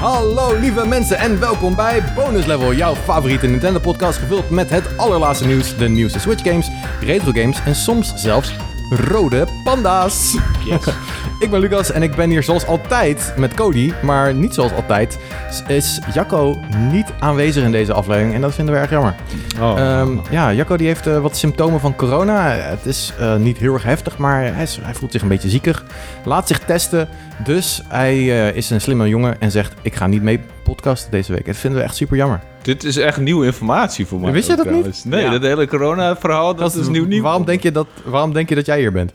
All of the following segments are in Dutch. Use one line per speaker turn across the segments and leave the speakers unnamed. Hallo lieve mensen en welkom bij Bonus Level, jouw favoriete Nintendo podcast gevuld met het allerlaatste nieuws, de nieuwste Switch games, retro games en soms zelfs rode panda's.
Yes.
Ik ben Lucas en ik ben hier zoals altijd met Cody, maar niet zoals altijd is Jacco niet aanwezig in deze aflevering en dat vinden we erg jammer.
Oh.
Ehm, ja, Jacco die heeft eh, wat symptomen van corona. Het is eh, niet heel erg heftig, maar hij, is- hij voelt zich een beetje ziekig. Laat zich testen. Dus hij eh, is een slimme jongen en zegt: Ik ga niet mee podcasten deze week. Dat vinden we echt super jammer.
Dit is echt nieuwe informatie voor mij.
Wist je
ook
dat niet?
trouwens. Nee,
Ja.
dat hele corona-verhaal, dat, is nieuw nieuw.
Waarom denk, je dat, waarom denk je dat jij hier bent?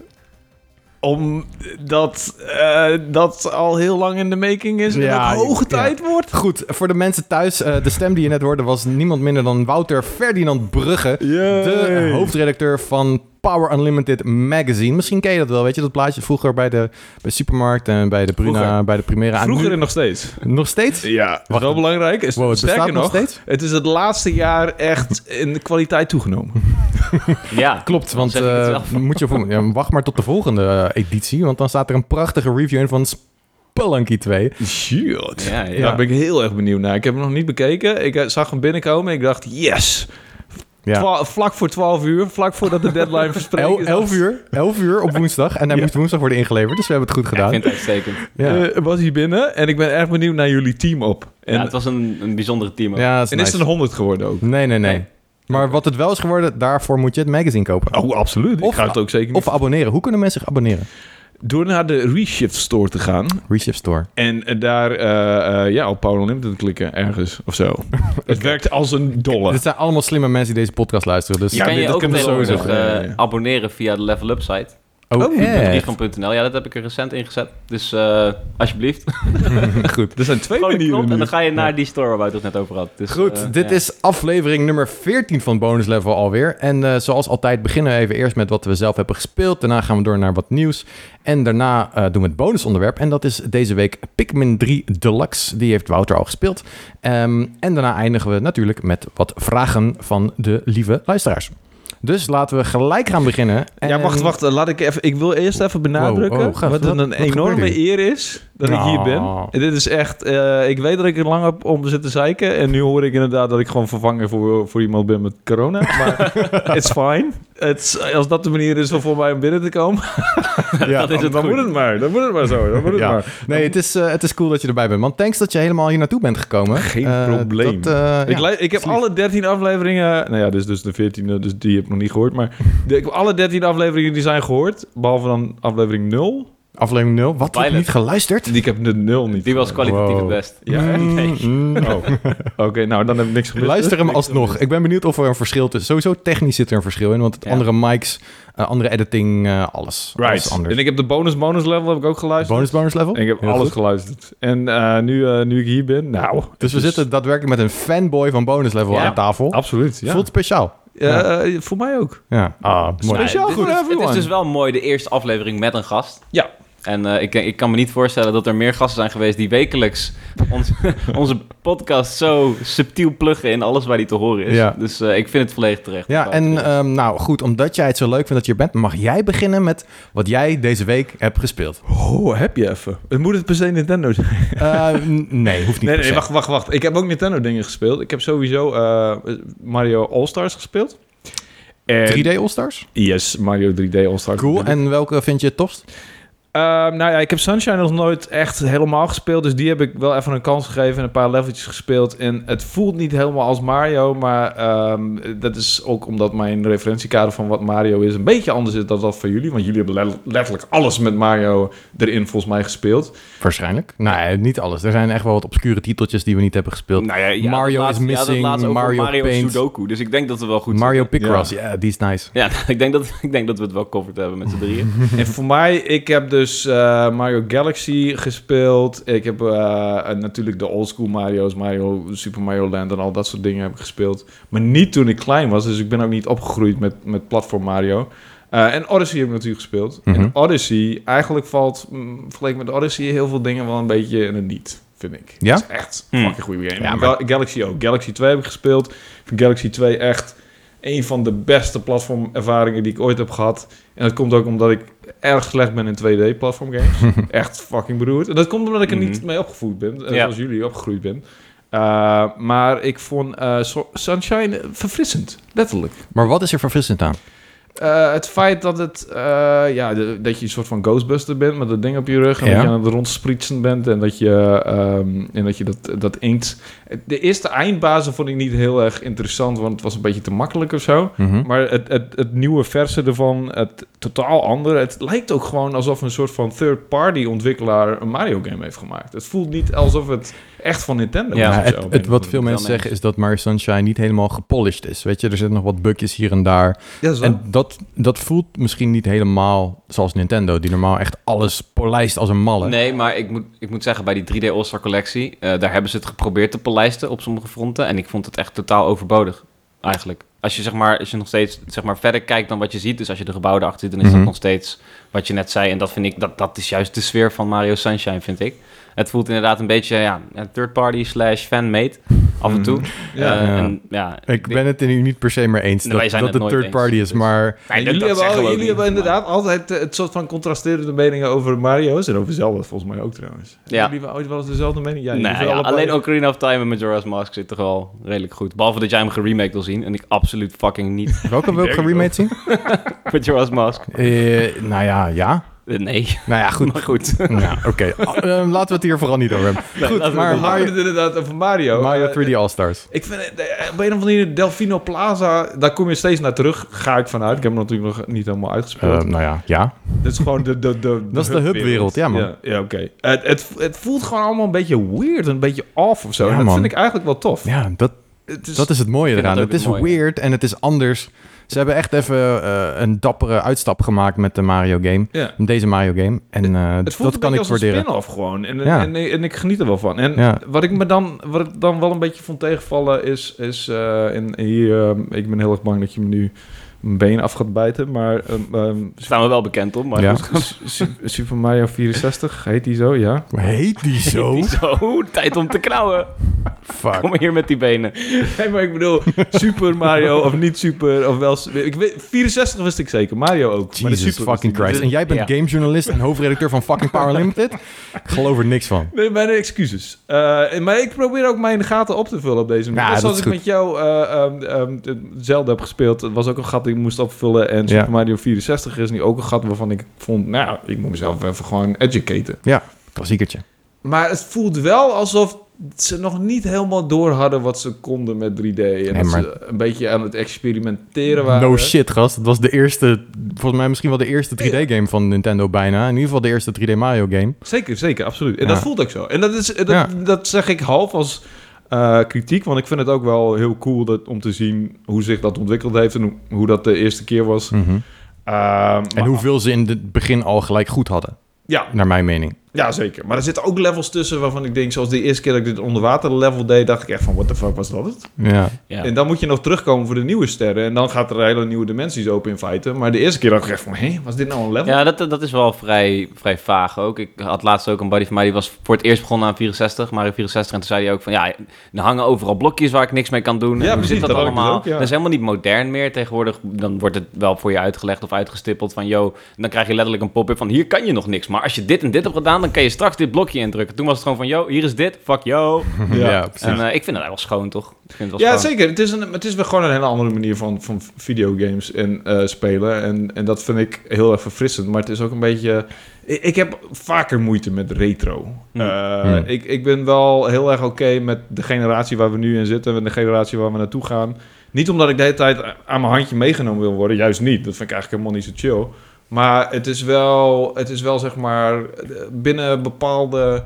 Omdat eh, dat al heel lang in de making is en
Ja,
dat het hoge
ja.
tijd wordt.
Goed, voor de mensen thuis, eh, de stem die je net hoorde was niemand minder dan Wouter Ferdinand Brugge. De hoofdredacteur van Power Unlimited Magazine. Misschien ken je dat wel, weet je, dat plaatje vroeger bij de bij Supermarkt en bij de Bruna,
Vroeger.
bij de Primera. En
Vroeger
nu-
en nog steeds.
Nog steeds?
Ja,
Wacht.
wat wel belangrijk. Is,
Wow, het bestaat
sterker
nog
nog,
steeds?
het is het laatste jaar echt in kwaliteit toegenomen.
Ja,
Klopt, want
Zeg ik het
eh, moet je voor, ja, wacht maar tot de volgende eh, editie, want dan staat er een prachtige review in van Spelunky 2.
Shit.
Ja, ja.
Daar ben ik heel erg benieuwd naar. Ik heb hem nog niet bekeken. Ik eh, zag hem binnenkomen en ik dacht, yes.
Ja.
Twa- vlak voor 12 uur, vlak voordat de deadline verspreekt
El,
is.
11 uur, 11 uur op woensdag en hij moest woensdag worden ingeleverd, dus we hebben het goed
ik
gedaan. Ja,
vind het uitstekend.
ja.
Eh, was hij binnen en ik ben erg benieuwd naar jullie team op. En,
ja, het was een, een bijzondere team. ook.
dat is
en is
nice.
het een 100 geworden ook?
Nee, nee, nee.
Nee.
Maar wat het wel is geworden, daarvoor moet je het magazine kopen.
Oh, absoluut.
Of-
ik ga het ook zeker niet.
Of abonneren. Hoe kunnen mensen zich abonneren?
Door naar de Reshift Store te gaan
Reshift Store.
en eh, daar eh, eh, ja, op Power Unlimited klikken ergens of zo. Het werkt als een dolle.
Dit zijn allemaal slimme mensen die deze podcast luisteren. Dus
Ja,
kan
dit-
je
dat
ook
kunnen we
tegenwoordig
sowieso zeggen, ja, ja,
eh,
ja.
abonneren via de Level Up site.
Oh,
Oh,
echt?
Liefgram.nl. Ja, dat heb ik er recent ingezet. Dus eh, alsjeblieft.
Goed.
Er zijn twee
Gewoon een
manieren
knop en
nu.
dan ga je naar die store waar we het net over hadden. Dus,
Goed,
eh,
dit
ja.
is aflevering nummer 14 van Bonus Level alweer. En eh, zoals altijd beginnen we even eerst met wat we zelf hebben gespeeld. Daarna gaan we door naar wat nieuws. En daarna eh, doen we het bonusonderwerp. En dat is deze week Pikmin 3 Deluxe. Die heeft Wouter al gespeeld. Ehm, en daarna eindigen we natuurlijk met wat vragen van de lieve luisteraars. Dus laten we gelijk gaan beginnen.
Ja, wacht, wacht. eh, Laat ik, even, ik wil eerst even benadrukken
Wow, oh, gaaf.
wat
Wat-
een
wat gebeurt
enorme
hier?
eer is dat ik hier
Nou.
ben. En dit is echt... eh, ik weet dat ik er lang op om zitten zeiken. En nu hoor ik inderdaad dat ik gewoon vervangen voor, voor iemand ben met corona. Maar it's fine. It's, als dat de manier is om voor mij om binnen te komen,
Ja,
dat is het
dan
goed.
moet het maar. Dan moet het maar zo. Dan moet het
Ja.
maar.
Nee, het is, eh, het is cool dat je erbij bent. Want thanks dat je helemaal hier naartoe bent gekomen.
Geen
Eh,
probleem.
dat, eh,
Ik,
ja.
lu- ik heb
Slief.
alle 13 afleveringen. Nou ja, dus, dus de 14e, dus die heb ik nog niet gehoord. Maar de- ik heb alle 13 afleveringen die zijn gehoord. Behalve dan aflevering 0.
Aflevering 0. Wat heb je
Pilot.
niet geluisterd?
Die ik heb de 0 niet.
Die was
gehoord.
kwalitatief
Wow.
het best.
Ja, echt?
Nee.
Mm,
Oh, oké. nou, dan heb ik niks gemist.
Luister hem alsnog. Ik ben benieuwd of er een verschil tussen... Sowieso technisch zit er een verschil in, want het
Ja.
andere mics, eh, andere editing, eh, alles. Alles
Right.
anders.
En ik heb de bonus bonus level heb ik ook geluisterd.
Bonus bonus level?
En ik heb
Heel
alles
goed.
geluisterd. En eh, nu, eh, nu ik hier ben, nou...
Dus we
het is-
zitten daadwerkelijk met een fanboy van bonus level
Ja.
aan tafel.
Absoluut, ja.
Voelt speciaal.
Ja, eh, voor mij ook.
Ja. Ah, mooi.
Speciaal
dit-
voor
dit is- Het
everyone.
is dus wel mooi, de eerste aflevering met een gast.
Ja.
En eh, ik, ik kan me niet voorstellen dat er meer gasten zijn geweest die wekelijks ons- onze podcast zo subtiel pluggen in alles waar die te horen is.
Ja.
Dus eh, ik vind het volledig terecht.
Ja, en ehm, nou goed, omdat jij het zo leuk vindt dat je er bent, mag jij beginnen met wat jij deze week hebt gespeeld.
Oh, heb je even. Het Moet het per se Nintendo zijn?
Eh, n- nee, hoeft niet per
Nee, nee,
se.
wacht, wacht, wacht. Ik heb ook Nintendo dingen gespeeld. Ik heb sowieso eh, Mario All-Stars gespeeld. En-
3D All-Stars?
Yes, Mario 3D All-Stars.
Cool. En welke vind je het tofst?
Ehm, nou ja, ik heb Sunshine nog nooit echt helemaal gespeeld. Dus die heb ik wel even een kans gegeven en een paar leveltjes gespeeld. En het voelt niet helemaal als Mario. Maar ehm, dat is ook omdat mijn referentiekader van wat Mario is een beetje anders is dan dat van jullie. Want jullie hebben le- letterlijk alles met Mario erin volgens mij gespeeld.
Waarschijnlijk. Nee, niet alles. Er zijn echt wel wat obscure titeltjes die we niet hebben gespeeld.
Nou ja, ja,
Mario
dat
is
ja, dat
missing,
laatste over
Mario
Mario
Paint.
Sudoku. Dus ik denk dat we wel goed
Mario
zitten.
Picross, ja, die is nice.
Ja, ik denk, dat, ik denk dat we het wel covered hebben met z'n drieën.
En voor mij, ik heb dus eh, Mario Galaxy gespeeld. Ik heb eh, eh, natuurlijk de oldschool Mario's, Mario, Super Mario Land en al dat soort dingen heb ik gespeeld. Maar niet toen ik klein was, dus ik ben ook niet opgegroeid met, met platform Mario. Eh, en Odyssey heb ik natuurlijk gespeeld.
Mhm.
En Odyssey, eigenlijk valt mm, vergeleken met Odyssey heel veel dingen wel een beetje in het niet, vind ik.
Ja?
Het is echt een
Hmm.
fucking goede game.
Ja,
En Ga- Galaxy ook. Galaxy 2 heb ik gespeeld. Ik vind Galaxy 2 echt een van de beste platformervaringen die ik ooit heb gehad. En dat komt ook omdat ik erg slecht ben in 2D-platform games. Echt fucking beroerd. En dat komt omdat ik er niet
Mhm.
mee opgevoed ben, eh,
Ja.
zoals jullie opgegroeid ben. Eh, maar ik vond eh, So- Sunshine verfrissend, letterlijk.
Maar wat is er verfrissend aan?
Eh, het feit dat het, eh, ja, de- dat je een soort van Ghostbuster bent met dat ding op je rug. En
Ja.
dat je aan het rondsprietsen bent en dat je, ehm, en dat, je dat, dat inkt. De eerste eindbazen vond ik niet heel erg interessant, want het was een beetje te makkelijk of zo.
Mhm.
Maar het, het, het nieuwe verse ervan, het totaal andere. Het lijkt ook gewoon alsof een soort van third-party ontwikkelaar een Mario game heeft gemaakt. Het voelt niet alsof het echt van Nintendo
Ja,
Ja,
is. of
het,
zo, op
het-
een
wat
of
veel
andere
mensen zeggen is dat Mario Sunshine niet helemaal gepolished is. Weet je, er zitten nog wat bugjes hier en daar.
manier. Ja, zo.
En dat, dat voelt misschien niet helemaal zoals Nintendo, die normaal echt alles polijst als een malle.
Nee, maar ik moet, ik moet zeggen, bij die 3D All-Star collectie, eh, daar hebben ze het geprobeerd te polijsten op sommige fronten. En ik vond het echt totaal overbodig, eigenlijk. Als je, zeg maar, als je nog steeds zeg maar, verder kijkt dan wat je ziet, dus als je de gebouwen erachter ziet, dan is
Mhm.
dat nog steeds wat je net zei. En dat vind ik, dat, dat is juist de sfeer van Mario Sunshine, vind ik. Het voelt inderdaad een beetje, ja, third party slash fan-made, af en toe.
Ja.
Eh,
Mhm. Ja.
en, ja,
Ik ben het er nu niet per se mee eens
Nee,
dat,
wij zijn
dat
het
het
nooit
third party
eens,
is,
dus-
maar
Nee, dat-
jullie
dat
hebben, al-
zeggen we ook
jullie
niet,
hebben
maar-
inderdaad altijd eh, het soort van contrasterende meningen over Mario's en over Zelda volgens mij ook trouwens.
Ja.
Hebben jullie ooit wel eens dezelfde mening? Ja, jullie
nee,
zijn
ja,
allebei-
alleen Ocarina of Time en Majora's Mask zit toch wel redelijk goed. Behalve dat jij hem geremaked wil zien en ik absoluut fucking niet
welke wil ik
denk
geremade zien?
Majora's Mask.
Eh, nou ja, ja.
Eh, Nee.
Nou ja, goed.
Maar goed.
nou, oké. Oh, eh, laten we het hier vooral niet over hebben.
laten we
goed,
het
maar
We hadden
Mario,
het inderdaad over Mario.
Mario
Eh,
3D All-Stars.
Ik vind het, eh, op een of andere manier Delfino Plaza, daar kom je steeds naar terug, ga ik vanuit. Ik heb hem natuurlijk nog niet helemaal
Eh,
uitgespeeld.
nou ja, ja.
Dit is gewoon de... de, de
Dat is de hubwereld, ja, man.
Ja, ja, oké. Het, het, het voelt gewoon allemaal een beetje weird, een beetje off of zo.
Ja,
en dat
man.
vind ik eigenlijk wel tof.
Ja, dat,
Het is,
dat is het mooie
vind
eraan.
dat
Het
ook
is
het mooie.
weird en het is anders. Ze hebben echt even eh, een dappere uitstap gemaakt met de Mario game.
ja.
Deze Mario game. En eh,
Het voelt
dat
een
kan
beetje
ik
als een
waarderen.
spin-off gewoon. En,
Ja.
en, en ik geniet er wel van. En
Ja.
wat ik me dan, wat ik dan wel een beetje vond tegenvallen is... is eh, en hier, ehm, ik ben heel erg bang dat je me nu mijn been af gaat bijten. Maar ehm, ehm,
Staan we wel bekend om, maar
Ja.
goed.
Su- Super Mario 64, heet die zo, ja.
Heet die zo?
Die Zo, tijd om te knauwen.
Fuck.
Kom maar hier met die benen.
Nee, maar ik bedoel, Super Mario of niet Super, of wel... su- Ik weet, 64 wist ik zeker, Mario ook. maar
Jesus
de super wist ik
fucking
niet.
Christ. En jij bent
Ja.
gamejournalist en hoofdredacteur van fucking Power Limited? Ik geloof er niks van.
Nee, mijn excuses. Eh, en- maar ik probeer ook mijn gaten op te vullen op deze manier.
Ja, dat
Net zoals
is
ik
goed.
met jou eh, ehm, ehm, het Zelda heb gespeeld. Dat was ook een gat die ik moest opvullen. En Super
Ja.
Mario 64 is nu ook een gat waarvan ik vond... Nou, ik moet mezelf even gewoon educaten.
Klassiekertje.
Maar het voelt wel alsof ze nog niet helemaal door hadden wat ze konden met 3D. En dat
maar-
ze een beetje aan het experimenteren waren.
No shit, gast. Dat was de eerste, volgens mij misschien wel de eerste 3D-game van Nintendo bijna. In ieder geval de eerste 3D Mario-game.
Zeker, zeker, absoluut. En
Ja.
dat voelt ook zo. En dat, is, dat,
Ja.
dat zeg ik half als eh, kritiek, want ik vind het ook wel heel cool dat, om te zien hoe zich dat ontwikkeld heeft en hoe, hoe dat de eerste keer
Hm.
was. Ehm,
En
maar-
hoeveel ze in het begin al gelijk goed hadden,
ja,
naar mijn mening.
ja, zeker. Maar er zitten ook levels tussen waarvan ik denk, zoals de eerste keer dat ik dit onderwater level deed, dacht ik echt van, what the fuck was dat het?
Ja.
Ja.
En dan moet je nog terugkomen voor de nieuwe sterren. En dan gaat er hele nieuwe dimensies open in feite. Maar de eerste keer dacht ik echt van, hé, was dit nou een level?
Ja, dat, dat is wel vrij, vrij vaag ook. Ik had laatst ook een buddy van mij, die was voor het eerst begonnen aan 64, Mario 64. En toen zei hij ook van, ja, er hangen overal blokjes waar ik niks mee kan doen. en
Ja,
hoe
precies,
zit dat,
dat had ik dus
allemaal?
ook, ja.
Dat is helemaal niet modern meer tegenwoordig. Dan wordt het wel voor je uitgelegd of uitgestippeld van, yo, en dan krijg je letterlijk een pop-up van, hier kan je nog niks. Maar als je dit en dit hebt gedaan, dan kan je straks dit blokje indrukken. Toen was het gewoon van, yo, hier is dit, fuck yo.
Ja,
En
precies.
eh, ik vind dat wel schoon, toch? Ik vind het wel
Ja,
schoon.
zeker. Het is, een, het is weer gewoon een hele andere manier van, van videogames en eh, spelen. En, en dat vind ik heel erg verfrissend. Maar het is ook een beetje... Ik, ik heb vaker moeite met retro.
Hmm.
Eh,
Hmm.
Ik, ik ben wel heel erg oké met de generatie waar we nu in zitten... en de generatie waar we naartoe gaan. Niet omdat ik de hele tijd aan mijn handje meegenomen wil worden. Juist niet. Dat vind ik eigenlijk helemaal niet zo chill. Maar het is wel, het is wel zeg maar binnen bepaalde.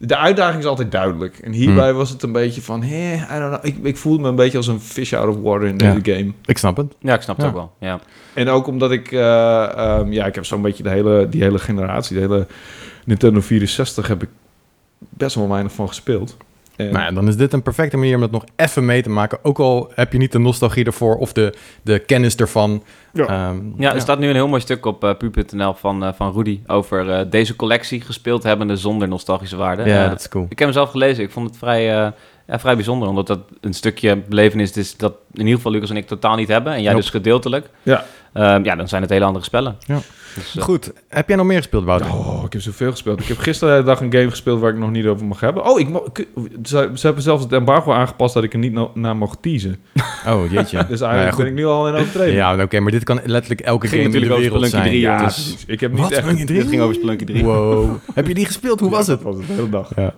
De uitdaging is altijd duidelijk. En
Hmm.
hierbij was het een beetje van, hé, I don't know. Ik, ik voelde me een beetje als een fish out of water in deze game.
Ik snap het.
Ja, ik snap het
Ja.
ook wel. Ja.
En ook omdat ik, eh, ehm, ja, ik heb zo'n beetje de hele, die hele generatie, de hele Nintendo 64 heb ik best wel weinig van gespeeld. En,
Nou ja, dan is dit een perfecte manier om dat nog even mee te maken. Ook al heb je niet de nostalgie ervoor of de, de kennis ervan.
Ja.
Ehm,
Ja, er staat nu een heel mooi stuk op eh, pu.nl van, eh, van Rudy over eh, deze collectie gespeeld hebbende zonder nostalgische waarde.
Ja,
Eh,
dat is cool.
ik heb hem zelf gelezen. Ik vond het vrij, eh, ja, vrij bijzonder, omdat dat een stukje belevenis is dat in ieder geval Lucas en ik totaal niet hebben. En jij
Nope.
dus gedeeltelijk.
Ja.
Ehm, ja, dan zijn het hele andere spellen.
Ja.
Dus, eh,
Goed, heb jij nog meer gespeeld, Wouter?
Oh, ik heb zoveel gespeeld. Ik heb gisteren de hele dag een game gespeeld waar ik nog niet over mag hebben. Oh, ik mo- ik- ze, ze hebben zelfs het embargo aangepast dat ik er niet no- naar mocht teasen.
Oh, jeetje.
Dus
Nou ja,
eigenlijk
goed.
ben ik nu al in overtreding.
Ja, nou, oké, maar dit kan letterlijk elke
Ging
game in de
natuurlijk
wereld
over
zijn.
Spelunky
Ja,
ja, dus-
precies. Ik heb niet
Wat?
echt...
Spelunky
dit
3?
ging over Spelunky 3.
Wow. heb je die gespeeld? Hoe was
Ja,
het?
Dat was het de hele dag.
Ja.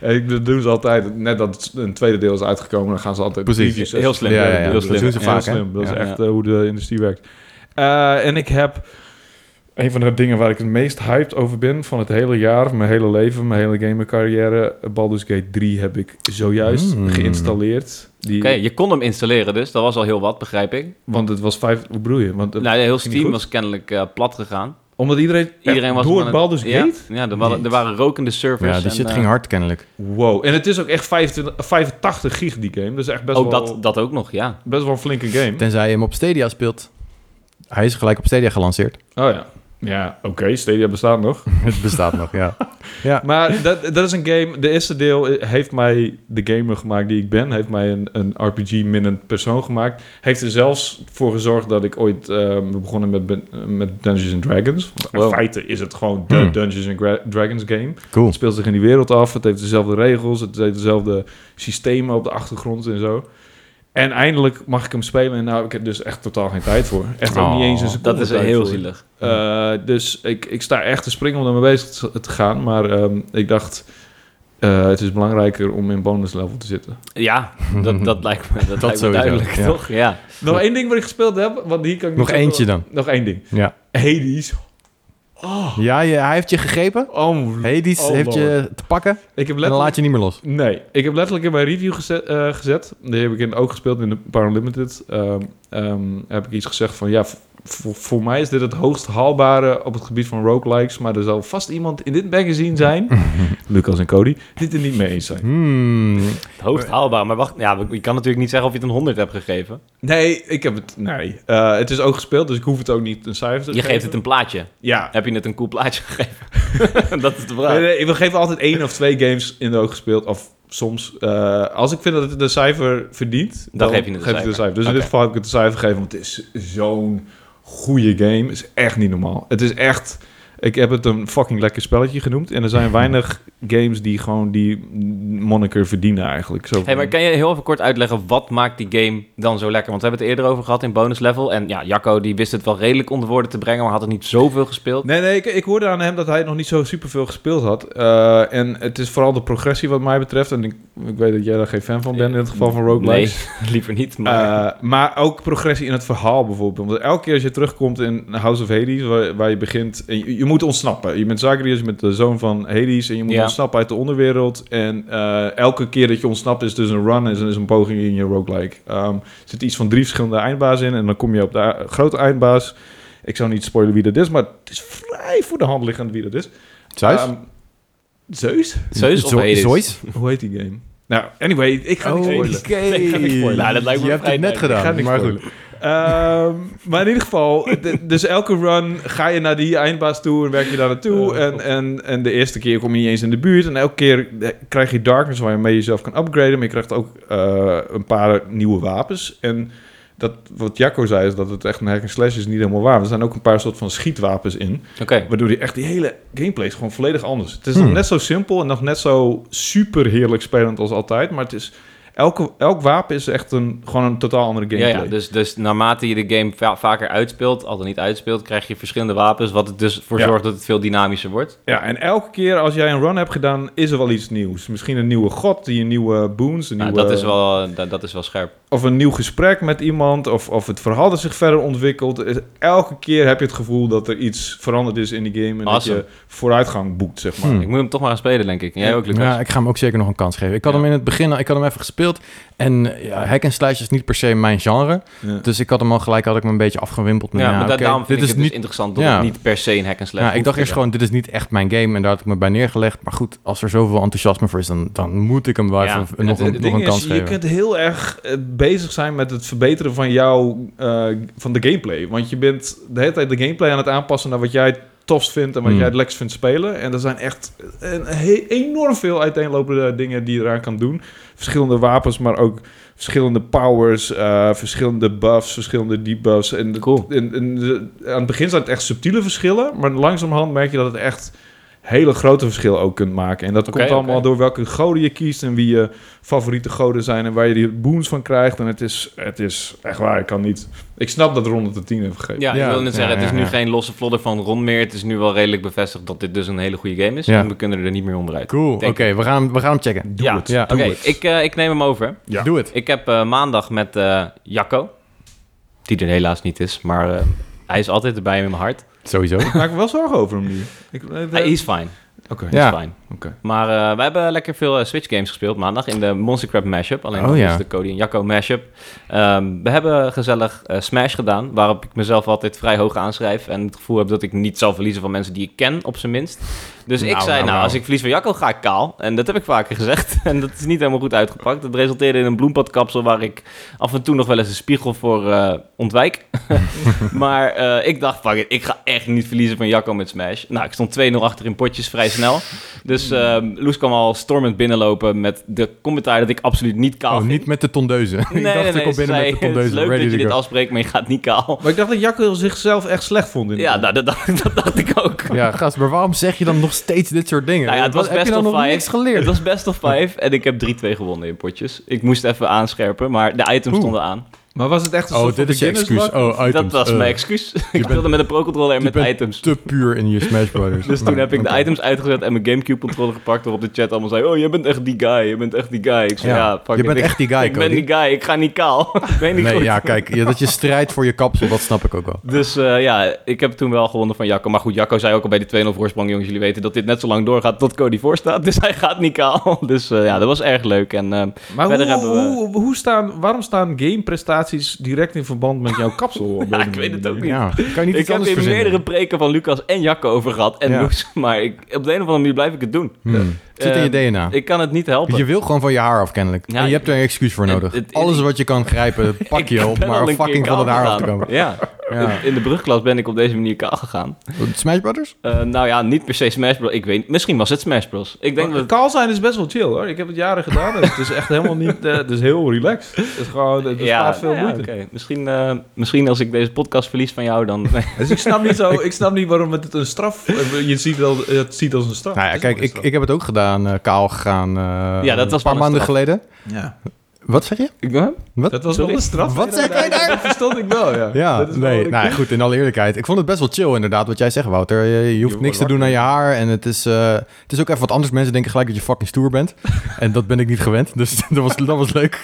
En ik- dat doen ze altijd. Net dat het een tweede deel is uitgekomen, dan gaan ze altijd...
Precies.
previews zetten.
Heel slim.
Ja, ja, ja.
heel
Dat
slim.
doen ze
Ja.
vaak,
Heel
hè?
slim. Dat
Ja.
is echt eh, hoe de industrie werkt. Eh, en ik heb een van de dingen waar ik het meest hyped over ben van het hele jaar, mijn hele leven, mijn hele gamercarrière. Baldur's Gate 3 heb ik zojuist
Mm.
geïnstalleerd. Die,
Oké, je kon hem installeren dus. Dat was al heel wat, begrijp ik.
Want het was vijf... Hoe bedoel je? Want, het-
Nou, heel
ging niet
Steam
goed?
was kennelijk eh, plat gegaan.
omdat iedereen,
Iedereen was
door
aan
Baldur's
ja,
Gate?
Ja, er waren, er waren rokende
Ja,
servers.
die
en,
shit
eh,
ging hard kennelijk.
Wow. En het is ook echt 25, 85 gig die game. Dat is echt best,
Ook
wel,
Oh, dat, dat ook nog, ja.
best wel een flinke game.
Tenzij je hem op Stadia speelt. Hij is gelijk op Stadia gelanceerd.
Oh ja. Ja, oké. Stadia bestaat nog.
het bestaat nog, ja. Ja,
Maar dat, dat is een game. De eerste deel heeft mij de gamer gemaakt die ik ben. Heeft mij een, een RPG-minnend persoon gemaakt. Heeft er zelfs voor gezorgd dat ik ooit ehm, we begonnen met, ben- met Dungeons and Dragons. In
Wow.
feite is het gewoon de
Hmm.
Dungeons and Gra- Dragons game.
cool.
Het speelt zich in die wereld af. Het heeft dezelfde regels. Het heeft dezelfde systemen op de achtergrond en zo. En eindelijk mag ik hem spelen. En nou, ik heb dus echt totaal geen tijd voor. Echt ook
Oh,
niet eens een seconde
Dat is
tijd
heel
voor.
zielig.
Eh, dus ik, ik sta echt te springen om daarmee bezig te- te gaan. Maar ehm, ik dacht, eh, het is belangrijker om in bonus level te zitten.
Ja, dat, dat lijkt me, dat lijkt me
Mhm. sowieso,
duidelijk,
ja.
toch? Ja.
Nog één ding wat ik gespeeld heb, want hier kan ik
Nog
niet-
eentje dan.
Nog één ding.
Ja,
Hades.
ja je- hij heeft je gegrepen.
Oh,
Hades
Oh,
heeft je te pakken
ik heb
en dan laat
letterlijk...
je niet meer los.
Nee, ik heb letterlijk in mijn review gezet. eh, gezet. Die heb ik in, ook gespeeld in de Paralimited. Ehm ehm, heb ik iets gezegd van, ja, v- voor- voor mij is dit het hoogst haalbare op het gebied van roguelikes. Maar er zal vast iemand in dit magazine zijn, Lucas en Cody, die het er niet mee eens zijn.
Hmm.
Het hoogst haalbaar. Maar wacht, ja, je kan natuurlijk niet zeggen of je het een 100 hebt gegeven.
Nee, ik heb het. Nee. Eh, het is ook gespeeld, dus ik hoef het ook niet een cijfer te
Je
geven.
geeft het een plaatje.
Ja.
Heb je het een cool plaatje gegeven? dat is de vraag.
Nee, nee, we geven altijd één of twee games in de oog gespeeld. Of soms. eh, als ik vind dat het een cijfer verdient,
Dan geef je het een
ik
cijfer.
Dus in
Oké.
dit geval heb ik het een cijfer gegeven, want het is zo'n goede game. Het is echt niet normaal. Het is echt. Ik heb het een fucking lekker spelletje genoemd. En er zijn weinig games die gewoon die moniker verdienen eigenlijk. Zo
Hey, maar kan je heel even kort uitleggen wat maakt die game dan zo lekker? Want we hebben het eerder over gehad in bonus level. En ja, Jacco die wist het wel redelijk onder woorden te brengen, maar had het niet zoveel gespeeld.
Nee, nee, ik, ik hoorde aan hem dat hij nog niet zo superveel gespeeld had. Eh, en het is vooral de progressie wat mij betreft. En ik, ik weet dat jij daar geen fan van bent in het geval van roguelikes.
Nee, liever niet. Maar
Eh, maar ook progressie in het verhaal bijvoorbeeld. Want elke keer als je terugkomt in House of Hades, waar, waar je begint... En je, je moet ontsnappen. Je bent Zagreus, je bent de zoon van Hades... en je moet
Ja.
ontsnappen uit de onderwereld. En eh, elke keer dat je ontsnapt is dus een run... is, is een poging in je roguelike. Ehm, er zitten iets van drie verschillende eindbaas in... en dan kom je op de eh, grote eindbaas. Ik zou niet spoilen wie dat is... maar het is vrij voor de hand liggend wie dat is.
Zeus?
Ehm, Zeus?
Zeus of
Zo-
Hades?
Zeus?
Hoe heet die game? Nou, anyway, ik ga
Oh,
niet spoilen.
oké.
ga niet spoilen. Nou, dat lijkt me
Je hebt
vrij
het net
duidelijk.
Ik ga
gedaan,
niks
maar
spoilen.
goed.
Ehm, maar in ieder geval, d- dus elke run ga je naar die eindbaas toe en werk je daar naartoe.
Eh,
en, en, en de eerste keer kom je niet eens in de buurt. En elke keer eh, krijg je darkness waarmee je jezelf kan upgraden. Maar je krijgt ook eh, een paar nieuwe wapens. En dat, wat Jacco zei, is dat het echt een hack and slash is niet helemaal waar. Er zijn ook een paar soort van schietwapens in.
Oké.
Waardoor die echt die hele gameplay is gewoon volledig anders. Het is
Hmm.
nog net zo simpel en nog net zo super heerlijk spelend als altijd. Maar het is, elke, elk wapen is echt een, gewoon een totaal andere
Ja,
gameplay.
ja, dus, dus naarmate je de game va- vaker uitspeelt, al dan niet uitspeelt, krijg je verschillende wapens, wat er dus voor
Ja.
zorgt dat het veel dynamischer wordt.
Ja, en elke keer als jij een run hebt gedaan, is er wel iets nieuws. Misschien een nieuwe god, die een nieuwe boons, een
Nou,
nieuwe-
dat, is wel, dat, dat is wel scherp.
of een nieuw gesprek met iemand, of, of het verhaal dat zich verder ontwikkelt. Het- Elke keer heb je het gevoel dat er iets veranderd is in die game en
Awesome.
dat je vooruitgang boekt, zeg maar.
Hmm.
Ik moet hem toch maar gaan spelen, denk ik. En Jij ook, Lucas?
Ja, ik ga hem ook zeker nog een kans geven. Ik had
Ja.
hem in het begin, ik had hem even gespeeld. En eh, ja, hack en slash is niet per se mijn genre.
Ja.
Dus ik had hem al gelijk, had ik me een beetje afgewimpeld. Met,
Ja, maar da-
oké,
daarom vind
dit
ik
is
het dus
niet...
interessant dat
Ja.
het niet per se een hack and slash
Ja, ik
hoeft
dacht
te
eerst
zijn.
gewoon, dit is niet echt mijn game. En daar had ik me bij neergelegd. Maar goed, als er zoveel enthousiasme voor is, dan, dan moet ik hem wel
Ja,
even
en
nog,
het-
een, nog
Het ding
een kans
is, je
geven.
kunt heel erg eh, bezig zijn met het verbeteren van jouw, eh, van de gameplay. Want je bent de hele tijd de gameplay aan het aanpassen naar wat jij tofst vindt en wat
Hmm.
jij het lekkerst vindt spelen. En er zijn echt eh, een, he- enorm veel uiteenlopende eh, dingen die je eraan kan doen. Verschillende wapens, maar ook verschillende powers, eh, verschillende buffs, verschillende debuffs. En de-
Cool.
en- en de- aan het begin zijn het echt subtiele verschillen, maar langzamerhand merk je dat het echt hele grote verschil ook kunt maken. En dat
Oké,
komt allemaal
oké.
door welke goden je kiest en wie je favoriete goden zijn en waar je die boons van krijgt. En het is, het is echt waar, ik kan niet... Ik snap dat Ronde de 10 heeft gegeven.
Ja,
Ja,
ik wil net
ja,
zeggen, het is
ja,
nu
ja.
geen losse vlodder van rond meer. Het is nu wel redelijk bevestigd dat dit dus een hele goede game is.
Ja.
En we kunnen er niet meer onderuit.
Cool, oké,
Denk
we, gaan, we gaan hem checken.
ja,
het. Ja,
oké.
doe het.
Ik, eh, ik neem hem over.
Ja.
Doe het.
Ik heb eh, maandag met eh, Jacco, die er helaas niet is, maar eh, hij is altijd erbij in mijn hart.
Sowieso.
Ik maak me wel zorgen over hem nu. Ik, eh,
Hij is fine.
Oké.
Ja.
Is fine.
Oké.
Maar eh, we hebben lekker veel eh, Switch games gespeeld maandag in de Monster Crab mashup. Alleen
Oh,
dat
ja.
is de Cody en Jacco mashup. Ehm, we hebben gezellig eh, Smash gedaan, waarop ik mezelf altijd vrij hoog aanschrijf. En het gevoel heb dat ik niet zal verliezen van mensen die ik ken, op zijn minst. Dus ik
Nou,
zei,
nou,
nou,
nou.
als ik verlies van Jacco ga ik kaal. En dat heb ik vaker gezegd. En dat is niet helemaal goed uitgepakt. Dat resulteerde in een bloempadkapsel waar ik af en toe nog wel eens een spiegel voor eh, ontwijk. maar eh, ik dacht, fuck it, ik ga echt niet verliezen van Jacco met Smash. Nou, ik stond 2-0 achter in potjes vrij snel. Dus
Hmm.
ehm, Loes kwam al stormend binnenlopen met de commentaar dat ik absoluut niet kaal
Oh,
ging.
niet met de tondeuzen.
Nee,
ik dacht,
nee,
ik
nee.
kom
ze
binnen
zei,
met de
het is
tondeuzen.
leuk
Ready
dat je
to
dit
go.
afspreekt, maar je gaat niet kaal.
Maar ik dacht dat Jacco zichzelf echt slecht vond. In
Ja, nou, dat, dacht, dat dacht ik ook.
Ja, gast, maar waarom zeg je dan nog steeds dit soort dingen?
Nou ja, het
Wat-
was
heb
best
je dan
of
nog
five.
niks geleerd?
Het was best of 5 en ik heb 3-2 gewonnen in potjes. Ik moest even aanscherpen, maar de items
Oeh.
stonden aan.
Maar was het echt een
Oh,
soort
dit
van
is je excuus.
beginnersbak?
Oh, items.
Dat was
Eh,
mijn excuus. ik
bent-
wilde met een pro-controller en
je
met
bent
items.
Te puur in je Smash Brothers.
Dus toen
Nou,
heb ik
oké.
de items uitgezet en mijn Gamecube-controller gepakt... waarop de chat allemaal zei... Oh, jij bent echt die guy, je bent echt die guy. Ik zei, ja, fuck
je
it,
bent
ik,
echt die guy,
ik ben
Cody.
die guy, ik ga niet kaal. ik weet niet
Nee,
goed.
ja, kijk, ja, dat je strijdt voor je kapsel, dat snap ik ook wel.
Dus eh, ja, ik heb toen wel gewonnen van Jacco. Maar goed, Jacco zei ook al bij die 2-0 voorsprong... jongens, jullie weten dat dit net zo lang doorgaat tot Cody voorstaat. Dus hij gaat niet kaal. Dus eh, ja, dat was erg leuk. En eh,
Oh.
Maar
Verder
hoe,
hebben we-
hoe, hoe staan, waarom staan gameprestaties direct in verband met jouw kapsel? Op
Ja,
deze
ik weet het ook
manier?
niet.
Ja, kan je niet
ik
iets
heb
anders
hier
verzinnen?
meerdere preken van Lucas en Jacco over gehad. En
Ja.
Loes, maar ik, op de een of andere manier blijf ik het doen.
Hmm. Het Zit in je
Eh,
DNA.
Ik kan het niet helpen.
Je wil gewoon van je haar af, kennelijk.
Ja,
en je hebt er een excuus voor
het-
nodig.
het-
Alles wat je kan grijpen, pak je op,
ben al
maar
een
fucking
keer
van het
kaal
haar af te
gegaan.
komen.
Ja.
Ja.
in de brugklas ben ik op deze manier kaal gegaan.
Smash Brothers?
Eh, nou ja, niet per se Smash Bros. Ik weet, misschien was het Smash Bros. Oh, Ik denk dat...
Kaal zijn is best wel chill hoor. Ik heb het jaren gedaan. Dus het is echt helemaal niet. eh, het is heel relaxed. Het is gewoon. Het
ja,
bespaart veel
nou ja,
moeite.
oké. misschien, eh, misschien als ik deze podcast verlies van jou, dan...
Dus ik snap niet zo. Ik snap niet waarom het een straf. Je ziet wel, het ziet als een straf.
Nou ja,
Het is
kijk,
ook een
ik, ik heb het ook gedaan, eh, kaal gegaan, eh,
Ja, dat
een paar
was wel een
maanden
straf.
geleden.
straf. Ja.
Wat zeg je? Wat?
Dat was
Sorry?
wel een straf.
Wat zeg jij
Dat verstond ik wel. Ja.
Ja,
Dat is wel
nee,
een-
nou ja, goed, in alle eerlijkheid. Ik vond het best wel chill inderdaad, wat jij zegt, Wouter. Je, je hoeft
wordt
niks te doen aan je haar en het is, eh, het is ook even wat anders. Mensen denken gelijk dat je fucking stoer bent. en dat ben ik niet gewend, dus dat was, dat was leuk.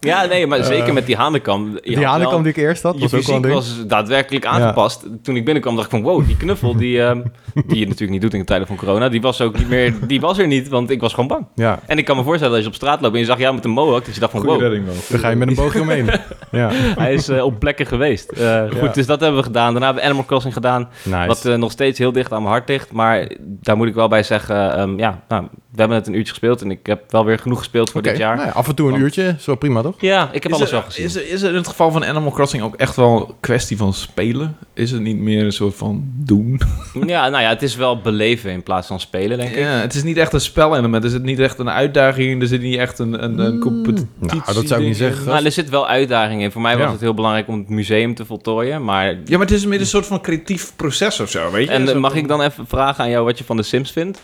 Ja, nee, maar zeker met die hanekam. Je Eh. had
die
wel-
hanenkam die ik eerst had,
je
was ook wel een
fysiek
ding.
was daadwerkelijk aangepast. Toen ik binnenkwam dacht ik van wow, die knuffel die, ehm, die je natuurlijk niet doet in de tijden van corona, die was ook niet meer, die was er niet, want ik was gewoon bang.
Ja,
En ik kan me voorstellen dat als je op straat loopt en je zag jou met een mohawk, dat je dacht van
Goede
wow,
redding wel.
dan ga je met een boogje omheen. ja,
hij is eh, op plekken geweest. Eh, Goed, dus dat hebben we gedaan. Daarna hebben we Animal Crossing gedaan,
nice.
wat eh, nog steeds heel dicht aan mijn hart ligt. Maar daar moet ik wel bij zeggen, ehm, ja, nou, we hebben het een uurtje gespeeld en ik heb wel weer genoeg gespeeld voor
Oké,
dit jaar.
nou ja, af en toe een
Want-
uurtje, zo prima toch?
Ja, ik heb
Is
alles
er-
wel gezien.
Is er, is er in het geval van Animal Crossing ook echt wel een kwestie van spelen? Is het niet meer een soort van doen?
Ja, nou ja, het is wel beleven in plaats van spelen, denk ik.
Ja, het is niet echt een spelelement. Er zit niet echt een uitdaging in. Er zit niet echt een, een, een competitie.
Nou, dat zou ik niet
ding in.
zeggen.
Maar er zit wel uitdaging in. Voor mij was
Ja.
het heel belangrijk om het museum te voltooien. Maar...
Ja, maar het is meer een soort van creatief proces of zo, weet je?
En
Zo-
eh, mag ik dan even vragen aan jou wat je van de Sims vindt?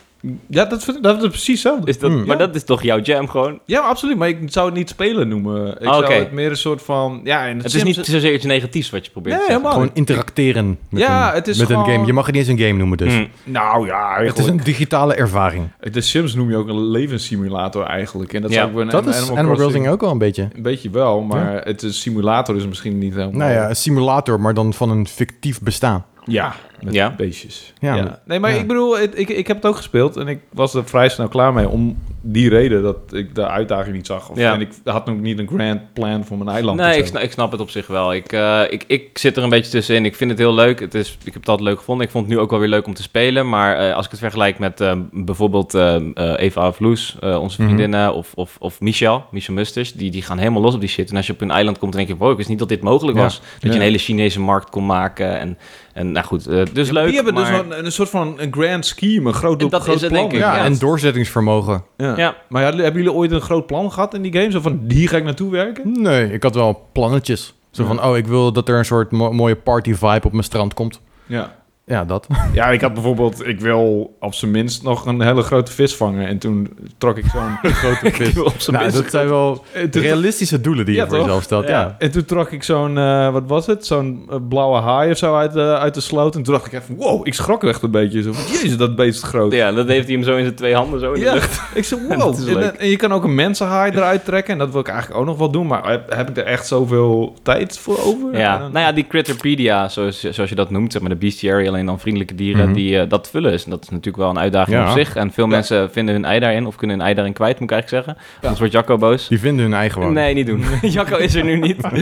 Ja, dat vind ik dat is precies zo.
Is dat,
Hmm.
Maar
Ja.
dat is toch jouw jam gewoon?
Ja, absoluut. Maar ik zou het niet spelen noemen. Ik
Ah, oké.
zou het meer een soort van... Ja, en
Het
Sims-
is niet zozeer iets negatiefs wat je probeert
Nee,
te zeggen.
helemaal
Gewoon
niet.
interacteren met,
Ja,
een,
het is
met een
gewoon-
game. Je mag het niet eens een game noemen dus.
Hmm.
Nou ja,
Het is
eigenlijk.
een digitale ervaring.
De Sims noem je ook een levenssimulator eigenlijk. En dat
Ja,
zou ik bij een
dat is Animal, Crossing ook wel een beetje.
Een beetje wel, maar het is simulator is misschien niet helemaal...
Nou ja, een simulator, maar dan van een fictief bestaan.
Ja, met
Ja.
beestjes.
Ja.
Nee, maar
Ja.
ik bedoel, het- ik, ik heb het ook gespeeld en ik was er vrij snel klaar mee. Om die reden dat ik de uitdaging niet zag. Of,
Ja.
En ik had ook niet een grand plan voor mijn eiland. of
Nee,
zo.
ik snap, ik snap het op zich wel. Ik, eh, ik, ik zit er een beetje tussenin. Ik vind het heel leuk. Het is, ik heb het altijd leuk gevonden. Ik vond het nu ook wel weer leuk om te spelen. Maar eh, als ik het vergelijk met eh, bijvoorbeeld eh, eh, Eva of Loes, eh, onze
Mhm.
vriendinnen, of, of, of Michel, Michel Musters, die, die gaan helemaal los op die shit. En als je op een eiland komt, dan denk je, wow, ik wist niet dat dit mogelijk
Ja.
was. Dat je
Ja.
een hele Chinese markt kon maken. En, en nou goed, eh, Dus
Ja, maar
leuk,
die hebben
maar-
dus wel een, een soort van een grand scheme, een groot,
En dat
groot
is het,
plan.
denk ik,
Ja,
ja.
en doorzettingsvermogen.
Ja.
Ja.
Maar ja, hebben jullie ooit een groot plan gehad in die game? Zo van, hier ga ik naartoe werken?
Nee, ik had wel plannetjes. Zo van, oh, ik wil dat er een soort mo- mooie party vibe op mijn strand komt.
Ja.
Ja, dat.
ja, ik had bijvoorbeeld, ik wil op zijn minst nog een hele grote vis vangen. En toen trok ik zo'n...
Grote vis.
wil op zijn
nou,
minst
dat zijn wel
En toen-
realistische doelen die je
Ja,
voor
toch?
jezelf stelt. Ja.
En toen trok ik zo'n, eh, wat was het? Zo'n eh, blauwe haai of zo uit, de uit de sloot. En toen dacht ik even, wow, ik schrok echt een beetje. Zo van, jezus, dat beest is groot.
Ja, dat heeft hij hem zo in zijn twee handen zo in de
Ja.
lucht.
Ik zei,
Dat
wow.
is
En,
leuk.
dan- en je kan ook een mensenhaai eruit trekken. En dat wil ik eigenlijk ook nog wel doen. Maar heb, heb ik er echt zoveel tijd voor over?
Ja,
En dan-
nou ja, die Critterpedia, zoals, zoals je dat noemt, zeg maar de bestiary, alleen dan vriendelijke dieren,
Mhm.
die eh, dat vullen is. En dat is natuurlijk wel een uitdaging
Ja.
op zich. En veel
Ja.
mensen vinden hun ei daarin, of kunnen hun ei daarin kwijt, moet ik eigenlijk zeggen. Anders wordt Jacco boos.
Die vinden hun eigen woning.
Nee, niet doen. Jacco is er nu niet. Jacco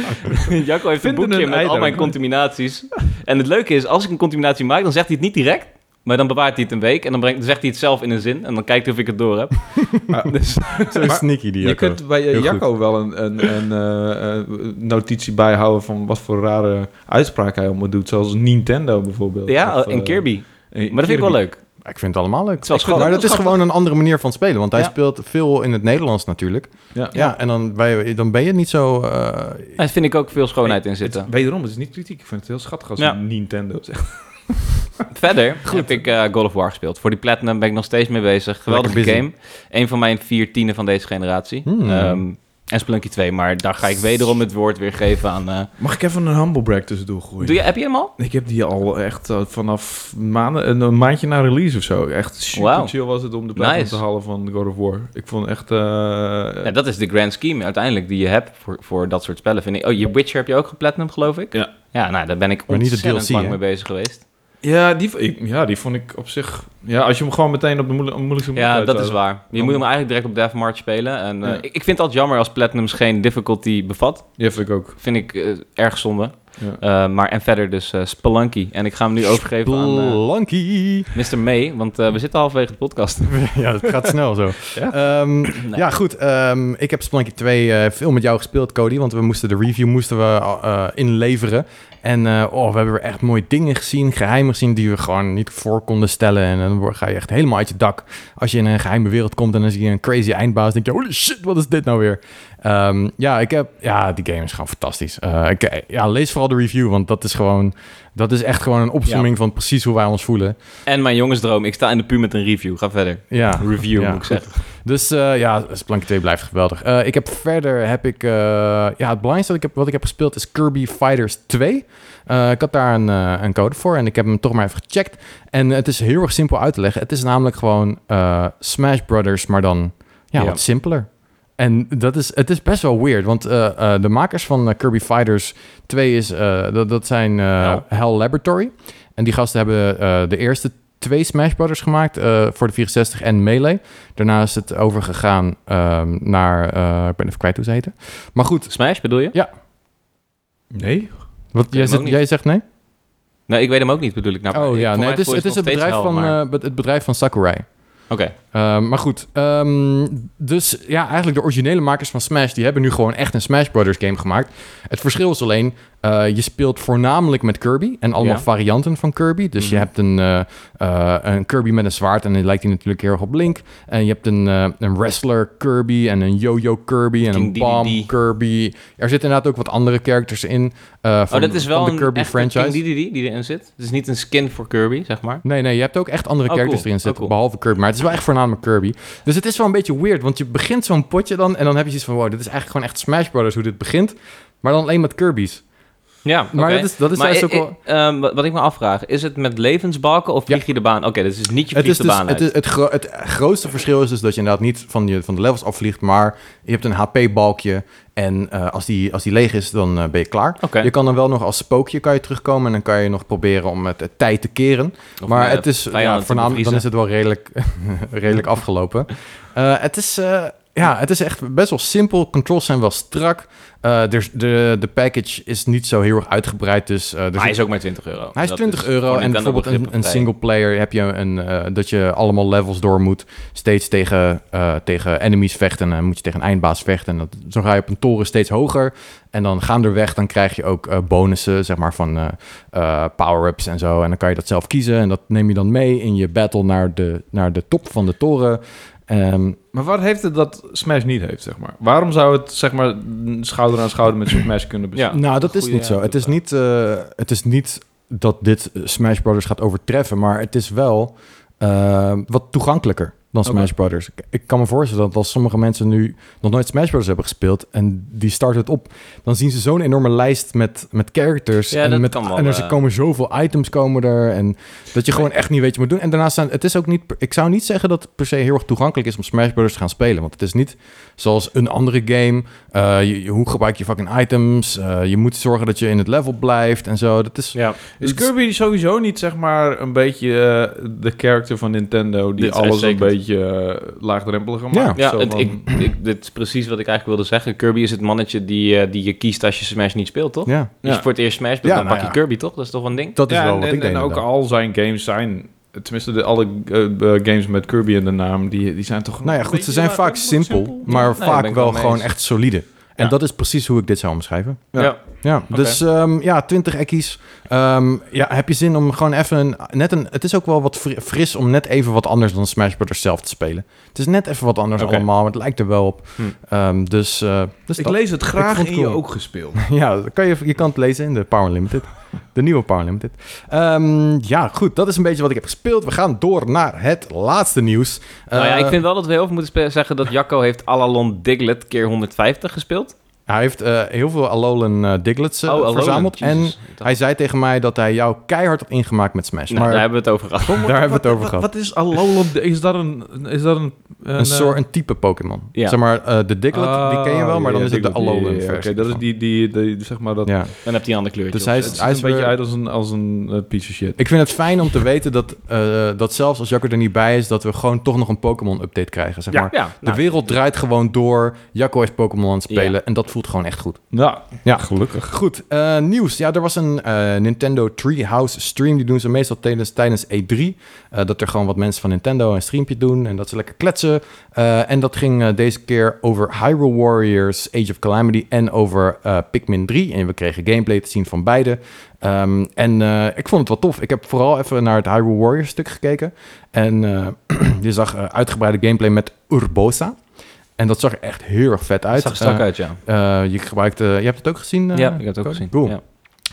heeft een
Vinden
boekje
een
met
ei
al mijn
daarin.
contaminaties. En het leuke is, als ik een contaminatie maak, dan zegt hij het niet direct. Maar dan bewaart hij het een week en dan, brengt, dan zegt hij het zelf in een zin. En dan kijkt hij of ik het door heb.
Ah.
dus,
Zo sneaky die
Je
Jacco.
kunt bij eh,
Heel
Jacco wel een, een, een eh, eh, notitie bijhouden van wat voor rare uitspraak hij allemaal doet. Zoals Nintendo bijvoorbeeld.
ja,
Of, eh,
en Kirby.
en
Maar dat vind ik wel leuk.
Ik vind het allemaal leuk.
Het is wel
Ik vind- maar dat is
schattig.
gewoon een andere manier van spelen. Want hij
Ja.
speelt veel in het Nederlands natuurlijk.
Ja.
Ja, en dan, bij, dan ben je niet zo... eh,
Daar vind ik ook veel schoonheid in zitten.
Het- wederom, het is niet kritiek. Ik vind het heel schattig als
Ja.
Nintendo zegt.
Verder heb ik eh God of War gespeeld. Voor die Platinum ben ik nog steeds mee bezig. Geweldige
Lekker busy.
game. Een van mijn vier tienen van deze generatie.
Hmm.
Ehm, en Splunky 2, maar daar ga ik wederom het woord weer geven aan... eh,
Mag ik even een humble break tussendoor gooien?
doe je, heb je hem al?
Ik heb die al echt eh, vanaf maanden, een, een maandje na release of zo. Echt super
Wauw.
chill was het om de platinum
Nice.
te halen van God of War. Ik vond echt... eh,
Ja, dat is de grand scheme uiteindelijk die je hebt voor, voor dat soort spellen. Vind ik. Oh, je Witcher heb je ook geplatinum, geloof ik?
Ja.
Ja, nou, daar ben ik
Maar niet de
ontzettend
DLC,
lang
hè?
mee bezig geweest.
ja, die, v- ik- ja, die vond ik op zich... Ja, als je hem gewoon meteen op de moeilijk- moeilijkste manier
Ja, dat
uithoudt.
is waar.
Oh.
Je moet hem eigenlijk direct op Death March spelen. En, eh,
Ja.
ik, ik vind het altijd jammer als platinums geen difficulty bevat.
Ja, vind ik ook.
Vind ik eh, erg zonde.
Ja.
Eh, maar en verder dus eh Spelunky. En ik ga hem nu overgeven aan... eh,
Blanky.
Mr. May, want eh, we zitten halverwege de podcast.
ja, het gaat snel zo.
Ja?
Ehm, Ja, goed. ehm, ik heb Spelunky 2 eh, veel met jou gespeeld, Cody. Want we moesten de review moesten we, eh, inleveren. En eh, oh, we hebben er echt mooie dingen gezien, geheimen gezien... die we gewoon niet voor konden stellen. En dan word- ga je echt helemaal uit je dak. Als je in een geheime wereld komt en dan zie je een crazy eindbaas... denk je, holy shit, wat is dit nou weer? Ehm, ja, ik heb, ja, die game is gewoon fantastisch. Eh, ik, ja, lees vooral de review, want dat is gewoon... dat is echt gewoon een opzomming van precies hoe wij ons voelen.
En mijn jongensdroom, ik sta in de puur met een review. Ga verder.
Ja.
Review,
Ja,
moet
goed.
ik zeggen.
Dus eh, ja, Spelunky 2 blijft geweldig. Eh, ik heb verder, heb ik, eh, ja, het belangrijkste wat ik, heb, wat ik heb gespeeld is Kirby Fighters 2. Eh, ik had daar een, eh, een code voor en ik heb hem toch maar even gecheckt. En het is heel erg simpel uit te leggen. Het is namelijk gewoon eh, Smash Brothers, maar dan ja,
Ja.
wat simpeler. En dat is, het is best wel weird, want eh, eh, de makers van eh, Kirby Fighters 2 is, eh, dat, dat zijn eh,
Hell.
Hell Laboratory. En die gasten hebben eh, de eerste twee Smash Brothers gemaakt eh, voor de 64 en Melee. Daarna is het overgegaan ehm, naar, eh, ik ben even kwijt hoe ze heten. Maar goed,
Smash bedoel je?
Nee?
wat,
hem
jij, zegt,
ook niet.
jij zegt nee?
Nee, ik weet hem ook niet, bedoel ik. Nou,
oh
ik-
ja,
voor
nee,
mij
het is,
voel je
het, is het,
nog steeds
bedrijf
hel,
van,
maar-
eh, het bedrijf van Sakurai.
Oké.
Ehm, maar goed, ehm, dus ja, eigenlijk de originele makers van Smash... die hebben nu gewoon echt een Smash Brothers game gemaakt. Het verschil is alleen, eh, je speelt voornamelijk met Kirby... en allemaal
Ja.
varianten van Kirby. Dus je
Mhm.
hebt een, eh, eh, een Kirby met een zwaard... en die lijkt hij natuurlijk heel erg op Link. En je hebt een, eh, een wrestler Kirby en een yo-yo Kirby... en een
King
bomb
DDD.
Kirby. Er zitten inderdaad ook wat andere characters in... eh, van,
oh, dat is wel
van de
een
Kirby
echte
franchise.
King Dedede die erin zit. Het is niet een skin voor Kirby, zeg maar.
Nee, nee, je hebt ook echt andere
Oh,
characters
cool.
erin zitten,
Oh, cool.
behalve Kirby. Maar het is wel echt voornamelijk Kirby. Dus het is wel een beetje weird, want je begint zo'n potje dan... en dan heb je zoiets van, wow, dit is eigenlijk gewoon echt Smash Brothers hoe dit begint. Maar dan alleen met Kirby's.
Ja,
Maar
oké.
dat is, dat is
Maar
juist
i-
ook wel...
i- ehm, wat wat ik me afvraag, is het met levensbalken of
Ja.
vlieg je de baan? Oké, dus het is niet je
Het,
vliegt
is
de
dus,
baan
het,
uit.
is- het, gro- het grootste verschil is dus dat je inderdaad niet van, je, van de levels afvliegt... maar je hebt een HP-balkje en eh, als, die, als die leeg is, dan eh, ben je klaar.
Oké.
Je kan dan wel nog als spookje kan je terugkomen... en dan kan je nog proberen om het eh, tijd te keren.
Of,
maar
eh,
het is
vijanden
ja,
te
voornamelijk dan
bevriezen.
is het wel redelijk, redelijk afgelopen. Eh, het, is, eh, ja, het is echt best wel simpel. Controls zijn wel strak. Eh, er, de, de package is niet zo heel erg uitgebreid, dus... eh, er
Maar hij
zit-
is ook maar 20 euro.
hij is
Dat
20
is
euro
voor
en
Nintendo
bijvoorbeeld een, een
begrippen.
single player heb je een, eh, dat je allemaal levels door moet. Steeds tegen, eh, tegen enemies vechten en dan moet je tegen een eindbaas vechten. En dat, zo ga je op een toren steeds hoger. En dan gaandeweg dan krijg je ook eh, bonussen zeg maar, van eh, eh, power-ups en zo. En dan kan je dat zelf kiezen en dat neem je dan mee in je battle naar de, naar de top van de toren. Ehm,
Maar wat heeft het dat Smash niet heeft, zeg maar? Waarom zou het, zeg maar, schouder aan schouder met Smash kunnen bestaan?
Ja.
Nou, dat is
goede
niet zo. Het is
aanvulling.
niet, eh, het is niet dat dit eh, Smash Brothers gaat overtreffen, maar het is wel eh, wat toegankelijker dan
Oké.
Smash Brothers. Ik, ik kan me voorstellen dat als sommige mensen nu nog nooit Smash Brothers hebben gespeeld en die starten het op, dan zien ze zo'n enorme lijst met, met characters
Ja,
en,
dat
met,
kan wel,
en er
eh.
komen zoveel items komen er en dat je gewoon echt niet weet wat je moet doen. En daarnaast zijn, het is ook niet, per- ik zou niet zeggen dat het per se heel erg toegankelijk is om Smash Brothers te gaan spelen, want het is niet zoals een andere game eh, je, je- hoe gebruik je fucking items? Eh, je moet zorgen dat je in het level blijft en zo. Dat is...
Ja. Is Kirby sowieso niet, zeg maar, een beetje eh, de character van Nintendo... die
Dit is
alles een
uitstekend.
beetje eh, laagdrempeliger maakt?
Ja.
Ja,
Zo
het,
van-
ik, ik- dit is precies wat ik eigenlijk wilde zeggen. Kirby is het mannetje die, eh, die je kiest als je Smash niet speelt, toch?
Ja,
Als
Ja.
je voor het eerst Smash speelt,
Ja,
dan
nou
pak
ja.
je Kirby, toch? Dat is toch wel een ding?
dat is
ja,
wel
en,
wat
en-
ik denk.
en ook
inderdaad.
al zijn games zijn... Tenminste, de, alle eh, eh, games met Kirby in de naam, die, die zijn toch...
Nou ja,
een
goed, ze
beetje
zijn
laag-
vaak simpel, maar
Nee, daar
vaak
ben ik
wel
wel mee
gewoon
eens.
echt solide. En
Ja.
dat is precies hoe ik dit zou omschrijven.
Ja.
Ja, dus ehm, ja, 20 ekkies. Ehm, ja, heb je zin om gewoon even een, net een... Het is ook wel wat fri- fris om net even wat anders dan Smash Brothers zelf te spelen. Het is net even wat anders
Oké.
allemaal, maar het lijkt er wel op.
Hm.
Ehm, dus eh, dus
Ik
dat.
lees het
Ik
graag
vond
in
het
je
cool.
ook gespeeld.
Ja, dat kan je, je kan het lezen in de Power Limited. De nieuwe Power Limited. Ehm, ja, goed. Dat is een beetje wat ik heb gespeeld. We gaan door naar het laatste nieuws.
nou ja,
Eh,
ik vind wel dat we heel veel moeten spe- zeggen dat Jacco heeft Alalon Diglett keer 150 gespeeld.
Hij heeft eh, heel veel Alolan eh, Diglets eh,
Oh, Alolan,
verzameld.
Jezus.
En
Ik dacht-
hij zei tegen mij dat hij jou keihard had ingemaakt met Smash.
Nou,
maar
daar hebben we het over gehad.
daar hebben we het over gehad.
Wat is Alolan? Is dat een... Is dat een, eh,
een, soort, een type Pokémon.
Ja. Ah,
Zeg maar, eh, de Diglett, die ken je
Ah,
wel, maar dan is het de Alolan versie.
Oké, dat is
ervan.
die, die, die, zeg maar dat...
Ja.
Dan heb je een ander kleurtje.
Dus hij
of
is-
zo.
Het ziet
hij
een beetje
weer-
uit als een, als een eh, piece of shit.
Ik vind het fijn om te weten dat, eh, dat zelfs als Jacco er niet bij is, dat we gewoon toch nog een Pokémon-update krijgen. Zeg
Ja.
maar.
ja,
De
nou,
wereld draait gewoon door. Jacco is Pokémon aan het spelen. En dat voelt gewoon echt goed.
Ja,
Ja.
gelukkig.
Goed, eh, nieuws. Ja, er was een eh, Nintendo Treehouse stream. Die doen ze meestal tijdens, tijdens E3. Eh, dat er gewoon wat mensen van Nintendo een streampje doen. En dat ze lekker kletsen. Eh, en dat ging eh, deze keer over Hyrule Warriors, Age of Calamity. En over eh, Pikmin 3. En we kregen gameplay te zien van beide. Ehm, en eh, ik vond het wel tof. Ik heb vooral even naar het Hyrule Warriors stuk gekeken. En eh, je zag eh, uitgebreide gameplay met Urbosa. En dat zag er echt heel erg vet uit.
zag er strak
Eh,
uit, ja.
eh, je, gebruikte, je hebt het ook gezien? eh,
ja, ik heb het ook
Cody?
gezien.
Cool.
Ja.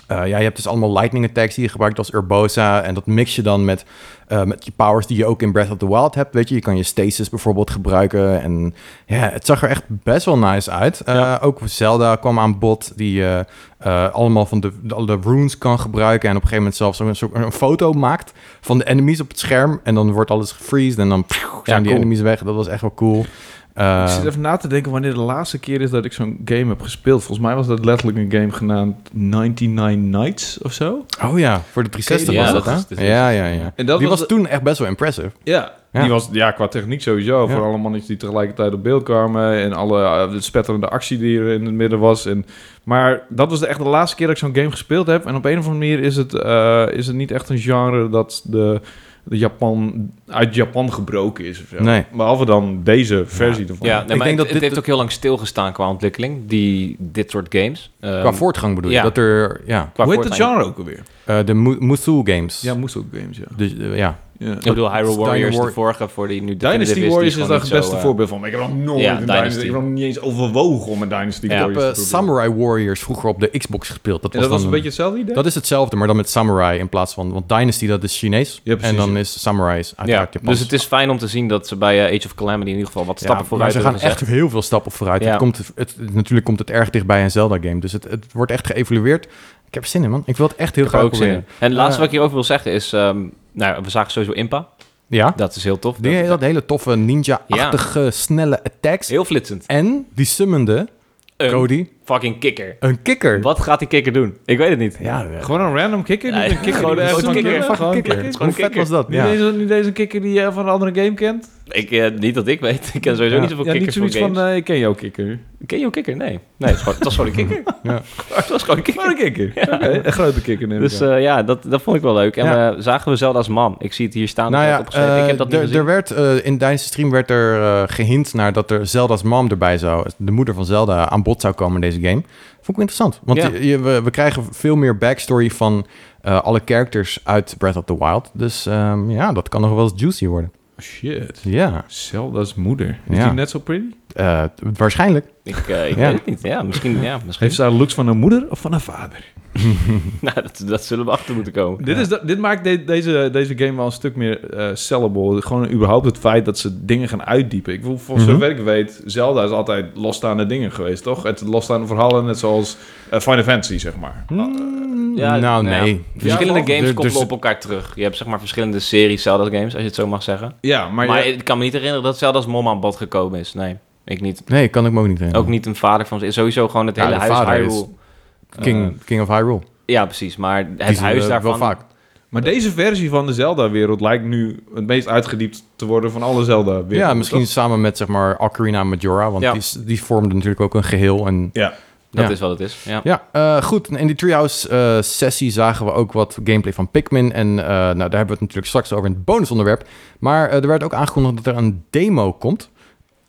Eh, ja, je hebt dus allemaal lightning attacks die je gebruikt als Urbosa. En dat mix je dan met, eh, met je powers die je ook in Breath of the Wild hebt. Weet je, je kan je stasis bijvoorbeeld gebruiken. En ja, het zag er echt best wel nice uit. Eh, Ook Zelda kwam aan bod, die eh, eh, allemaal van de, de, de runes kan gebruiken. En op een gegeven moment zelfs een, soort- een foto maakt van de enemies op het scherm. En dan wordt alles gefreezed en dan pff, zijn die
cool.
enemies weg. Dat was echt wel cool. Eh,
ik zit even na te denken wanneer de laatste keer is dat ik zo'n game heb gespeeld. Volgens mij was dat letterlijk een game genaamd 99 Nights of zo.
oh ja, voor de 360
Ja,
was dat,
dat is-
hè?
dat is-
ja, ja, ja.
En dat
die was,
was
toen echt best wel impressive.
Ja.
Ja.
Die was, ja, qua techniek sowieso.
Ja.
Voor alle mannetjes die tegelijkertijd op beeld kwamen. En alle eh, de spetterende actie die er in het midden was. En, maar dat was echt de laatste keer dat ik zo'n game gespeeld heb. En op een of andere manier is het, eh, is het niet echt een genre dat de, de Japan, uit Japan gebroken is. Of zo.
Nee.
Behalve dan deze versie ervan.
Ja, nee,
Ik denk
maar het,
dat
het
dit-
heeft ook heel lang stilgestaan qua ontwikkeling, die, dit soort games. Ehm,
Qua voortgang bedoel je?
ja.
Dat er, ja,
qua
Hoe heet het
voortgang.
genre ook alweer?
eh, de Mu- Musou Games.
Ja, Moesel Games, ja.
Dus, eh, ja.
ja.
Ik bedoel, Hyrule
Dynasty
Warriors,
War-
de vorige voor die nu definitive
Dynasty Warriors is
die
daar
gewoon
het
niet
beste
zo, eh,
voorbeeld van. Ik heb nog nooit
Ja,
een Dynasty.
Dynasty.
Ik heb nog niet eens overwogen om een Dynasty
Ja.
Ik
Warriors
heb eh,
te proberen.
Samurai Warriors vroeger op de Xbox gespeeld. Dat
En
was,
dat was
dan
een beetje hetzelfde idee?
Dat is hetzelfde, maar dan met Samurai in plaats van... Want Dynasty, dat is Chinees.
Ja, precies,
en dan
ja.
is Samurai is
Ja,
uiteraard Japans.
dus het is fijn om te zien dat ze bij eh, Age of Calamity in ieder geval wat
Ja,
stappen vooruit
maar ze gaan
hebben
echt
gezet.
heel veel stappen vooruit.
Ja.
Het komt, het, het- natuurlijk komt het erg dichtbij een Zelda-game. Dus het, het wordt echt geëvalueerd. Ik heb er zin in, man. Ik wil het echt heel
Ik heb
graag
er ook zin
proberen.
in. En het laatste
Eh,
wat ik hierover wil zeggen is, ehm, nou, we zagen sowieso Impa.
Ja,
Dat is heel tof. Dat
die,
is
dat hele toffe ninja-achtige snelle attacks.
Heel flitsend.
En die summende,
Een
Cody,
fucking kikker.
een kikker.
Wat gaat die kikker doen? Ik weet het niet.
Ja, eh,
Gewoon een random kikker?
Ja,
Niet een kikker
gewoon
die
een
ergens
grote
van
kikker.
kent?
Fucking
Gewoon
kikker.
een
Gewoon
Hoe vet
kikker.
was dat?
Niet,
Ja.
eens, niet eens eh, een kikker die je van een andere game kent?
Ik, eh, niet dat ik weet. Ik ken sowieso
Ja.
niet zoveel
Ja, niet
kikkers voor
zoiets
games.
van, eh, ik ken jouw kikker.
Ken je een kikker? Nee. Nee, het was gewoon- het was gewoon een kikker.
Ja.
Het was gewoon een
Maar een
kikker.
kikker. Oké, een grote kikker neem ik
Dus
aan.
eh, ja, dat, dat vond ik wel leuk. En
Ja.
we zagen we zelden als man. Ik zie het hier staan.
Nou ja,
opgeschreven. ik heb dat
eh, er-
niet
er
gezien.
werd eh, in tijdens de stream werd er eh, gehint naar dat er Zelda's mom erbij zou, de moeder van Zelda, aan bod zou komen in deze game. Vond ik interessant, want
Ja.
je, je- we, we krijgen veel meer backstory van eh, alle characters uit Breath of the Wild. Dus ehm, ja, dat kan nog wel eens juicy worden.
Shit.
Ja,
Zelda's moeder. Is
Ja.
die net zo pretty?
eh, waarschijnlijk.
Ik, eh, ik
Ja.
weet het niet. Ja, misschien. Ja, misschien.
Heeft ze haar looks van haar moeder of van haar vader?
Nou, dat, dat zullen we achter moeten komen.
Dit, is, de- dit maakt de- deze, deze game wel een stuk meer eh, sellable. Gewoon überhaupt het feit dat ze dingen gaan uitdiepen. Ik bedoel, voor
Mhm.
zover ik weet, Zelda is altijd losstaande dingen geweest, toch? Het losstaande verhalen, net zoals eh, Final Fantasy, zeg maar.
Mm,
Ja,
nou,
nou ja.
nee.
Verschillende
Ja, er-
games
er
koppelen
zit-
op elkaar terug. Je hebt zeg maar verschillende series Zelda games, als je het zo mag zeggen.
Ja, maar...
Maar,
ja,
ik kan me niet herinneren dat Zelda's mom aan bod gekomen is. Nee, ik niet.
Nee, kan ik me ook niet herinneren.
Ook niet een vader van ze. Sowieso gewoon het
Ja,
hele
de
huis
vader is-
Hyrule.
King, King of Hyrule.
Ja, precies. Maar het
Die zien
Eh, huis
we
daarvan...
Wel vaak.
maar deze versie van de Zelda-wereld lijkt nu het meest uitgediept te worden van alle Zelda-werelden.
Ja, misschien
toch?
samen met zeg maar Ocarina en Majora, want
Ja.
die, is- die vormden natuurlijk ook een geheel en
Ja.
Dat
Ja.
is wat het is. Ja.
Ja, eh, goed. In die Treehouse-sessie zagen we ook wat gameplay van Pikmin. En eh, nou, daar hebben we het natuurlijk straks over in het bonusonderwerp. Maar eh, er werd ook aangekondigd dat er een demo komt.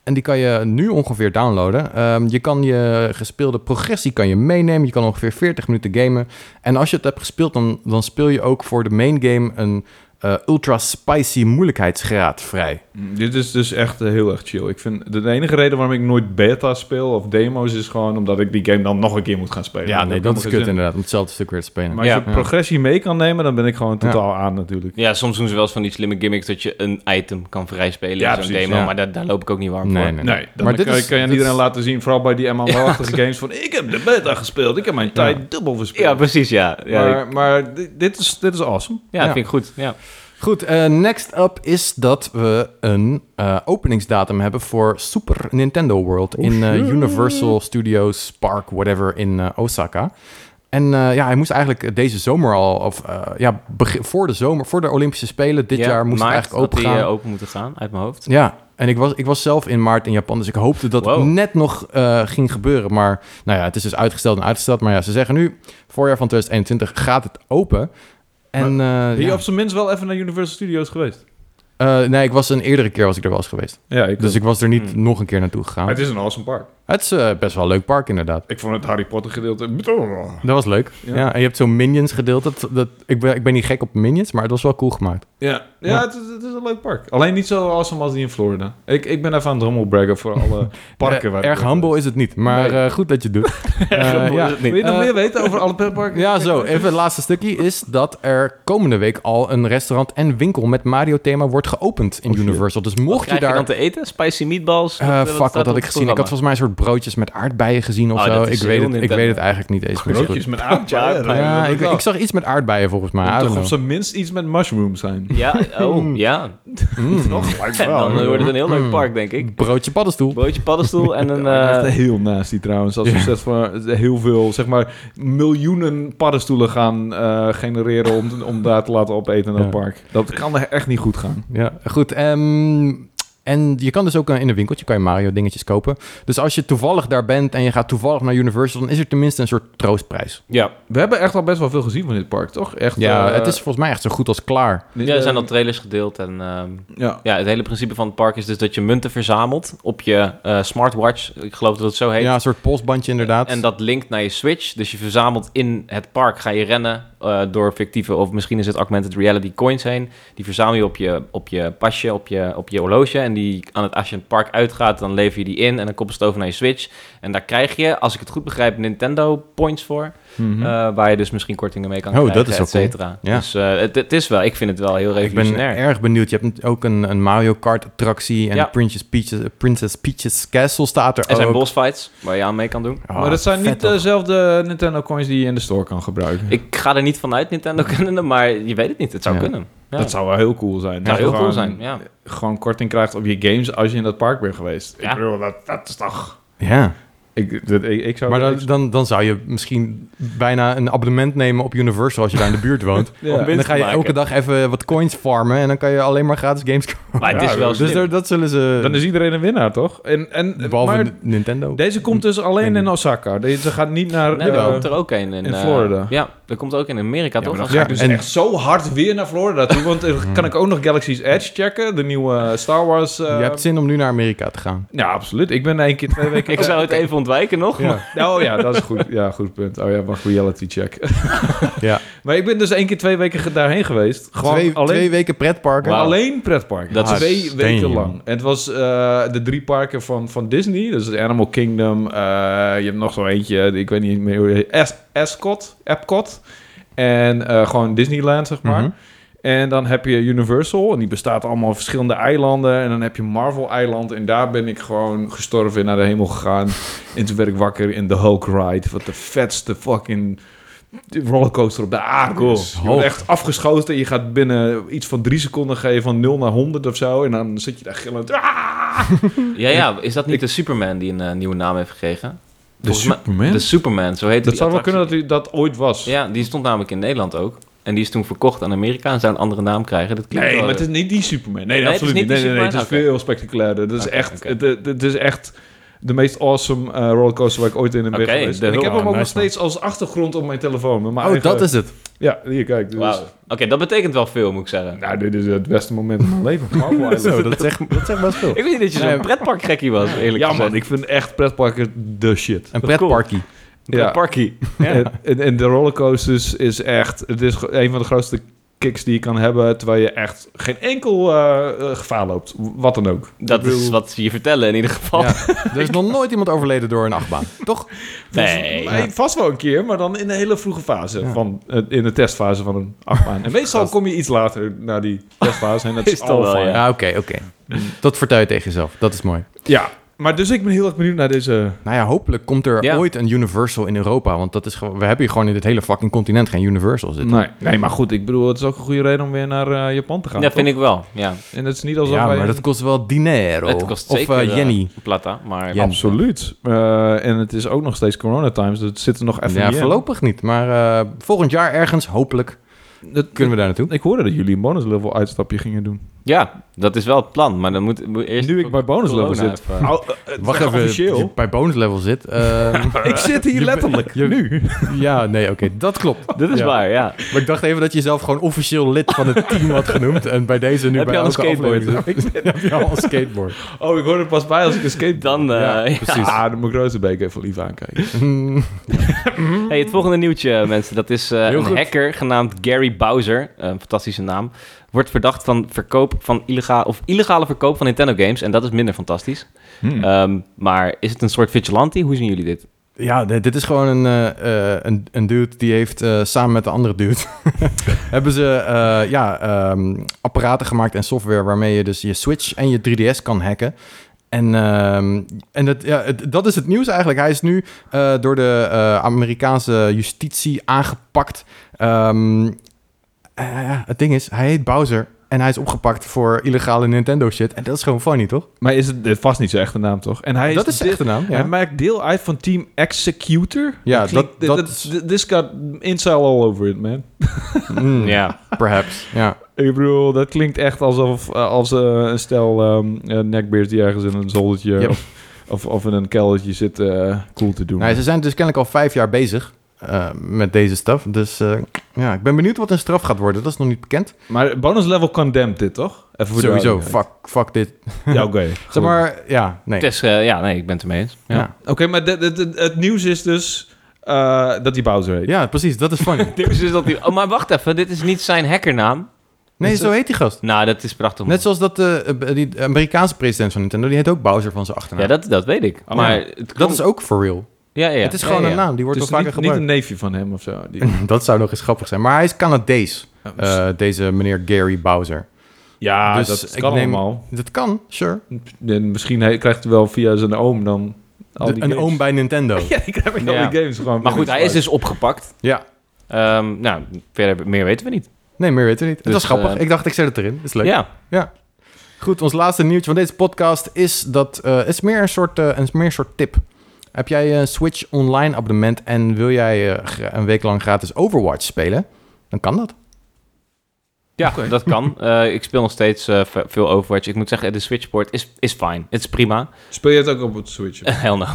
En die kan je nu ongeveer downloaden. Ehm, je kan je gespeelde progressie kan je meenemen. Je kan ongeveer 40 minuten gamen. En als je het hebt gespeeld, dan, dan speel je ook voor de main game een eh, ultra spicy moeilijkheidsgraad vrij.
Mm, Dit is dus echt eh, heel erg chill. Ik vind de enige reden waarom ik nooit beta speel of demo's is gewoon omdat ik die game dan nog een keer moet gaan spelen.
Ja,
Dan
nee,
heb ik
dat is
helemaal geen
kut inderdaad.
zin in.
Om hetzelfde stuk weer te spelen.
Maar als
Ja.
je progressie mee kan nemen, dan ben ik gewoon
Ja.
totaal aan natuurlijk.
Ja, soms doen ze wel eens van die slimme gimmicks dat je een item kan vrijspelen
Ja,
in zo'n
precies,
demo.
ja.
Maar daar, daar loop ik ook niet warm
Nee,
voor.
nee.
Nee, dan
Maar
kan,
dit is-
kan je aan
dit
iedereen
is-
laten zien, vooral bij die MMO-achtige games, van ik heb de beta gespeeld, ik heb mijn tijd dubbel verspeeld.
Ja, precies, ja. Ja, ik-
maar maar di- dit, is, dit is awesome.
ja,
ja.
vind ik goed. Ja.
Goed, eh, next up is dat we een eh, openingsdatum hebben voor Super Nintendo World in eh, Universal Studios Park, whatever, in eh, Osaka. En eh, ja, hij moest eigenlijk deze zomer al, of eh, ja, begin- voor de zomer, voor de Olympische Spelen dit
Ja,
jaar moest hij
maart
eigenlijk open
had
gaan.
die, eh, open moeten gaan, uit mijn hoofd.
ja, en ik was, ik was zelf in maart in Japan, dus ik hoopte dat
Wow.
het net nog eh, ging gebeuren. Maar nou ja, het is dus uitgesteld en uitgesteld. Maar ja, ze zeggen nu, voorjaar van 2021 gaat het open. En, eh,
Ben je
ja.
op zijn minst wel even naar Universal Studios geweest?
Eh, nee, ik was een eerdere keer was ik er wel eens geweest.
Ja, ik
Dus ik was er niet
Hmm.
nog een keer naartoe
Oh. Maar
gegaan.
Het is een awesome park.
Het is eh, best wel een leuk park, inderdaad.
Ik vond het Harry Potter gedeelte...
Dat was leuk. Ja.
Ja.
en je hebt zo'n Minions gedeelte. Dat, dat, ik, ben, ik ben niet gek op Minions, maar het was wel cool gemaakt.
Ja, ja,
Ja.
Het, is, het is een leuk park. Alleen niet zo awesome als die in Florida. Ik, ik ben even aan het hummelbraggen voor alle parken.
Eh,
waar ik
erg
ben
humble is het niet, maar eh, goed dat je het doet. Eh, ja.
geweest. Wil je nog
Eh,
meer weten over alle pretparken?
Ja, zo. Even het laatste stukje is dat er komende week al een restaurant en winkel met Mario-thema wordt geopend in
Oh, shit.
Universal. Dus mocht
Krijg
je
je
daar...
dan te eten? Spicy meatballs?
Eh, fuck, wat had ik gezien? Ik had volgens mij een soort broodjes met aardbeien gezien of
Oh,
zo.
dat is
Ik
heel
weet, het, ik
Nintendo.
weet het eigenlijk niet eens meer zo goed.
Broodjes met aardbeien.
Ja, aardbeien,
Ja, ik, ik
zou
zag iets met aardbeien volgens mij. I
toch op
don't
zijn minst iets met mushroom zijn.
Ja, oh, ja.
know. Mm.
Nog? Lijkt me wel. hmm.
Dan wordt het een heel leuk
Mm.
park, denk ik.
Broodje paddenstoel.
Broodje paddenstoel en een...
Ja, dat is
eh,
heel nasty trouwens. Als je
Ja.
zegt van heel veel, zeg maar, miljoenen paddenstoelen gaan eh, genereren om, om daar te laten opeten in dat
Ja.
park. Dat kan echt niet goed gaan.
Ja, goed. ehm, en je kan dus ook eh, in een winkeltje kan je Mario dingetjes kopen. Dus als je toevallig daar bent en je gaat toevallig naar Universal, dan is er tenminste een soort troostprijs.
ja.
We hebben echt al best wel veel gezien van dit park, toch? Echt,
Ja,
eh,
het is volgens mij echt zo goed als klaar.
ja, er zijn al trailers gedeeld en... ehm,
Ja.
ja, het hele principe van het park is dus dat je munten verzamelt op je eh, smartwatch. Ik geloof dat het zo heet.
Ja, een soort polsbandje inderdaad.
En dat linkt naar je Switch. Dus je verzamelt in het park, ga je rennen eh, door fictieve, of misschien is het augmented reality coins heen. Die verzamel je op je, op je pasje, op je, op je horloge. En die, aan het, als je in het park uitgaat, dan lever je die in en dan koppel je het over naar je Switch. En daar krijg je, als ik het goed begrijp, Nintendo points voor.
Mhm.
eh, waar je dus misschien kortingen mee kan
Oh, dat
krijgen,
is wel
et cetera.
cool. Ja.
Dus eh, het, het is wel, ik vind het wel heel
ik ben
revolutionair.
erg benieuwd. Je hebt ook een, een Mario Kart attractie en
Ja.
Princess, Peach's, Princess Peach's Castle staat er
Er zijn
ook.
bossfights waar je aan mee kan doen.
Ah,
maar dat zijn
vet
niet
toch?
dezelfde Nintendo coins die je in de store kan gebruiken.
Ik ga er niet vanuit, Nintendo kennende, maar je weet het niet. Het zou
Ja.
kunnen. Ja.
Dat zou wel heel cool zijn.
Het zou
Dat
heel
je
cool
gewoon-
zijn, ja.
Gewoon korting krijgt op je games als je in dat park bent geweest.
Ja.
Ik bedoel, dat, dat is toch...
Ja.
Ik, dat- ik, ik zou
Maar
ik-
dan, dan, dan zou je misschien bijna een abonnement nemen op Universal als je daar in de buurt woont. En dan ga
Ja.
je
Winst maken.
elke dag even wat coins farmen en dan kan je alleen maar gratis games kopen.
Maar het is
Ja,
wel
Dus
slim.
daar- dat zullen ze...
Dan is iedereen een winnaar, toch? En, en,
behalve
maar
Nintendo.
deze komt dus alleen in Osaka. Deze gaat niet naar...
Nee,
eh,
er komt er ook een in,
in
eh,
Florida.
ja, er komt er ook een in Amerika,
Ja,
toch?
maar
Dan
dan ga
Ja,
ik dus
en-
echt zo hard weer naar Florida toe. Want dan kan ik ook nog Galaxy's Edge checken. De nieuwe eh, Star Wars... eh,
Je hebt zin om nu naar Amerika te gaan.
Ja, absoluut. Ik ben één keer twee
ga
weken...
Ik zou het even ontwijken nog. maar-
Ja.
Oh ja, dat is goed. Ja, goed punt. Oh ja, mag reality check.
Ja.
Maar ik ben dus één keer twee weken ge- daarheen geweest. Gewoon
Twee,
alleen,
twee weken pretparken.
Wauw.
alleen pretparken.
Dat is
twee
steen,
weken
joh.
lang. En het was eh, de drie parken van, van Disney. Dus het Animal Kingdom. eh, je hebt nog zo eentje. Ik weet niet meer hoe je Es- Ascot, Epcot. En eh, gewoon Disneyland, zeg maar.
Mhm.
En dan heb je Universal, en die bestaat allemaal uit verschillende eilanden. En dan heb je Marvel-eiland, en daar ben ik gewoon gestorven en naar de hemel gegaan. en toen werd ik wakker in de Hulk Ride, wat de vetste fucking rollercoaster op de aarde is.
Cool.
Je wordt echt afgeschoten en je gaat binnen iets van drie seconden geven van 0 naar 100 of zo. En dan zit je daar gillend. "Ah!"
Ja, ja, is dat niet de Superman die een eh, nieuwe naam heeft gekregen? Volgens mij-
Superman?
De Superman, zo heet
Dat zou wel
attractie.
kunnen dat u dat ooit was.
Ja, die stond namelijk in Nederland ook. En die is toen verkocht aan Amerika en zou een andere naam krijgen. Dat klinkt
Nee,
wel-
maar het is niet die Superman. Nee,
het is
absoluut
niet
niet.
die
Nee, nee, nee, het is
Superman? Oké.
veel spectaculairder. Dat is
Oké,
echt,
oké.
het- het- het is echt de meest awesome eh, rollercoaster waar ik ooit in ben
Oké,
geweest.
de
En ik
Hulk.
heb hem ook
Ah,
nog
nice, man.
steeds als achtergrond op mijn telefoon. Met mijn
Oh,
eigen-
dat is het.
Ja, hier kijk. Dus,
Wauw. Oké, dat betekent wel veel, moet ik zeggen.
Nou, dit is het beste moment van mijn leven. Marvel Island.
Zo, dat zegt, dat zegt best veel.
Ik weet niet dat je zo'n pretparkgekkie was, eerlijk
Ja
gezegd.
man, ik vind echt pretparken de shit.
Een pretparkie.
Ja.
Pretparkie.
En, en, en de rollercoasters is echt... Het is ge- een van de grootste kicks die je kan hebben... terwijl je echt geen enkel eh, eh, gevaar loopt. Wat dan ook.
Dat
Ik bedoel-
is wat ze je vertellen in ieder geval.
Ja. Er is nog nooit iemand overleden door een achtbaan. Toch?
Nee.
Volgens mij Vast wel een keer, maar dan in de hele vroege fase.
Ja.
Van, eh, in de testfase van een achtbaan. En meestal kom je iets later naar die testfase. En dat is,
Is toch
al
wel,
fijn.
ja.
ja.
Ah, oké, oké. Dat vertel je tegen jezelf. Dat is mooi.
maar dus ik ben heel erg benieuwd naar deze...
Nou ja, hopelijk komt er
Ja.
ooit een Universal in Europa. Want dat is gewoon, we hebben hier gewoon in dit hele fucking continent geen Universal zitten.
Nee, nee, maar goed, ik bedoel, het is ook een goede reden om weer naar eh, Japan te gaan.
dat vind ik wel, ja.
ik. En het is niet alsof
ja,
wij...
maar dat kost wel dinero.
Het kost
of
zeker...
eh,
eh,
Jenny.
Plata, maar...
Ja.
Absoluut. Eh, en het is ook nog steeds corona times, dus het zit er nog even
Ja,
niet in.
voorlopig niet. Maar eh, volgend jaar ergens, hopelijk,
Dat-
kunnen we daar naartoe.
Ik hoorde dat jullie een bonus level uitstapje gingen doen.
Ja, dat is wel het plan, maar dan moet, moet eerst...
Nu ik bij bonus level
corona
zit.
even- Oh,
Wacht even, je bij bonus level zit. Ehm,
Ik zit hier letterlijk,
je-
nu.
ja, nee, oké, dat klopt.
Dit is
Ja.
waar, ja.
Maar ik dacht even dat je zelf gewoon officieel lid van het team had genoemd. En bij deze nu
Heb
bij
je al een
elke
skateboard?
aflevering- Heb je al een skateboard?
Oh, ik hoorde het pas bij als ik een skate...
Dan... eh,
Ja,
ja.
precies.
Ah, dan moet ik Rozenbeek even lief aankijken.
Mm,
Hey, het volgende nieuwtje, mensen. Dat is eh,
Heel
een
goed.
hacker genaamd Gary Bowser. Een fantastische naam. Wordt verdacht van verkoop van illegale... of illegale verkoop van Nintendo games. En dat is minder fantastisch.
Hm.
Ehm, maar is het een soort vigilante? Hoe zien jullie dit?
ja, dit dit is gewoon een, eh, eh, een, een dude die heeft eh, samen met de andere dude... hebben ze eh, ja, ehm, apparaten gemaakt en software waarmee je dus je Switch en je 3DS kan hacken. En, ehm, en dat, ja, het- dat is het nieuws eigenlijk. Hij is nu eh, door de eh, Amerikaanse justitie aangepakt. Ehm, eh, ja, het ding is, hij heet Bowser en hij is opgepakt voor illegale Nintendo shit. En dat is gewoon funny, toch?
Maar is het dit vast niet zijn echte naam, toch? En hij
dat is de
dit-
echte naam.
Hij
Ja.
maakt deel uit van Team Executor.
Ja,
klinkt-
dat-
dit-
dat-
dit- This got incel all over it, man.
Mm,
Ja.
Perhaps. Ja.
Ik bedoel, dat klinkt echt alsof eh, als eh, een stel ehm eh, neckbeards die ergens in een zoldertje...
Yep.
Of, of, of in een keldertje zit eh, cool te doen.
Nou, ze zijn dus kennelijk al vijf jaar bezig eh, met deze staf. Dus eh, ja, ik ben benieuwd wat een straf gaat worden. Dat is nog niet bekend.
Maar bonus level condemned dit, toch? Even voor de
Sowieso,
duidelijkheid.
fuck, fuck dit.
Ja, oké.
Zeg maar, ja, nee.
Het is, eh, ja, nee, ik ben het ermee eens. Ja.
Ja.
Oké, maar dit- dit- dit- het nieuws is dus eh, dat hij Bowser heet.
Ja, precies, dat is funny.
Dus is dat die... Oh, maar wacht even. Dit is niet zijn hackernaam.
Nee, zo heet die gast.
Nou, dat is prachtig. man.
Net zoals dat eh, die Amerikaanse president van Nintendo, die heet ook Bowser van zijn achternaam.
Ja, dat, dat weet ik.
Oh,
maar
ja.
het klonk-
Dat is ook for real.
Ja, ja, ja.
Het is gewoon
Ja, ja.
een naam, die
Het
wordt
is
al vaker
Dus niet, niet
gebruikt.
een neefje van hem of zo. Die,
Dat zou nog eens grappig zijn. Maar hij is Canadees, eh, deze meneer Gary Bowser.
ja,
dus
dat
ik
kan
neem-
allemaal.
Dat kan, sure.
En misschien hij, krijgt hij wel via zijn oom dan al
De-
die
een
games.
oom bij Nintendo.
Ja, ik heb
Ja.
al die games gewoon.
Maar goed, hij is dus opgepakt.
Ja.
Ehm, nou, verder meer weten we niet.
Nee, meer weten we niet.
Dus,
dat is grappig.
eh,
ik dacht, ik zet het erin. Dat is leuk.
Ja.
Goed, ons laatste nieuwtje van deze podcast is dat eh, het is meer een soort, eh, een meer een soort tip. Eh, Heb jij een Switch online abonnement en wil jij eh, gra- een week lang gratis Overwatch spelen? Dan kan dat.
Ja, dat kan. Eh, ik speel nog steeds eh, ve- veel Overwatch. Ik moet zeggen, de Switchport is, is fijn. Het is prima. Eh,
Speel je het ook op het Switch?
Hell no.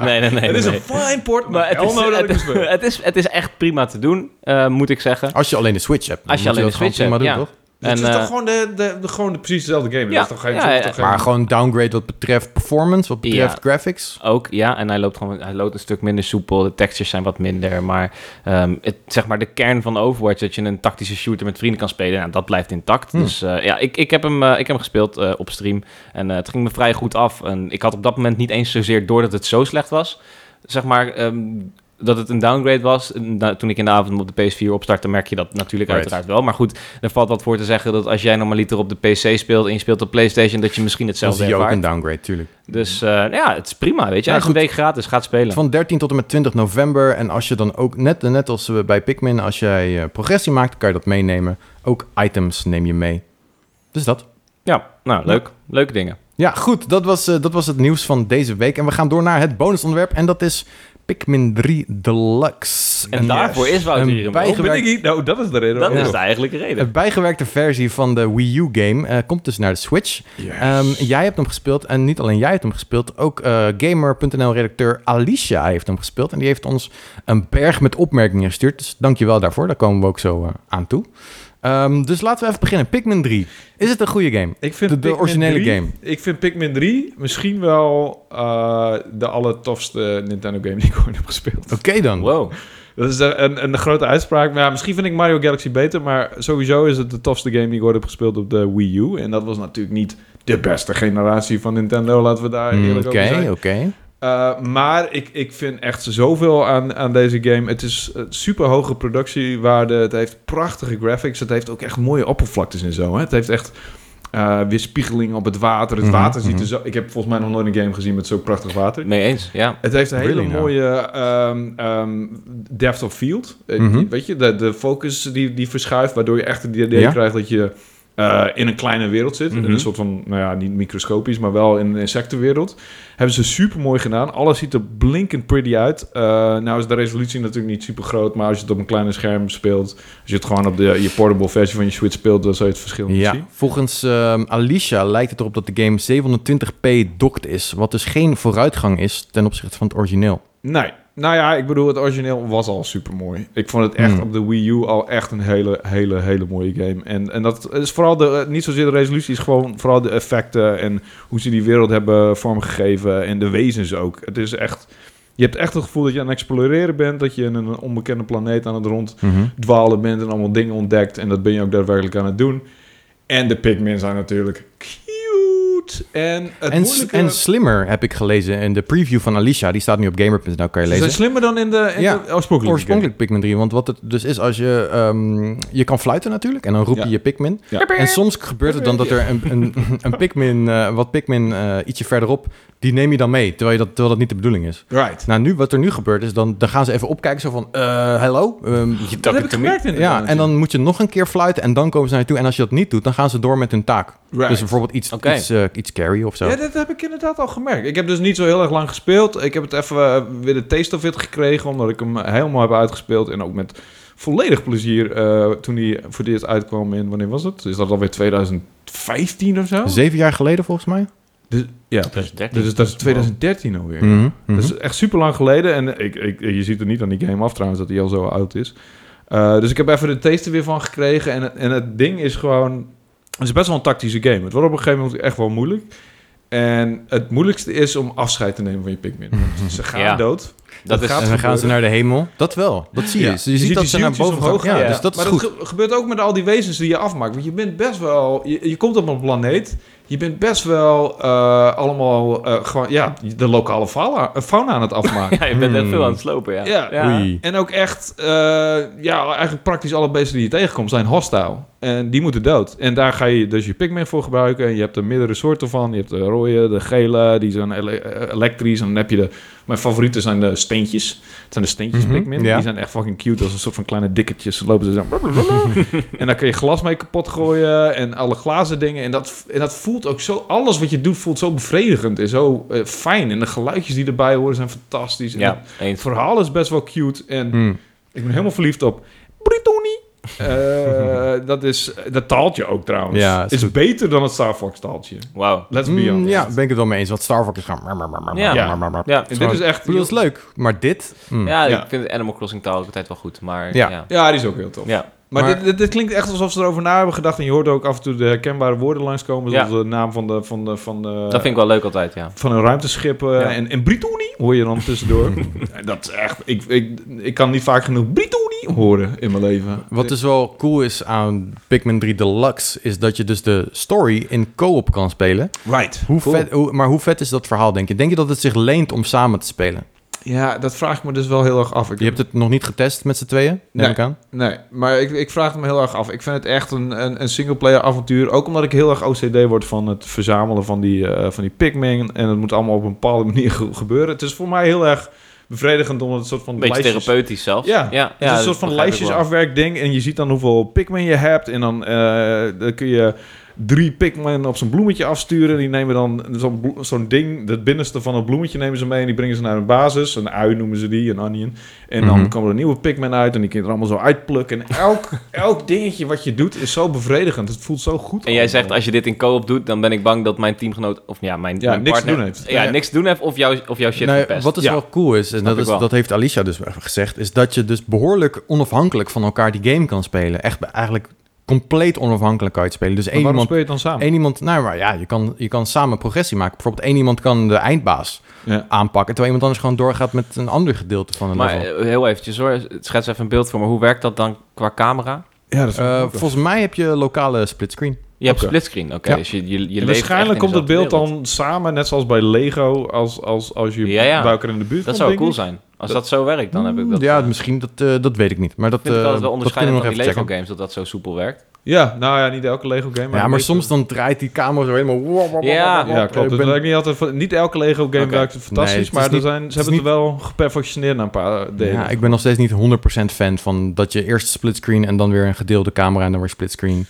nee, nee, nee.
het is
nee.
een fine port,
Maar
maar
het
hell
is,
no dat ik hem
het,
speel.
het is, het is echt prima te doen, eh, moet ik zeggen.
Als je alleen de Switch hebt. dan
Als je
moet
alleen
dat
de Switch
gewoon prima
hebt,
doen,
Dus Het
En,
is
eh,
toch gewoon, de, de, de- gewoon de, precies dezelfde
Ja,
game? dat is toch geen...
ja,
dat is
ja,
toch geen-
toch?
Oh,
Maar gewoon downgrade wat betreft performance, wat betreft
Ja.
graphics.
Ook, ja. En hij loopt gewoon hij loopt een stuk minder soepel. De textures zijn wat minder. Maar ehm, het, zeg maar de kern van Overwatch, dat je een tactische shooter met vrienden kan spelen, nou, dat blijft intact.
Hmm.
Dus eh, ja, ik, ik, heb hem, eh, ik heb hem gespeeld eh, op stream. En eh, het ging me vrij goed af. En ik had op dat moment niet eens zozeer door dat het zo slecht was. Zeg maar... ehm, dat het een downgrade was. En da- toen ik in de avond op de PS4 opstartte, merk je dat natuurlijk
Right.
uiteraard wel. Maar goed, er valt wat voor te zeggen dat als jij normaliter op de PC speelt en je speelt op PlayStation, dat je misschien
Zelfs
hetzelfde
die ook
ervaart.
een downgrade, tuurlijk.
Dus eh, ja, het is prima, weet je.
Ja,
Als een week gratis gaat spelen.
Van 13 tot en met 20 november. En als je dan ook, net, net als eh, bij Pikmin, als jij eh, progressie maakt, kan je dat meenemen. Ook items neem je mee. Dus dat.
Ja, nou, leuk. Leuke dingen.
Ja, goed. Dat was, eh, dat was het nieuws van deze week. En we gaan door naar het bonusonderwerp. En dat is Pikmin 3 Deluxe.
En
Een-
daarvoor is Wouter
een
hier. man.
bijge-
Oh, ben ik hier? Nou, dat is de reden.
Dat
waarom.
is de eigenlijke reden.
Een bijgewerkte versie van de Wii U-game komt dus naar de Switch. Ehm, jij hebt hem gespeeld en niet alleen jij hebt hem gespeeld, ook eh, gamer.nl-redacteur Alicia heeft hem gespeeld. En die heeft ons een berg met opmerkingen gestuurd. Dus dankjewel daarvoor, daar komen we ook zo eh, aan toe. Ehm, dus laten we even beginnen. Pikmin 3. Is het een goede game?
Ik vind
De- de
Pikmin
originele
3
game.
Ik vind Pikmin 3 misschien wel eh, de allertofste Nintendo game die ik ooit heb gespeeld.
Oké dan.
Wow.
Dat is een, een grote uitspraak. Maar ja, misschien vind ik Mario Galaxy beter. Maar sowieso is het de tofste game die ik ooit heb gespeeld op de Wii U. En dat was natuurlijk niet de beste generatie van Nintendo. Laten we daar
Mm,
eerlijk over zijn.
Oké, oké.
Eh, maar ik, ik vind echt zoveel aan, aan deze game. Het is eh, super hoge productiewaarde. Het heeft prachtige graphics. Het heeft ook echt mooie oppervlaktes en zo. Hè? Het heeft echt eh weerspiegeling op het water. Het
Mhm,
water ziet
mhm.
er zo... Ik heb volgens mij nog nooit een game gezien met zo prachtig water.
Mee eens, ja.
Het heeft een hele
Really now.
mooie ehm, ehm, depth of field. Eh, die-
Mhm.
Weet je, de, de focus die, die verschuift, waardoor je echt het idee
Ja.
krijgt dat je eh, in een kleine wereld zit.
Mhm.
In een soort van, nou ja, niet microscopisch, maar wel in een insectenwereld. Hebben ze super mooi gedaan. Alles ziet er blinkend pretty uit. Eh, nou is de resolutie natuurlijk niet super groot, maar als je het op een kleine scherm speelt, als je het gewoon op de, je portable versie van je Switch speelt, dan zou je het verschil niet
Ja,
zien.
volgens ehm, Alicia lijkt het erop dat de game 720p docked is. Wat dus geen vooruitgang is ten opzichte van het origineel.
Nee. Nou ja, ik bedoel, het origineel was al super mooi. Ik vond het echt
Hmm.
op de Wii U al echt een hele, hele, hele mooie game. En, en dat is vooral de, eh, niet zozeer de resolutie, is gewoon vooral de effecten en hoe ze die wereld hebben vormgegeven en de wezens ook. Het is echt, je hebt echt het gevoel dat je aan het exploreren bent, dat je in een onbekende planeet aan het rond dwalen bent en allemaal dingen ontdekt. En dat ben je ook daadwerkelijk aan het doen. En de Pikmin zijn natuurlijk cute. En het
En, s-
moeilijke...
en slimmer heb ik gelezen in de preview van Alicia. Die staat nu op gamer.nl, kan je
ze zijn
lezen.
slimmer dan in de, in
Ja,
de oorspronkelijke game.
Oorspronkelijk Pikmin 3, want wat het dus is als je... ehm, je kan fluiten natuurlijk en dan roep je
Ja.
je Pikmin.
Ja.
En soms gebeurt het dan dat er een, een, een Pikmin, eh, wat Pikmin eh, ietsje verderop, die neem je dan mee, terwijl, je dat, terwijl dat niet de bedoeling is.
Right.
Nou, nu, wat er nu gebeurt is, dan, dan gaan ze even opkijken, zo van, eh, hallo? Ehm,
Je
Dat heb ik gemerkt in
ja, en dan moet je nog een keer fluiten en dan komen ze naar je toe. En als je dat niet doet, dan gaan ze door met hun taak. Dus bijvoorbeeld iets,
Oké.
iets, eh, iets carry of zo.
Ja, dat heb ik inderdaad al gemerkt. Ik heb dus niet zo heel erg lang gespeeld. Ik heb het even eh, weer de taste of it gekregen, omdat ik hem helemaal heb uitgespeeld. En ook met volledig plezier eh, toen hij voor het eerst uitkwam in, wanneer was het? Is dat alweer 2015 of zo?
Zeven jaar geleden volgens mij.
Dus, ja, Hmm. dus dat is 2013 alweer.
Mhm, mhm.
Dat is Dus echt super lang geleden. En ik, ik, je ziet er niet aan die game af trouwens dat hij al zo oud is. Eh, dus ik heb even de taste er weer van gekregen. En, het- en het ding is gewoon... Het is best wel een tactische game. Het wordt op een gegeven moment echt wel moeilijk. En het moeilijkste is om afscheid te nemen van je Pikmin.
Mhm.
Want Ze gaan
Ja.
dood.
Dat is...
gaat-
En dan gaan ze naar de hemel. Dat wel, dat zie dus je.
Ja.
Je, ziet, dat
die
ze naar
zieltjes
boven gaan. Ja,
gaan.
Dus dat is
maar
goed.
ge- gebeurt ook met al die wezens die je afmaakt. Want je bent best wel... Je, je komt op een planeet. Je bent best wel eh, allemaal... eh, gewoon, ja, de lokale fauna, fauna aan het afmaken.
Ja, je bent echt
Hmm.
veel aan het slopen, ja.
Ja.
Oei.
En ook echt, eh, ja, eigenlijk praktisch alle beesten die je tegenkomt zijn hostile. En die moeten dood. En daar ga je dus je Pikmin voor gebruiken. En je hebt er meerdere soorten van. Je hebt de rode, de gele, die zijn ele- eh, elektrisch. En dan heb je de... Mijn favorieten zijn de steentjes. Het zijn de steentjes
Mhm,
Pikmin.
ja.
Die zijn echt fucking cute. Als een soort van kleine dikketjes. Dan lopen ze zo... en daar kun je glas mee kapot gooien. En alle glazen dingen. En dat, en dat voelt voelt ook zo... Alles wat je doet voelt zo bevredigend en zo eh, fijn. En de geluidjes die erbij horen zijn fantastisch. En
Ja,
het
eens.
verhaal is best wel cute. En
Hmm.
ik ben helemaal verliefd op Brittoni. Eh, dat is... Dat taaltje ook trouwens.
Ja, is
is
goed.
beter dan het Star Fox taaltje.
Wauw.
Let's be
Mm,
honest.
ja, ben ik het wel mee eens. Wat Star Fox is gaan... Ja.
Ja. Ja,
En dit is echt...
Ik bedoel, dat is leuk, maar dit... mm.
ja,
Hmm. Ja.
ik vind Animal Crossing taal ook altijd wel goed, maar
Ja.
ja. ja.
Ja, die is ook heel tof. Maar,
Maar-
dit, dit, dit klinkt echt alsof ze erover na hebben gedacht. En je hoort ook af en toe de herkenbare woorden langskomen. Zoals de naam van de... Van de, van de
dat vind ik wel leuk altijd, ja.
van een ruimteschip eh,
Ja.
en, en Britonie hoor je dan tussendoor. dat is echt, ik, ik, ik kan niet vaak genoeg Britonie horen in mijn leven.
Wat dus wel cool is aan Pikmin 3 Deluxe, is dat je dus de story in co-op kan spelen.
Right.
Hoe
Cool.
vet, hoe- maar hoe vet is dat verhaal, denk je? Denk je dat het zich leent om samen te spelen?
Ja, dat vraag ik me dus wel heel erg af. Ik
Je hebt het nog niet getest met z'n tweeën, neem
Nee.
ik aan.
Nee, maar ik, ik vraag het me heel erg af. Ik vind het echt een, een, een singleplayer avontuur. Ook omdat ik heel erg OCD word van het verzamelen van die, eh, van die Pikmin. En het moet allemaal op een bepaalde manier ge- gebeuren. Het is voor mij heel erg bevredigend om het soort van
Een beetje
lijstjes-
therapeutisch zelfs.
Ja,
ja,
Het is een soort van lijstjesafwerkding. En je ziet dan hoeveel Pikmin je hebt. En dan, eh, dan kun je drie Pikmin op zo'n bloemetje afsturen. Die nemen dan zo'n blo- zo'n ding, het binnenste van het bloemetje nemen ze mee. En die brengen ze naar hun basis. Een ui noemen ze die, een onion. En dan
Mhm.
komen er nieuwe Pikmin uit. En die kun je er allemaal zo uitplukken. En elk, elk dingetje wat je doet is zo bevredigend. Het voelt zo goed.
En jij zegt, als je dit in co-op doet, dan ben ik bang dat mijn teamgenoot, of ja, mijn,
Ja,
mijn
niks te
partner,
doen heeft.
Ja, niks te doen heeft of, jou, of jouw shit
Nou,
verpest.
wat dus
Ja.
wel cool is, en dat,
ik
is,
wel.
dat heeft Alicia dus gezegd, is dat je dus behoorlijk onafhankelijk van elkaar die game kan spelen. Echt be- eigenlijk compleet onafhankelijk kan je het spelen. Dus
Maar
één
waarom
iemand,
speel je het dan samen?
één iemand, nou maar ja, je kan, je kan samen progressie maken. Bijvoorbeeld één iemand kan de eindbaas
Ja.
aanpakken, terwijl iemand anders gewoon doorgaat met een ander gedeelte van de
maar
level.
eh, heel eventjes hoor, schets even een beeld voor me. Hoe werkt dat dan qua camera?
Ja, dat is
Eh,
ook wel.
volgens mij heb je lokale splitscreen.
Je hebt
Oké.
splitscreen, oké.
Ja.
Dus je, je, je leeft
En
echt
waarschijnlijk
in
komt het beeld
dezelfde wereld.
dan samen, net zoals bij Lego, als, als, als je
Ja, ja.
bij elkaar in de
Dat
buurt komt,
zou
denk
cool
ik.
zijn. Als dat zo werkt, dan heb ik dat...
Mm, ja,
eh,
misschien, dat, eh, dat weet ik niet. Maar dat,
vind ik
eh,
altijd wel
dat kunnen
onderscheidend
we nog
van
even
die Lego
checken.
games, dat dat zo soepel werkt.
Ja, nou ja, niet elke Lego game.
ja,
een
maar
beetje.
soms dan draait die camera zo helemaal...
Ja.
Ja, klopt.
Ik
Het
ben-
werkt niet, altijd, van- niet elke Lego game
Oké.
werkt fantastisch,
Nee, het is
maar er
niet-
zijn,
is
ze hebben
niet-
het wel geperfectioneerd na een paar delen.
Ja, ik ben nog steeds niet 100% fan van dat je eerst splitscreen en dan weer een gedeelde camera en dan weer splitscreen.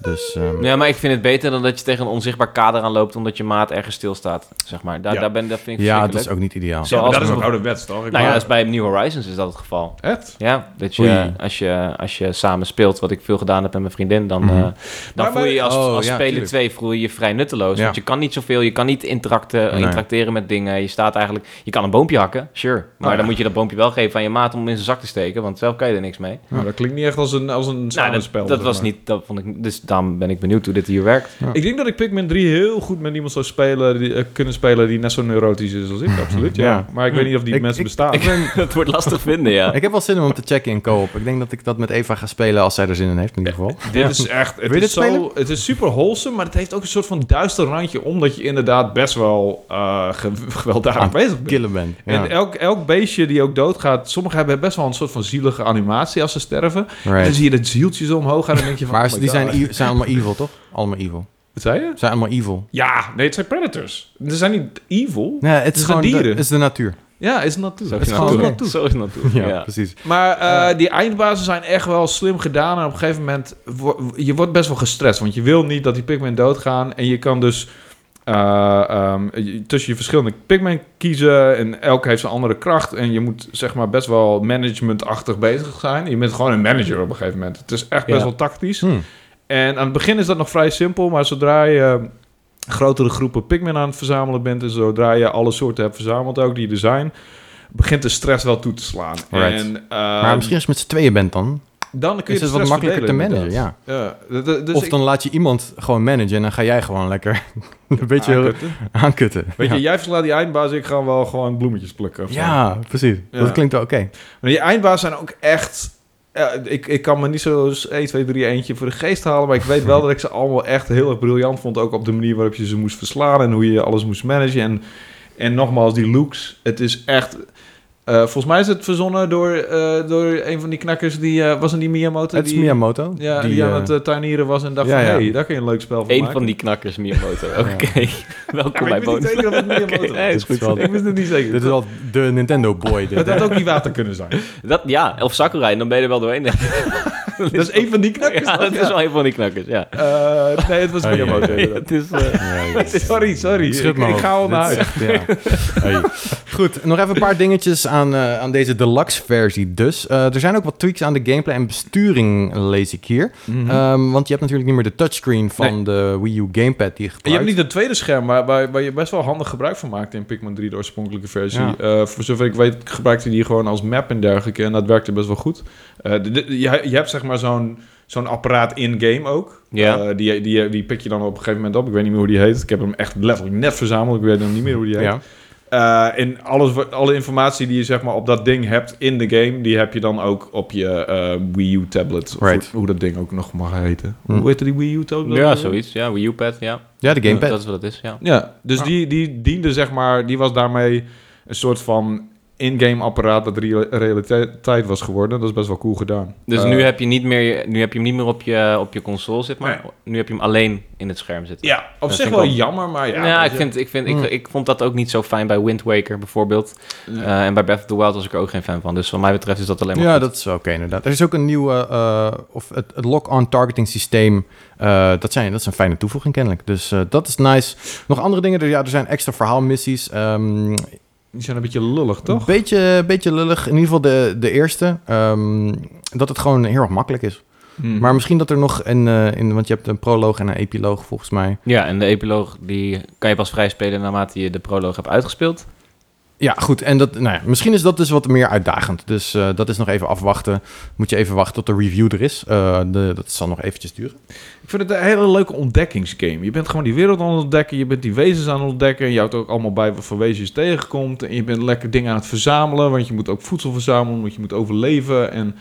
Dus ehm,
Ja, maar ik vind het beter dan dat je tegen een onzichtbaar kader aan loopt... omdat je maat ergens stilstaat, zeg maar. Daar,
Ja.
daar ben, dat vind ik
ja, dat
verschrikkelijk.
is ook niet ideaal.
Zo.
Ja, maar dat is
zoals-
ook ouderwets, toch? Ik
Nou ja,
bedoel-
dat is bij New Horizons is dat het geval.
Echt?
Ja, dat
Oei.
je, als, je, als je samen speelt, wat ik veel gedaan heb met mijn vriendin, dan,
Mhm.
eh, dan
Maar-
voel je je als,
Oh,
als
ja,
speler
tuurlijk.
2 voel je je vrij nutteloos.
Ja.
Want je kan niet zoveel, je kan niet interacten,
Nee.
interacteren met dingen. Je staat eigenlijk, je kan een boompje hakken, sure. Maar
ja.
dan moet je dat boompje wel geven aan je maat om in zijn zak te steken, want zelf kan je er niks mee.
Nou, dat klinkt niet echt als een, als een
Nou, dat,
samenspel.
dat
zeg
was
maar.
niet, dat vond ik, dus daarom ben ik benieuwd hoe dit hier werkt.
Ik denk dat ik Pikmin 3 heel goed met iemand zou spelen, die, eh, kunnen spelen die net zo neurotisch is als ik, absoluut. Ja.
Ja.
Maar ik weet niet of die
Ik-
mensen
ik-
bestaan.
ik ben-
dat wordt lastig vinden, ja.
ik heb wel zin om te checken in co-op. Ik denk dat ik dat met Eva ga spelen als zij er zin in heeft in ieder geval.
Dit is echt,
Wil
het
je
is,
dit spelen?
zo, het is super wholesome, maar het heeft ook een soort van duister randje, omdat je inderdaad best wel eh, ge- gewelddadig
Ah,
bezig bent.
Killen bent. Ja.
En elk, elk beestje die ook doodgaat, sommigen hebben best wel een soort van zielige animatie als ze sterven. En dan
Right.
zie je dat zieltje zo omhoog gaan en dan denk je van...
Maar
oh
ze- die
my God.
zijn, e- zijn allemaal evil, toch? Allemaal evil.
Wat zei je?
Ze zijn allemaal evil.
Ja, nee, het zijn predators. Ze zijn niet evil.
Nee, het is
de
gewoon de,
dieren.
het is de natuur.
Ja, is natuur.
Zo
Het
is
is
je
het
natuurlijk.
gewoon
naartoe.
natuur.
Zo is het naartoe,
Ja,
ja.
precies.
Maar eh, die eindbazen zijn echt wel slim gedaan. En op een gegeven moment, wo- je wordt best wel gestrest. Want je wil niet dat die Pikmin doodgaan. En je kan dus eh, ehm, je- tussen je verschillende Pikmin kiezen. En elke heeft zijn andere kracht. En je moet zeg maar best wel managementachtig bezig zijn. Je bent gewoon een manager op een gegeven moment. Het is echt best
Ja.
wel tactisch.
Hm.
En aan het begin is dat nog vrij simpel, maar zodra je eh, grotere groepen Pikmin aan het verzamelen bent en zodra je alle soorten hebt verzameld, ook die er zijn, begint de stress wel toe te slaan.
Right.
En, eh,
Maar misschien als je met z'n tweeën bent dan,
dan kun je
is
de
het wat
stress
makkelijker te
verdelen,
managen.
inderdaad.
Ja.
Ja, d- d- dus
of
ik-
dan laat je iemand gewoon managen en dan ga jij gewoon lekker een beetje
Ah, kutte.
aankutten.
Weet
ja.
je, jij verslaat die eindbaas, ik ga wel gewoon bloemetjes plukken. of zo.
ja, precies.
Ja.
Dat klinkt wel oké.
Maar die eindbaas zijn ook echt... ja, ik, ik kan me niet zo 1, 2, 3 eentje voor de geest halen. Maar ik weet wel dat ik ze allemaal echt heel erg briljant vond. Ook op de manier waarop je ze moest verslaan. En hoe je alles moest managen. En, en nogmaals, die looks. Het is echt... eh, volgens mij is het verzonnen door, eh, door een van die knakkers. Die, eh, was het die Miyamoto?
Het is
die,
Miyamoto.
Ja, die, aan
eh,
het eh, tuinieren was en dacht
ja,
van...
ja.
Hé, hey, daar kun je een leuk spel van
Eén
maken.
van die knakkers, Miyamoto. Oké,
Ja,
welkom bij
maar ik weet niet
Bonus.
zeker of het Miyamoto
Oké, nee,
was.
is goed.
wel-
Ik wist het niet zeker.
dit is wel de Nintendo boy.
Het
Dit, hè?
had ook die water kunnen zijn.
Dat, ja, of Sakurai, dan ben je er wel doorheen.
dat is een van die knakkers.
Ja,
toch?
dat is wel een van die knakkers, ja.
Eh, nee, het was
Oh,
Miyamoto.
jee.
inderdaad.
Het is, eh,
Sorry, sorry.
Schud
Ik,
maar
ik
op.
ga al
Dit
naar
is
huis.
echt, ja. Hey. Goed, nog even een paar dingetjes aan, eh, aan deze deluxe versie dus. Eh, er zijn ook wat tweaks aan de gameplay en besturing, lees ik hier.
Mhm.
Ehm, want je hebt natuurlijk niet meer de touchscreen van de Wii U gamepad die je
En je hebt
gebruikt.
niet een tweede scherm waar, waar, waar je best wel handig gebruik van maakte in Pikmin 3, de oorspronkelijke versie.
Ja.
Eh, voor zover ik weet gebruikte hij die gewoon als map en dergelijke. En dat werkte best wel goed. Eh, de- de- je, je hebt zeg maar zo'n zo'n apparaat in-game ook.
Ja.
Eh, die, die, die pik je dan op een gegeven moment op. Ik weet niet meer hoe die heet. Ik heb hem echt letterlijk net verzameld. Ik weet nog niet meer hoe die heet.
ja.
Eh, en alles, wat- alle informatie die je zeg maar, op dat ding hebt in de game, die heb je dan ook op je eh, Wii U tablet. Of
Right.
hoe, hoe dat ding ook nog mag heten.
Hm.
Hoe heette die Wii U tablet?
ja, zoiets. Ja, Wii U-pad, ja.
ja, de gamepad.
Dat is wat het is, ja.
Ja, dus
Ah.
die, die diende zeg maar, die was daarmee een soort van in-game apparaat dat real- realiteit was geworden. Dat is best wel cool gedaan.
Dus
Eh,
nu, heb je niet meer, nu heb je hem niet meer op je, op je console zitten, maar nu heb je hem alleen in het scherm zitten.
Ja, op
Dat
zich
vind
wel
ik wel-
jammer, maar ja. dus-
Ja,
weet
ik,
je.
vind, ik, vind,
Hmm.
ik, ik vond dat ook niet zo fijn bij Wind Waker bijvoorbeeld.
Ja.
Eh, en bij Breath of the Wild was ik er ook geen fan van. Dus wat mij betreft is dat alleen maar
Ja,
goed.
dat is wel oké inderdaad. Er is ook een nieuwe, eh, of het, het lock-on targeting systeem. Eh, dat, zijn, dat is een fijne toevoeging kennelijk. Dus eh, dat is nice. Nog andere dingen, er, ja, er zijn extra verhaalmissies. Ehm
Die zijn een beetje lullig, toch?
Een beetje, beetje lullig. In ieder geval de, de eerste. ehm, dat het gewoon heel erg makkelijk is.
Mhm.
Hm.
Maar misschien dat er nog een... eh, in, want je hebt een proloog en een epiloog volgens mij.
Ja, en de epiloog die kan je pas vrij spelen naarmate je de proloog hebt uitgespeeld.
Ja, goed. En dat, nou ja, misschien is dat dus wat meer uitdagend. Dus eh, dat is nog even afwachten. Moet je even wachten tot de review er is. Eh, de, dat zal nog eventjes duren.
Ik vind het een hele leuke ontdekkingsgame. Je bent gewoon die wereld aan het ontdekken. Je bent die wezens aan het ontdekken. En je houdt ook allemaal bij wat voor wezens je tegenkomt. En je bent lekker dingen aan het verzamelen. Want je moet ook voedsel verzamelen. Want je moet overleven. En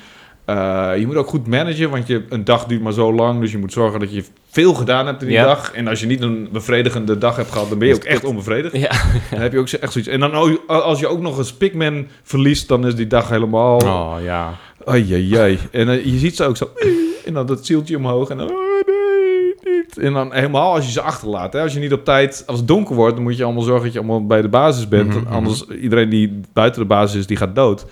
eh, je moet ook goed managen. Want je, een dag duurt maar zo lang. Dus je moet zorgen dat je veel gedaan hebt in die
Ja.
dag. En als je niet een bevredigende dag hebt gehad, dan ben je ook echt onbevredigd.
Ja.
Dan heb je ook echt zoiets. En dan ook- als je ook nog eens Pikmin verliest, dan is die dag helemaal...
Oh.
ja.
Ajajaj. En eh, je ziet ze ook zo... En dan dat zieltje omhoog. En dan... "Oh, nee, niet." En dan helemaal als je ze achterlaat. Hè? Als je niet op tijd... Als het donker wordt, dan moet je allemaal zorgen dat je allemaal bij de basis bent.
Mhm, mhm.
Anders, iedereen die buiten de basis is, die gaat dood.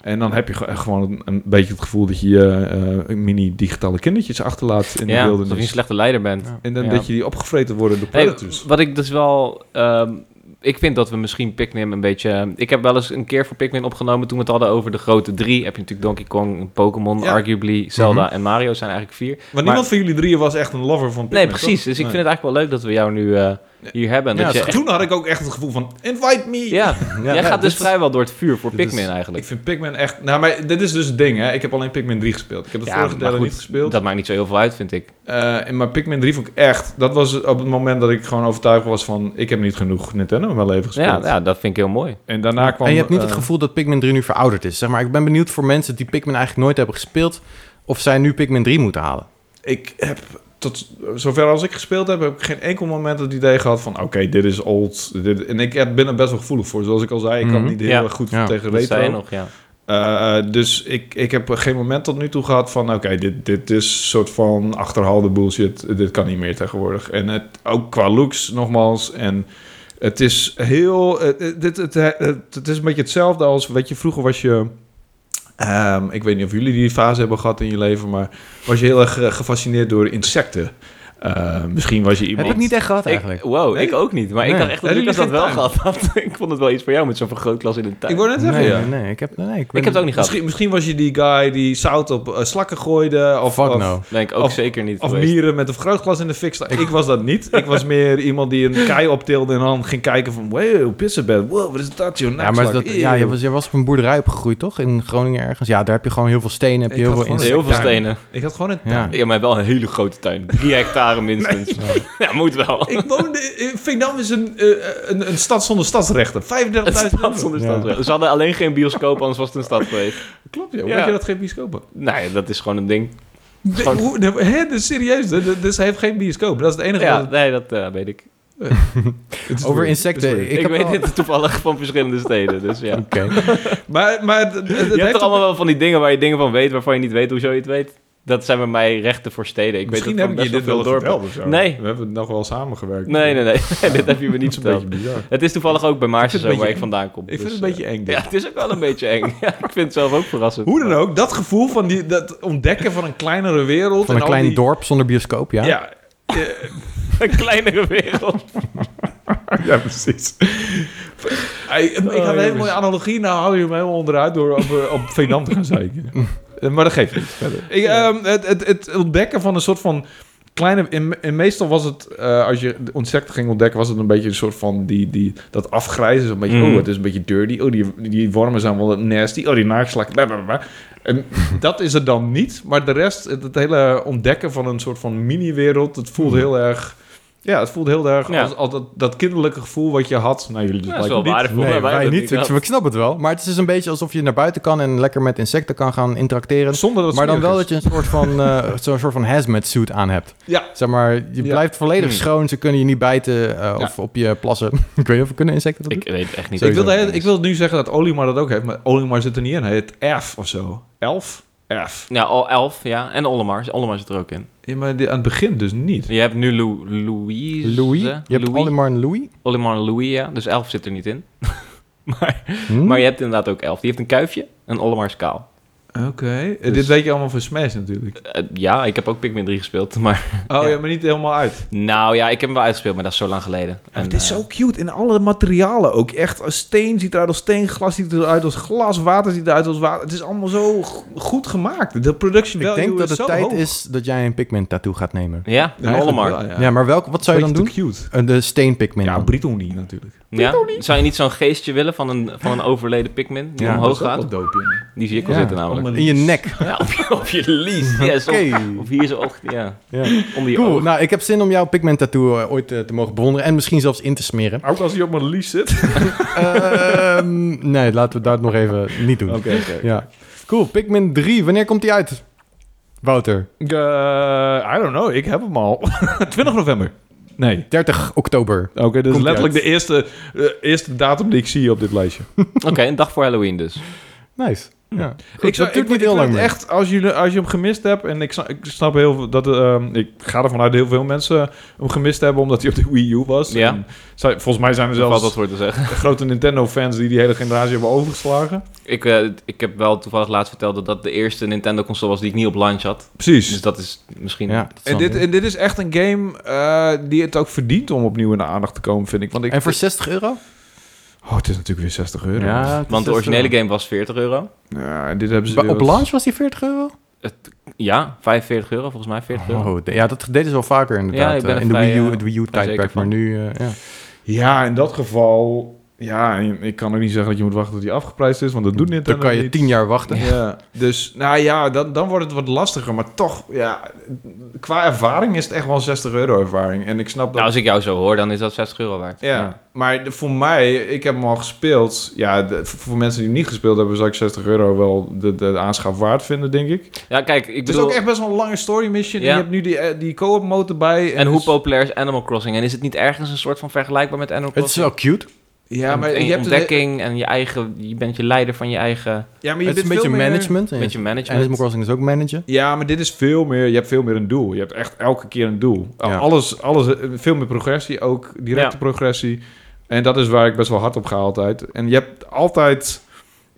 En dan heb je ge- gewoon een, een beetje het gevoel dat je je eh, mini-digitale kindertjes achterlaat in
ja,
de
alsof je een
wildernis.
slechte leider bent.
Ja.
En dan
Ja.
dat je die opgevreten worden door
Hey,
predators.
wat ik dus wel... ehm, ik vind dat we misschien Pikmin een beetje... Ik heb wel eens een keer voor Pikmin opgenomen toen we het hadden over de grote drie. Heb je natuurlijk Donkey Kong, Pokémon,
Ja. Mhm.
arguably Zelda en Mario zijn eigenlijk vier.
maar niemand van jullie drieën was echt een lover van Pikmin,
Nee, precies. Dus ik vind het eigenlijk wel leuk dat we jou nu eh, hier hebben. en
Ja,
dat je
het
echt,
toch? dus Toen had ik ook echt het gevoel van... Invite me!
ja,
Ja,
jij
ja,
gaat dus
dit-
vrijwel door het vuur voor
dit is-
Pikmin eigenlijk.
Ik vind Pikmin echt... Nou, maar dit is dus het ding, hè. Ik heb alleen Pikmin 3 gespeeld. Ik heb het
Ja,
vorige
maar
deel
goed,
niet gespeeld.
Dat maakt niet zo heel veel uit, vind ik.
Eh, en maar Pikmin 3 vond ik echt... Dat was op het moment dat ik gewoon overtuigd was van... Ik heb niet genoeg Nintendo in mijn leven
Ja,
gespeeld.
ja, dat vind ik heel mooi.
En daarna kwam...
en je hebt niet het
eh,
gevoel dat Pikmin 3 nu verouderd is. Zeg maar, ik ben benieuwd voor mensen die Pikmin eigenlijk nooit hebben gespeeld... of zij nu Pikmin 3 moeten halen.
Ik heb... Tot zover als ik gespeeld heb, heb ik geen enkel moment het idee gehad van... Oké, dit is old. Dit, en ik heb- ben er best wel gevoelig voor. Zoals ik al zei, ik kan
Mhm.
niet heel
Ja.
erg goed
Ja,
tegen
Dat zei je
retro.
nog, ja.
Eh, eh, dus ik, ik heb geen moment tot nu toe gehad van... oké, dit, dit is een soort van achterhaalde bullshit. Dit kan niet meer tegenwoordig. En het, ook qua looks nogmaals. En het is heel... eh, eh, dit, het, eh, het, het is een beetje hetzelfde als... Weet je, vroeger was je... ehm, ik weet niet of jullie die fase hebben gehad in je leven... maar was je heel erg eh, gefascineerd door insecten. Eh, misschien was je iemand...
Heb ik niet echt gehad
Ik,
eigenlijk.
wow,
Nee?
ik ook niet. Maar ik
Nee.
dacht echt dat
Hebben
Lucas dat
jullie
wel
geen
gehad had. ik vond het wel iets voor jou met zo'n vergrootglas in de tuin.
Ik
Ik,
wou net zeggen,
nee,
ja.
nee, nee, ik heb, nee, ik ben-
heb het ook niet gehad.
Misschien, misschien was je die guy die zout op eh, slakken gooide... Of,
Fuck
of-
no.
Denk ik ook
Of-
zeker niet
Of
geweest.
mieren met een vergrootglas in de fik staan. Ik was dat niet. Ik was meer iemand die een kei optilde en dan ging kijken van... Wow, pissenbed. Wow, wat is dat? Joh,
Ja, maar dat, ja, je, was, je was op een boerderij opgegroeid, toch? In Groningen ergens. Ja, daar heb je gewoon heel veel stenen. Heb
Ik
je heel
had
veel
gewoon
insecten.
Heel veel
tuin.
stenen.
Ik had gewoon een...
Ja.
Ja, maar wel een hele grote tuin. Drie hectare minstens. Ja, moet wel.
Ik woonde... in- Veendam is een, eh, een, een stad zonder stadsrechten. 35.000
Het stad
euro.
zonder
Ja.
stadsrecht. Ze hadden alleen geen bioscoop, anders was het een stad geweest.
Klopt, joh.
Ja.
Weet je dat geen bioscopen?
Nou ja, dat is gewoon een ding. Gewoon-
Hoe- de- Hè, dit is serieus. De- de- Dus hij heeft geen bioscoop. Dat is het enige
Ja,
wat...
nee, dat eh, weet ik.
het is
Over
weird.
insecten.
Het is weird.
Ik,
heb
weet
al-
dit toevallig van verschillende steden, dus ja.
Oké.
Maar, maar het, het- het
Je hebt
heeft
toch allemaal wel van die dingen waar je dingen van weet, waarvan je niet weet hoezo je het weet? dat zijn bij mij rechten voor steden. Ik
Misschien
weet
heb
dat
ik
van
je
best wel
dit wel
veel dorpen.
verteld of zo.
Nee.
We hebben nog wel samengewerkt.
Nee, nee, nee. dit heb je me niet
Dat is een beetje
verteld.
bizar.
Het is toevallig ook bij
Ik
Maarsen
vind
zo,
het een
waar ik
beetje
vandaan kom.
Ik vind
Dus,
het een beetje eng.
eh, Ja,
dit.
het is ook wel een beetje eng. Ja, ik vind het zelf ook verrassend.
Hoe dan ook, dat gevoel van die, dat ontdekken van een kleinere wereld.
Van
en
een
al
klein
die-
dorp zonder bioscoop, ja.
Ja,
Een kleinere wereld.
ja, precies. Hey, ik had
Oh,
een hele
jongens.
mooie analogie, nou hou je me helemaal onderuit door op, eh, op Veenam te gaan zeiken.
Mm.
Eh, maar dat geeft niet verder. Ik, ehm, het, het, het ontdekken van een soort van kleine... En, en meestal was het, eh, als je de insecten ging ontdekken, was het een beetje een soort van die, die, dat afgrijzen. Een beetje,
Mm.
oh, het is een beetje dirty. Oh, die, die wormen zijn wel nasty. Oh, die naakslak. bla, bla, bla. En dat is het dan niet. Maar de rest, het, het hele ontdekken van een soort van mini-wereld, het voelt heel erg... Hmm. Ja, het voelt heel erg
Ja.
als, als dat, dat kinderlijke gevoel wat je had. Nou, jullie dus
Ja, dat is wel
blijkbaar niet.
waardevol.
Nee,
Maar
wij
hebben
niet.
dat
Ik, ik snap het wel. Maar het is dus een beetje alsof je naar buiten kan en lekker met insecten kan gaan interacteren.
Zonder dat het
Maar dan wel
smerig
dat je een soort van, eh zo'n soort van hazmat suit aan hebt.
is. Ja,
Zeg maar, je
Ja.
blijft volledig
Hmm.
schoon. Ze kunnen je niet bijten eh, of op je plassen. ik weet niet of kunnen insecten dat doen.
Ik weet echt niet.
ik wilde,
wat het
heel- ik
is.
wilde nu zeggen dat Olimar dat ook heeft, maar Olimar zit er niet in. Hij heet F of zo. Elf? F.
Ja, al elf, ja. En Ollemar. Ollemar zit er ook in.
Ja, maar die- aan het begin dus niet.
Je hebt nu Lou, Louise.
Louis? Je hebt
eh, Louis.
Olimar en Louis?
Olimar en Louis, ja. Dus elf zit er niet in. maar,
Hmm?
maar je hebt inderdaad ook elf. Die heeft een kuifje en Ollemar is kaal.
Oké. Eh, Dit weet je allemaal van Smash natuurlijk.
Eh, ja, ik heb ook Pikmin 3 gespeeld. Maar
Oh ja, maar niet helemaal uit.
nou ja, ik heb hem wel uitgespeeld, maar dat is zo lang geleden. En,
het is
eh,
zo cute in alle materialen ook. Echt, als steen ziet eruit als steen, glas ziet eruit als glas, water ziet eruit als water. Het is allemaal zo g- goed gemaakt. De production
Ik
value
denk dat
is
het
zo
tijd
hoog.
is dat jij een pigment tattoo gaat nemen.
eh, Ja, een
Eigenlijk
Ollemar.
wel,
Ja, maar welk, wat zou je dan doen?
cute.
Een de steenpigment.
Ja,
dan.
Britoni natuurlijk.
Ja? Zou je niet zo'n geestje willen van een, van een overleden Pikmin die
Ja,
omhoog gaat? Die zie ik al
Ja.
zitten namelijk.
In je nek.
Ja, op, je, op je lies. Yes,
Oké.
of, of hier zo. Och, ja,
Ja.
onder je
Cool.
oog.
Nou, ik heb zin om jouw pigment tattoo eh, ooit eh, te mogen bewonderen. En misschien zelfs in te smeren.
Ook als hij op mijn lies zit.
Ehm, nee, laten we dat nog even niet doen.
Oké, oké.
Ja. Cool, Pikmin 3. Wanneer komt die uit? Wouter.
eh, I don't know, ik heb hem al. 20 november. Nee.
30 oktober.
Oké, dat is
Komt
letterlijk
uit.
de eerste, eh, eerste datum die ik zie op dit lijstje.
Oké, een dag voor Halloween dus.
Nice. Ja. Goed,
ik zou-
dat duurt
ik-
niet heel
ik vind
lang
het
meer.
Echt, als je, als je hem gemist hebt, en ik snap, ik snap heel veel dat ehm, ik ga ervan uit dat heel veel mensen hem gemist hebben omdat hij op de Wii U was.
Ja.
En zij- volgens mij zijn er
Daar valt
zelfs
wat voor te zeggen.
grote Nintendo-fans die die hele generatie hebben overgeslagen.
Ik, eh, ik heb wel toevallig laatst verteld dat dat de eerste Nintendo-console was die ik niet op launch had.
Precies.
Dus dat is misschien...
Ja, dat
En
zal
dit,
niet.
en dit is echt een game eh, die het ook verdient om opnieuw in de aandacht te komen, vind ik. Want ik
en voor 60 euro?
Oh, het is natuurlijk weer 60 euro. Ja.
Want de originele game was 40 euro.
en dit hebben ze weer
eh, Op
wat-
launch was die 40 euro?
Ja, 45 euro volgens mij, 40 euro.
Oh, de- ja, dat deden ze wel vaker inderdaad.
Ja, ik ben
eh,
er
in de
vrij,
Wii U,
eh,
het Wii U
vrij
tijdperk.
zeker
Maar
van.
nu, eh, ja.
Ja, in dat geval... Ja, en ik kan ook niet zeggen dat je moet wachten tot die afgeprijsd is, want dat doet Nintendo
Dan kan je
niet.
10 jaar wachten.
Ja. Dus, nou ja, dan, dan wordt het wat lastiger. Maar toch, ja, qua ervaring is het echt wel een 60 euro ervaring. En ik snap dat...
Nou, als ik jou zo hoor, dan is dat 60 euro waard.
ja. maar de- voor mij, ik heb hem al gespeeld. Ja, de- voor voor mensen die hem niet gespeeld hebben, zou ik 60 euro wel de, de aanschaf waard vinden, denk ik.
Ja, kijk, ik
Het is
bedoel...
ook echt best wel een lange story mission.
Ja.
En je hebt nu die, eh, die co-op motor bij.
En hoe
dus-
populair is Animal Crossing? En is het niet ergens een soort van vergelijkbaar met Animal
Het is
Crossing?
wel cute.
Ja, maar
en
je hebt het-
ontdekking en je eigen... Je bent je leider van je eigen...
Ja, maar
Het is
je bent
een beetje
veel meer-
management. En
Met je
En Animal
management.
Crossing is ook managen.
Ja, maar dit is veel meer. Je hebt veel meer een doel. Je hebt echt elke keer een doel.
Ja.
Alles, alles, eh, veel meer progressie, ook directe
Ja.
progressie. En dat is waar ik best wel hard op ga altijd. En je hebt altijd.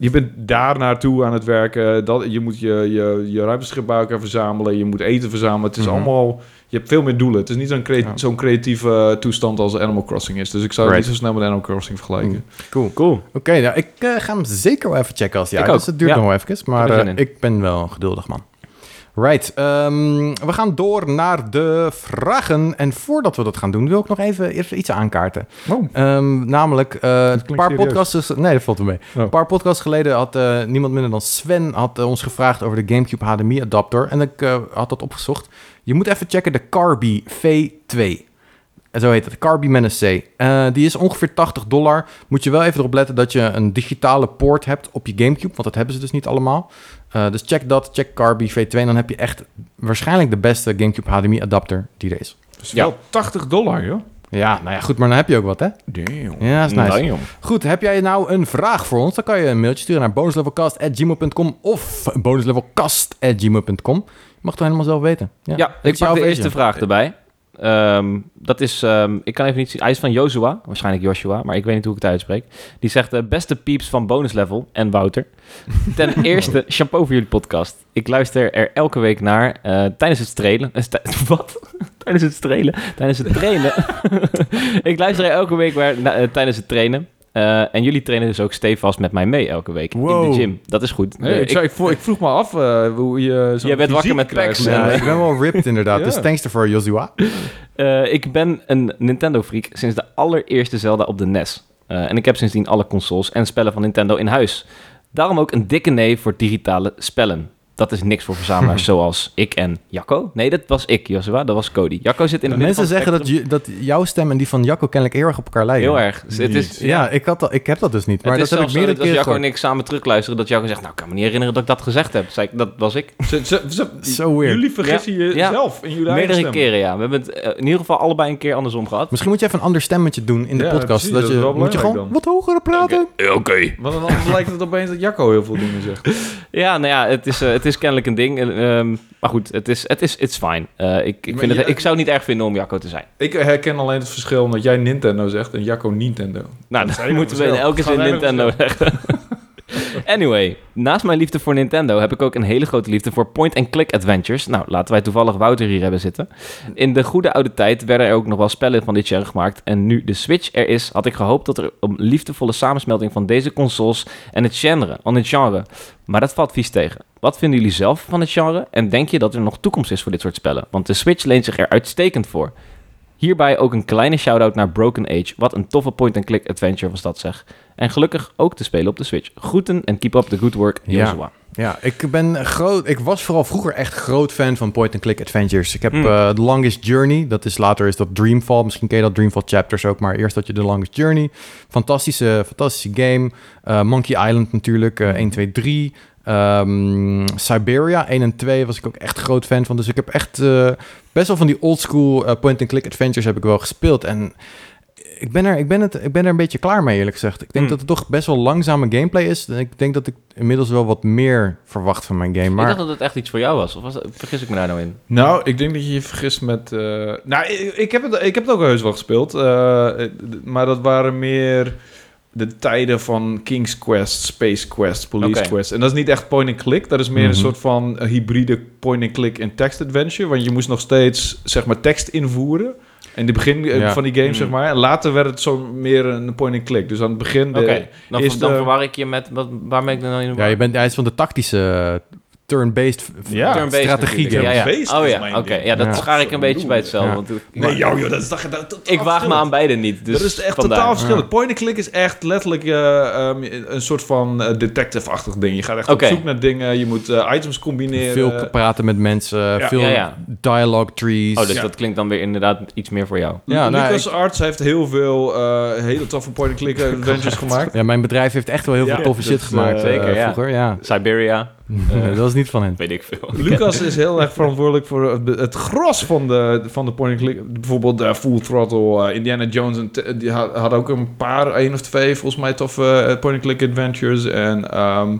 Je bent daar naartoe aan het werken. Dat, je moet je, je, je ruimteschip bij elkaar verzamelen. Je moet eten verzamelen. Het is
Mhm.
allemaal... Je hebt veel meer doelen. Het is niet zo'n crea-
Ja.
zo'n creatieve toestand als Animal Crossing is. Dus ik zou het
Right.
niet zo snel met Animal Crossing vergelijken.
Cool.
Cool.
Oké, nou, ik eh, ga hem zeker wel even checken als hij
Ik
uit
ook,
is. Het duurt
ja.
nog wel even, maar
Ik heb er zin
eh,
in.
ik ben wel een geduldig man. Right, ehm, we gaan door naar de vragen. En voordat we dat gaan doen, wil ik nog even, even iets aankaarten. Ehm, namelijk, eh, een paar
serieus.
podcasts... Nee, dat valt wel mee.
Oh.
Een paar podcasts geleden had eh, niemand minder dan Sven had, eh, ons gevraagd over de Gamecube HDMI-adapter. En ik eh, had dat opgezocht. Je moet even checken de Carby V2. En zo heet het, Carby met een C. Eh, die is ongeveer 80 dollar. Moet je wel even erop letten dat je een digitale poort hebt op je Gamecube. Want dat hebben ze dus niet allemaal. Eh, dus check dat, check Carby V2. En dan heb je echt waarschijnlijk de beste Gamecube HDMI-adapter die er is.
Dat is
Ja.
wel 80 dollar, joh.
Ja, nou ja, goed, maar dan heb je ook wat, hè?
Damn.
Ja, dat is
Nou,
nice.
Damn.
Goed, heb jij nou een vraag voor ons? Dan kan je een mailtje sturen naar bonuslevelcast.gmail.com of bonuslevelcast.gmail.com. Je mag het helemaal zelf weten. Ja,
Ja, ik pak de eerste vraag erbij. Ehm, dat is, ehm, ik kan even niet zien, hij is van Joshua, waarschijnlijk Joshua, maar ik weet niet hoe ik het uitspreek. Die zegt, eh, beste pieps van bonus level en Wouter. Ten eerste, chapeau voor jullie podcast. Ik luister er elke week naar eh, tijdens het strelen. Eh, tij- wat? tijdens het strelen? Tijdens het trainen. ik luister er elke week waar, na- eh, tijdens het trainen. Eh, en jullie trainen dus ook stevast met mij mee elke week in
Wow.
de gym. Dat is goed.
Nee,
Eh,
ik,
ik-
zei, ik, vroeg, ik vroeg me af eh, hoe je zo'n
Jij bent wakker met eh,
packs.
packs,
Ja, ik ben wel ripped inderdaad,
Ja.
dus thanks ervoor, Joshua.
Eh, ik ben een Nintendo-freak sinds de allereerste Zelda op de NES. Eh, en ik heb sindsdien alle consoles en spellen van Nintendo in huis. Daarom ook een dikke nee voor digitale spellen. Dat is niks voor verzamelaars zoals ik en Jacco. Nee, dat was ik, Joshua. Dat was Cody. Jacco zit in het midden
Mensen
van het
zeggen dat,
spectrum.
je, dat jouw stem en die van Jacco kennelijk heel erg op elkaar lijken.
Heel erg. Dus Het is,
Ja, ik, had al, ik heb dat dus niet, maar
het is
dat heb ik
zelfs zo
meerdere
dat als
keren
Jacco en
gehoord.
ik samen terugluisteren, dat Jacco zegt, nou, ik kan me niet herinneren dat ik dat gezegd heb. Zei ik, dat was ik.
Ze- ze- ze-
So weird.
Jullie vergissen
Ja.
jezelf in jullie eigen
Meerdere
stem.
keren, ja. We hebben het eh, in ieder geval allebei een keer andersom gehad.
Misschien moet je even een ander stemmetje doen in de
Ja,
podcast.
precies,
dat
dat
je,
is wel
moet je
belangrijk
gewoon
dan.
wat hoger praten.
Oké.
Want dan anders lijkt het opeens dat Jacco heel veel dingen zegt.
Ja, nou ja, het is, eh, het is kennelijk een ding. Eh, ehm, maar goed, het is, het is it's fine. Eh, ik, ik,
Maar
vind het,
je-
ik zou het niet erg vinden om Jacco te zijn.
Ik herken alleen het verschil omdat jij Nintendo zegt en Jacco Nintendo.
Nou,
Dat
dat,
zei je
moeten we
nog
in
zelf.
elke
Gaan
zin
wij nog
Nintendo leggen. anyway, naast mijn liefde voor Nintendo heb ik ook een hele grote liefde voor point-and-click adventures. Nou, laten wij toevallig Wouter hier hebben zitten. In de goede oude tijd werden er ook nog wel spellen van dit genre gemaakt. En nu de Switch er is, had ik gehoopt dat er een liefdevolle samensmelting van deze consoles en het genre, aan het genre. Maar dat valt vies tegen. Wat vinden jullie zelf van het genre? En denk je dat er nog toekomst is voor dit soort spellen? Want de Switch leent zich er uitstekend voor. Hierbij ook een kleine shout-out naar Broken Age. Wat een toffe point-and-click adventure was dat zeg. En gelukkig ook te spelen op de Switch. Groeten en keep up the good work,
Ja.
Joshua.
Ja, ik ben groot. Ik was vooral vroeger echt groot fan van point-and-click adventures. Ik heb
Hmm.
eh, The Longest Journey. Dat is later is dat Dreamfall. Misschien ken je dat Dreamfall chapters ook. Maar eerst had je The Longest Journey. Fantastische, fantastische game. Eh, Monkey Island natuurlijk.
Hmm.
eh, 1, 2, 3. Ehm, Siberia 1 en 2 was ik ook echt groot fan van. Dus ik heb echt eh, best wel van die oldschool eh, point-and-click adventures heb ik wel gespeeld. En ik ben, er, ik, ben het, ik ben er een beetje klaar mee, eerlijk gezegd. Ik denk
Hmm.
dat het toch best wel langzame gameplay is. En Ik denk dat ik inmiddels wel wat meer verwacht van mijn game.
Ik
Maar
dacht dat het echt iets voor jou was. Of was dat- vergis ik me daar nou in?
Nou, ik denk dat je je vergist met... eh, Nou, ik, ik heb het, ik heb het ook heus wel gespeeld. eh, d- maar dat waren meer de tijden van King's Quest, Space Quest, Police
Oké.
Quest. En dat is niet echt point-and-click. Dat is meer
Mhm.
een soort van eh, hybride point-and-click en text-adventure. Want je moest nog steeds, zeg maar, tekst invoeren. In het begin eh,
Ja.
van die game,
Mm.
zeg maar. En later werd het zo meer een point-and-click. Dus aan het begin... de-
Oké, dan,
is
dan
de-
verwar ik je met... Wat, waar ben ik dan nou in? de
ja,
war?
je bent, hij is van de tactische eh, turn-based v-
Ja.
v-
Turn-based
strategie
natuurlijk.
game.
Ja,
Turn-based
ja. Oh
is
ja,
mijn
oké.
ding.
Ja, dat
Ja.
schaar ik een beetje bij hetzelfde.
Ja.
Want ik-
Nee, joh, joh, dat is... Dat, dat,
ik waag me aan beide niet. Dus
dat is echt
vandaar.
totaal verschillend.
Ja.
Point-and-click is echt letterlijk eh, ehm, een soort van eh, detective-achtig ding. Je gaat echt
Oké.
op zoek naar dingen, je moet eh, items combineren.
Veel praten met mensen, veel
Ja, ja.
dialogue trees.
Oh, dus
Ja.
dat klinkt dan weer inderdaad iets meer voor jou.
Ja, nou,
Lucas Arts heeft heel veel eh, hele toffe point-and-click adventures gemaakt.
Ja, mijn bedrijf heeft echt wel heel
Ja,
veel toffe
dat,
shit gemaakt
eh,
zeker,
zeker, ja.
vroeger. Ja.
Siberia, Eh.
dat is niet van hen.
weet ik veel.
Lucas is heel erg verantwoordelijk voor het- het gros van de, van de point-and-click. Bijvoorbeeld eh, Full Throttle, eh, Indiana Jones. En t- die had, had ook een paar, één of twee volgens mij toffe eh, point-and-click adventures. En ehm,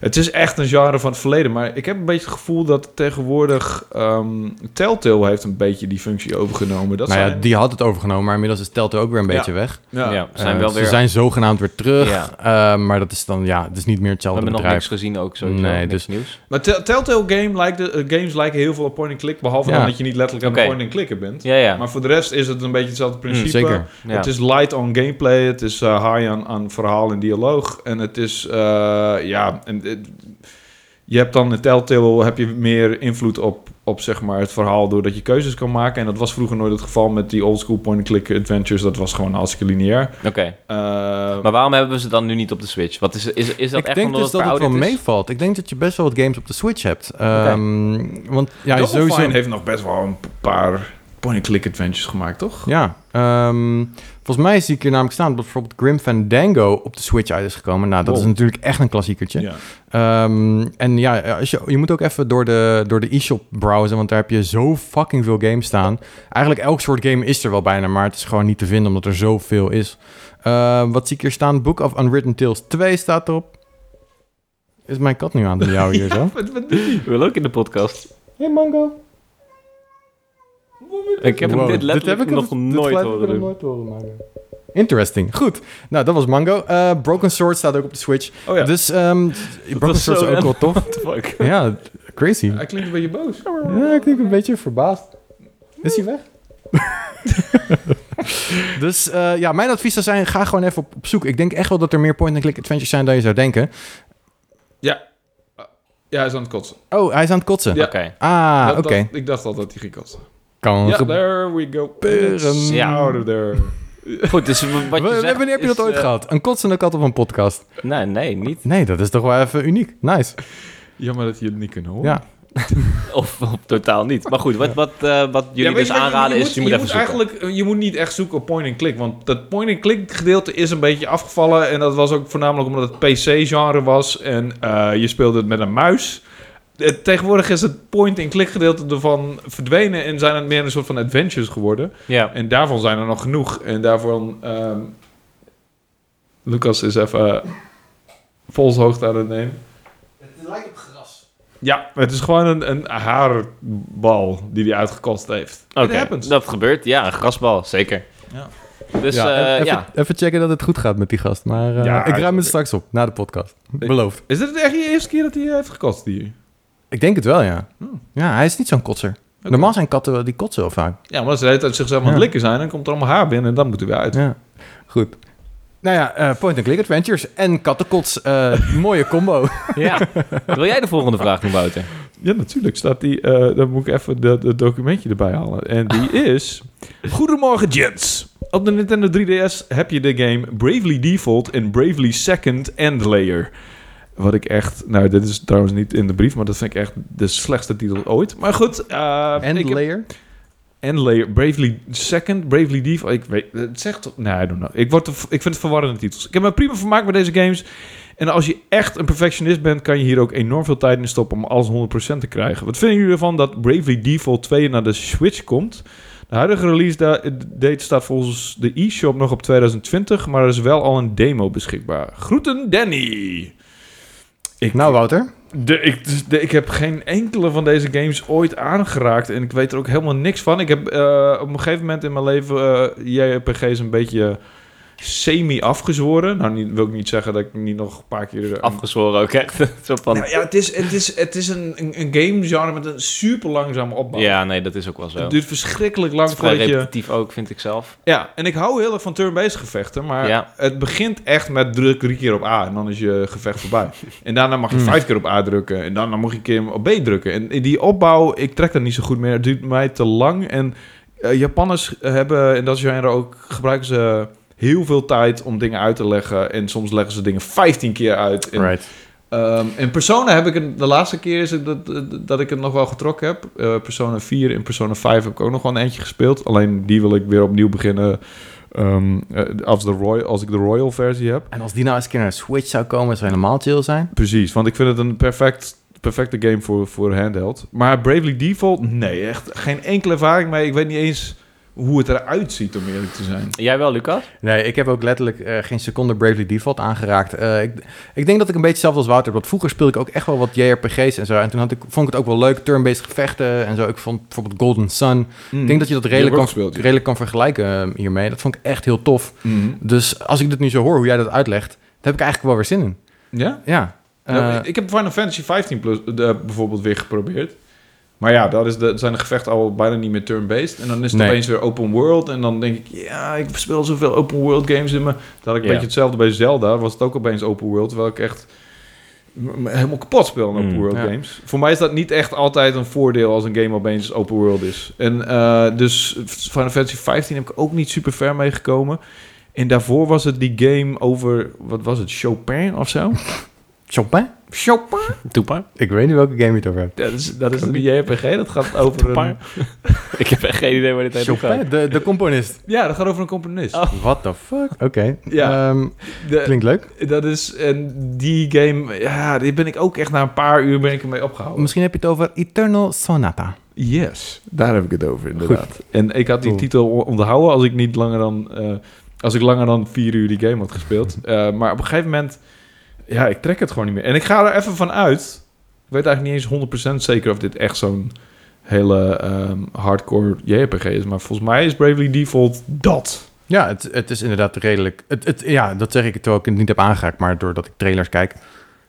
het is echt een genre van het verleden. Maar ik heb een beetje het gevoel dat tegenwoordig... ehm, Telltale heeft een beetje die functie overgenomen. Dat
nou ja,
zijn-
die had het overgenomen, maar inmiddels is Telltale ook weer een
Ja.
beetje weg.
Ja,
ja.
we zijn
Eh,
wel
ze
weer...
zijn zogenaamd weer terug,
Ja.
eh, maar dat is dan, ja, het is niet meer
we
hetzelfde
hebben nog
bedrijf.
niks gezien ook, sowieso.
Nee,
Nee, niks
dus-
nieuws.
Maar Tell- Telltale game lijkt de, eh, games lijken heel veel op point-and-click. Behalve
Ja.
dan dat je niet letterlijk aan
Oké.
het point-and-clicken bent.
Ja, ja.
Maar voor de rest is het een beetje hetzelfde principe.
Zeker.
ja.
Het is light on gameplay, het is eh, high aan aan verhaal en dialoog. En het is, eh, ja, en, het- je hebt dan in Telltale heb je meer invloed op, op zeg maar, het verhaal doordat je keuzes kan maken. En dat was vroeger nooit het geval met die old school point-and-click adventures. Dat was gewoon hartstikke lineair.
Oké.
Eh,
Maar waarom hebben we ze dan nu niet op de Switch? Wat is, is, is dat
ik
echt
denk
omdat
dus dat het wel
verouderd is?
meevalt. Ik denk dat je best wel wat games op de Switch hebt. Ehm, Want ja,
Double
sowieso...
Fine heeft nog best wel een paar point-and-click adventures gemaakt, toch?
Ja, ehm, volgens mij zie ik hier namelijk staan dat bijvoorbeeld Grim Fandango op de Switch uit is gekomen. Nou, dat
Wow.
is natuurlijk echt een klassiekertje.
Ja.
Ehm, en ja, als je, je moet ook even door de, door de e-shop browsen, want daar heb je zo fucking veel games staan. Eigenlijk elk soort game is er wel bijna, maar het is gewoon niet te vinden omdat er zoveel is. Ehm, wat zie ik hier staan? Book of Unwritten Tales 2 staat erop. Is mijn kat nu aan de jou hier zo?
Wat, wat doe je?
Ik wil ook in de podcast.
Hey Mango.
Ik heb
Wow,
hem dit letterlijk
heb ik
nog
hem- dit
nooit
geluid heb
horen
ik nog
doen.
nooit horen maken. Interesting. Goed. Nou, dat was Mango. Eh, Broken Sword staat ook op de Switch.
Oh ja,
Dus ehm, Broken
was
Sword
zo
is ook
random.
wel tof.
What the fuck?
ja, crazy.
hij klinkt een beetje boos.
Ja, ik denk een beetje verbaasd. Is hij weg? dus eh, ja, mijn advies zou zijn, ga gewoon even op, op zoek. Ik denk echt wel dat er meer point-and-click adventures zijn dan je zou denken.
Ja, hij is aan het kotsen.
Oh, hij is aan het kotsen.
Ja.
Oké.
Ah,
Dat-
oké.
dat- Ik dacht al dat hij ging kotsen.
Kan
Ja,
gebeuren.
there we go.
Peren.
Ja. Out of there.
Goed, dus w- wat je
W-
zegt
Wanneer heb je dat
is,
ooit
eh,
gehad? Een kotsende kat op een podcast?
Nee, nee, niet.
Nee, dat is toch wel even uniek. Nice.
Jammer dat je het niet kunt horen.
Ja.
Of, of totaal niet. Maar goed, wat, wat, eh, wat jullie
Ja,
dus
weet je wat,
aanraden is, je moet even zoeken.
eigenlijk, eh, Je moet niet echt zoeken op point-and-click, want dat point-and-click gedeelte is een beetje afgevallen. En dat was ook voornamelijk omdat het PC-genre was en eh, je speelde het met een muis. Eh, Tegenwoordig is het point-and-click gedeelte ervan verdwenen en zijn het meer een soort van adventures geworden.
Ja.
En daarvan zijn er nog genoeg. En daarvan... ehm, Lucas is even eh, volshoogte aan het nemen.
Het lijkt op gras.
Ja, het is gewoon een, een haarbal die hij uitgekost heeft. It
Oké,
happens.
dat gebeurt. Ja, een grasbal, zeker.
Ja.
Dus
ja,
eh,
even,
ja.
even checken dat het goed gaat met die gast. Maar eh,
Ja,
ik ruim
oké.
het straks op, na de podcast. Beloofd.
Is dit echt je eerste keer dat hij eh, heeft gekost hier?
Ik denk het wel, ja.
Hmm.
Ja, hij is niet zo'n kotser.
Oké.
Normaal zijn katten wel- die kotsen wel vaak.
Ja, maar als ze de hele tijd zichzelf aan het
Ja.
likken zijn, dan komt er allemaal haar binnen en dan moet hij weer uit.
Ja, goed. Nou ja, eh, point-and-click adventures en kattenkots. eh, mooie combo.
ja. Wil jij de volgende vraag doen, Wouter?
Ja, natuurlijk staat die. eh, dan moet ik even dat dat documentje erbij halen. En die is. Goedemorgen, Jens. Op de Nintendo 3DS heb je de game Bravely Default en Bravely Second End Layer. Wat ik echt. Nou, dit is trouwens niet in de brief, maar dat vind ik echt de slechtste titel ooit. Maar goed. eh,
En
ik heb-
layer.
En layer, Bravely Second, Bravely Deep. Ik weet, het zegt toch... Nee, I don't know. Ik, word er- ik vind het verwarrende titels. Ik heb me prima vermaakt met deze games. En als je echt een perfectionist bent, kan je hier ook enorm veel tijd in stoppen om alles 100% te krijgen. Wat vinden jullie ervan dat Bravely Default 2 naar de Switch komt? De huidige release da- date staat volgens de e-shop nog op 2020, maar er is wel al een demo beschikbaar. Groeten, Danny! Ik,
Nou, Wouter.
de, ik, dus de- ik heb geen enkele van deze games ooit aangeraakt. En ik weet er ook helemaal niks van. Ik heb eh, op een gegeven moment in mijn leven eh, JRPG's een beetje semi-afgezworen. Nou, niet, wil ik niet zeggen dat ik niet nog een paar keer... eh,
Afgezworen ook echt. Zo van...
nou ja, het is, het is, het is een, een, een gamegenre met een super langzame opbouw.
Ja, nee, dat is ook wel zo.
Het
Het
duurt verschrikkelijk lang
is vrij
voordat je...
repetitief ook, vind ik zelf.
Ja, en ik hou heel erg van turn-based gevechten, maar
Ja.
het begint echt met druk drie keer op A en dan is je gevecht voorbij. en daarna mag je
Hmm.
vijf keer op A drukken en daarna mag je een keer op B drukken. En die opbouw, ik trek dat niet zo goed meer, het duurt mij te lang. En eh, Japanners hebben in dat genre ook, gebruiken ze heel veel tijd om dingen uit te leggen en soms leggen ze dingen 15 keer uit. En
Right.
Ehm, in Persona heb ik het, de laatste keer is het dat, dat ik het nog wel getrokken heb. Eh, Persona 4 en Persona 5 heb ik ook nog wel een eentje gespeeld. Alleen die wil ik weer opnieuw beginnen ehm, eh, als, de Roy, als ik de Royal versie heb.
En als die nou eens een keer naar de Switch zou komen, zou helemaal chill zijn.
Precies, want ik vind het een perfect, perfecte game voor, voor handheld. Maar Bravely Default, nee, echt geen enkele ervaring mee. Ik weet niet eens hoe het eruit ziet, om eerlijk te zijn.
Jij wel, Lucas?
Nee, ik heb ook letterlijk eh, geen seconde Bravely Default aangeraakt. Eh, ik, ik denk dat ik een beetje hetzelfde als Wouter heb. Want vroeger speelde ik ook echt wel wat JRPG's en zo. En toen had ik, vond ik het ook wel leuk, turn-based gevechten en zo. Ik vond bijvoorbeeld Golden Sun. Hmm. Ik denk dat je dat redelijk,
ook
kan,
gespeeld, ja.
redelijk kan vergelijken eh, hiermee. Dat vond ik echt heel tof.
Mhm.
Dus als ik dit nu zo hoor, hoe jij dat uitlegt, daar heb ik eigenlijk wel weer zin in.
Ja?
Ja.
Nou,
Eh,
ik- ik heb Final Fantasy 15 plus, eh, bijvoorbeeld weer geprobeerd. Maar ja, dat is de, zijn de gevechten al bijna niet meer turn-based. En dan is het
Nee.
opeens weer open world. En dan denk ik, ja, ik speel zoveel open world games in me. Toen had ik een
Ja.
beetje hetzelfde bij Zelda. Was het ook opeens open world, terwijl ik echt m- m- helemaal kapot speel aan open
Mm,
world
ja.
games. Voor mij is dat niet echt altijd een voordeel als een game opeens open world is. En eh, dus Final Fantasy 15 heb ik ook niet super ver mee gekomen. En daarvoor was het die game over, wat was het, Chopin of zo?
Chopin?
Chopper.
Toepa.
Ik weet niet welke game je het over hebt.
Dat is, dat is een JRPG, dat gaat over een...
Ik heb echt geen idee waar dit heen gaat.
Chopin, de, de componist.
Ja, dat gaat over een componist.
Oh. Eh,
What the fuck? Oké.
Ja.
ehm,
De-
klinkt leuk.
dat is, en die game, ja, die ben ik ook echt na een paar uur ben ik ermee
oh.
opgehouden.
Misschien heb je het over Eternal Sonata.
Yes, daar heb ik het over inderdaad. En ik had die titel o- onthouden als ik niet langer dan, eh, als ik langer dan vier uur die game had gespeeld. Eh, maar op een gegeven moment, ja, ik trek het gewoon niet meer. En ik ga er even van uit. Ik weet eigenlijk niet eens 100% zeker of dit echt zo'n hele ehm, hardcore JRPG is. Maar volgens mij is Bravely Default dat.
Ja, het, het is inderdaad redelijk... Het, het, ja, dat zeg ik terwijl ik het niet heb aangeraakt, maar doordat ik trailers kijk...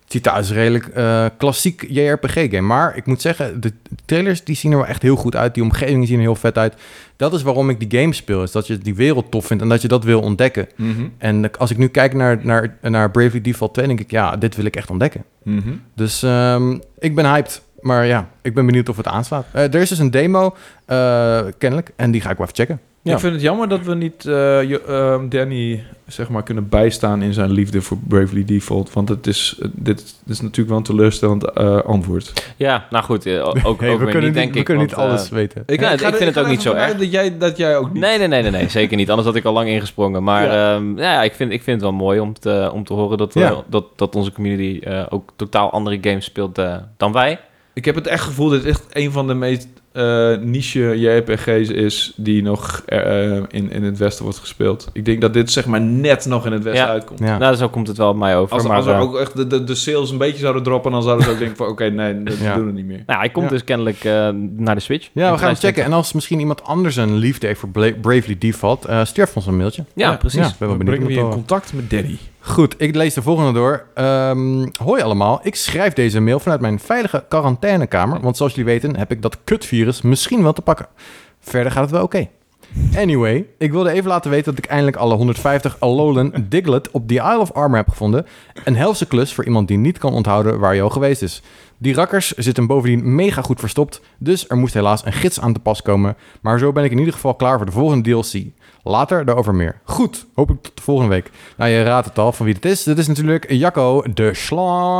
Het ziet eruit als een redelijk eh, klassiek JRPG-game. Maar ik moet zeggen, de trailers die zien er wel echt heel goed uit. Die omgevingen zien er heel vet uit. Dat is waarom ik die game speel. Is dat je die wereld tof vindt en dat je dat wil ontdekken.
Mhm.
En als ik nu kijk naar, naar, naar Bravely Default 2, denk ik... Ja, dit wil ik echt ontdekken.
Mhm.
Dus ehm, ik ben hyped. Maar ja, ik ben benieuwd of het aanslaat. Eh, er is dus een demo, eh, kennelijk. En die ga ik wel even checken. Ja.
Ik vind het jammer dat we niet eh, jo- ehm, Danny zeg maar, kunnen bijstaan in zijn liefde voor Bravely Default. Want het is, eh, dit, dit is natuurlijk wel een teleurstellend eh, antwoord.
Ja, nou goed. eh, Ook, ook
Hey, we
weer
kunnen
niet,
niet,
denk
we
ik.
kunnen niet
want, eh,
alles weten.
Ik- ik vind het ook niet zo erg.
Dat jij, dat jij ook niet.
Nee, nee, nee, nee, nee, zeker niet. Anders had ik al lang ingesprongen. Maar
Ja.
ja, ja ik, vind, ik vind het wel mooi om te, om te horen dat, eh,
Ja.
dat, dat onze community eh, ook totaal andere games speelt eh, dan wij.
Ik heb het echt gevoel dat het echt een van de meest eh, niche JRPG's is die nog eh, in, in het Westen wordt gespeeld. Ik denk dat dit zeg maar net nog in het Westen
Ja.
uitkomt.
Ja.
Nou, zo komt het wel op mij over.
Als,
maar,
als we
eh,
ook echt de, de, de sales een beetje zouden droppen, dan zouden ze ook denken van oké, nee, dat
Ja.
doen we niet meer.
nou, hij komt
Ja.
dus kennelijk eh, naar de Switch.
Ja,
In
we gaan het
2020.
checken. En als misschien iemand anders een liefde heeft voor Bla- Bravely Default, eh stuur ons een mailtje.
Ja,
Ja,
precies.
Ja, ik ben wel
Dan
benieuwd.
brengen we je
om
in
het te
contact met Danny.
horen. Goed, ik lees de volgende door. Ehm, hoi allemaal, ik schrijf deze mail vanuit mijn veilige quarantainekamer, want zoals jullie weten heb ik dat kutvirus misschien wel te pakken. Verder gaat het wel oké. Anyway, ik wilde even laten weten dat ik eindelijk alle 150 Alolan Diglett op The Isle of Armor heb gevonden. Een helse klus voor iemand die niet kan onthouden waar je al geweest is. Die rakkers zitten bovendien mega goed verstopt, dus er moest helaas een gids aan te pas komen. Maar zo ben ik in ieder geval klaar voor de volgende DLC. Later daarover meer. Goed, hoop ik tot de volgende week. Nou, je raadt het al van wie het is. Dit is natuurlijk Jacco de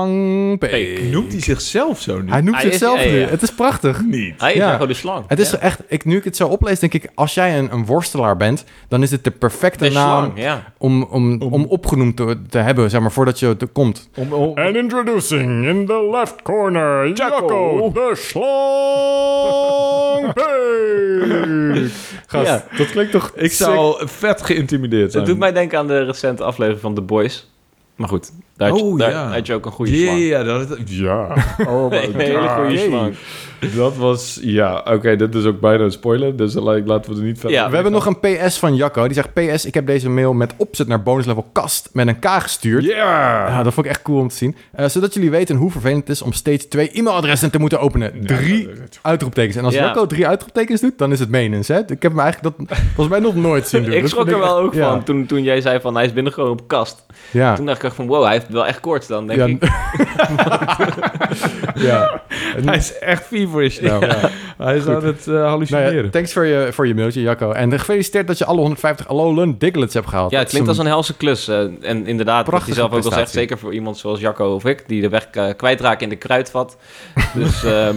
Slangpeek.
Noemt hij zichzelf zo nu?
Hij noemt
Hij is-
zichzelf
ja, ja,
nu.
ja.
Het is prachtig.
niet.
Hij is
Ja.
ja. gewoon de slang.
Het is
Ja.
echt, ik, nu ik het zo oplees, denk ik, als jij een, een worstelaar bent, dan is dit de perfecte
de
naam
slang, ja.
om, om, om opgenoemd te, te hebben, zeg maar, voordat je er komt.
Om, om,
And introducing in the left corner,
Jacco.
Jacko the Schlongbeek.
Gast,
Ja.
dat klinkt toch
ik zou vet geïntimideerd zijn.
Het doet mij denken aan de recente aflevering van The Boys. Maar goed, daar, had je-
Oh,
daar
ja.
had je ook een goede
Ja,
slang.
ja, dat,
Ja.
oh my
Een hele
God.
goede
Hey.
slang.
Dat was, ja, oké, dit is ook bijna een spoiler, dus like, laten we er niet verder
Ja.
We hebben nog een PS van Jacco. Die zegt, PS, ik heb deze mail met opzet naar bonus level kast met een K gestuurd.
Ja!
Ja, dat vond ik echt cool om te zien. Eh, zodat jullie weten hoe vervelend het is om steeds twee e-mailadressen te moeten openen. Drie uitroeptekens. En als
Ja.
Jacco drie uitroeptekens doet, dan is het menens. Hè? Ik heb hem eigenlijk dat volgens mij nog nooit zien doen.
Ik
Dat
schrok
vond
er wel
echt-
ook
ja.
van toen, toen jij zei van hij is binnengekomen op kast.
Ja.
Toen dacht ik echt van wow, hij heeft wel echt koorts dan, denk
Ja.
ik.
ja.
Hij is echt feverish nou. Hij is aan het eh, hallucineren.
Nou ja, thanks voor je, voor je mailtje, Jacco. En eh, gefeliciteerd dat je alle 150 Alolan Diglets hebt gehaald.
Ja, het
Dat is
klinkt als een helse klus. eh, en inderdaad, wat je
Prachtige
zelf ook al zegt,
prestatie.
zeker voor iemand zoals Jacco of ik, die de weg eh, kwijtraken in de kruidvat. Dus ehm,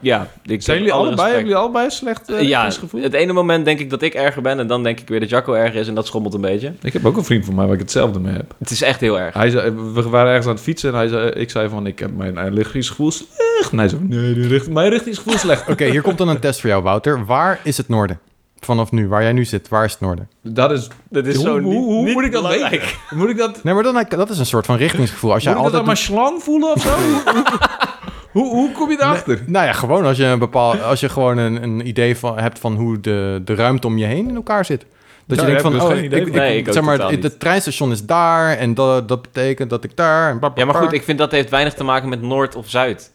ja, ik
zijn jullie
alle
allebei,
respect.
hebben jullie allebei slecht eh,
Eh, ja,
gevoel?
het ene moment denk ik dat ik erger ben en dan denk ik weer dat Jacco erger is en dat schommelt een beetje.
Ik heb ook een vriend van mij waar ik hetzelfde mee heb.
Het is echt heel erg.
Hij zei, we waren ergens aan het fietsen en hij zei, ik zei van, ik heb mijn eh, lichaamsgevoel slecht. En hij zei, nee, die richt, mijn richtingsgevoel is slecht.
Oké, hier komt dan een test voor jou, Wouter. Waar is het noorden? Vanaf nu, waar jij nu zit, waar is het noorden?
Dat is,
Dat is
hoe,
zo
hoe,
niet,
hoe
niet
moet ik dat
belangrijk.
weten? Moet ik dat,
Nee, maar dan, eh, dat is een soort van richtingsgevoel. Als
moet
jij
ik dat
altijd
aan mijn slang voelen of zo? hoe, hoe, hoe kom je daarachter?
Nou ja, gewoon als je, een bepaal, als je gewoon een, een idee van, hebt van hoe de, de ruimte om je heen in elkaar zit. Dat
Ja,
je
ik
denkt
heb
van,
dus
oh,
geen
ik,
idee
ik,
van- Nee, ik ook
zeg maar,
totaal
het,
niet.
het treinstation is daar en dat, dat betekent dat ik daar. En bla, bla,
Ja, maar
bla.
goed, ik vind dat heeft weinig te maken met Noord of Zuid.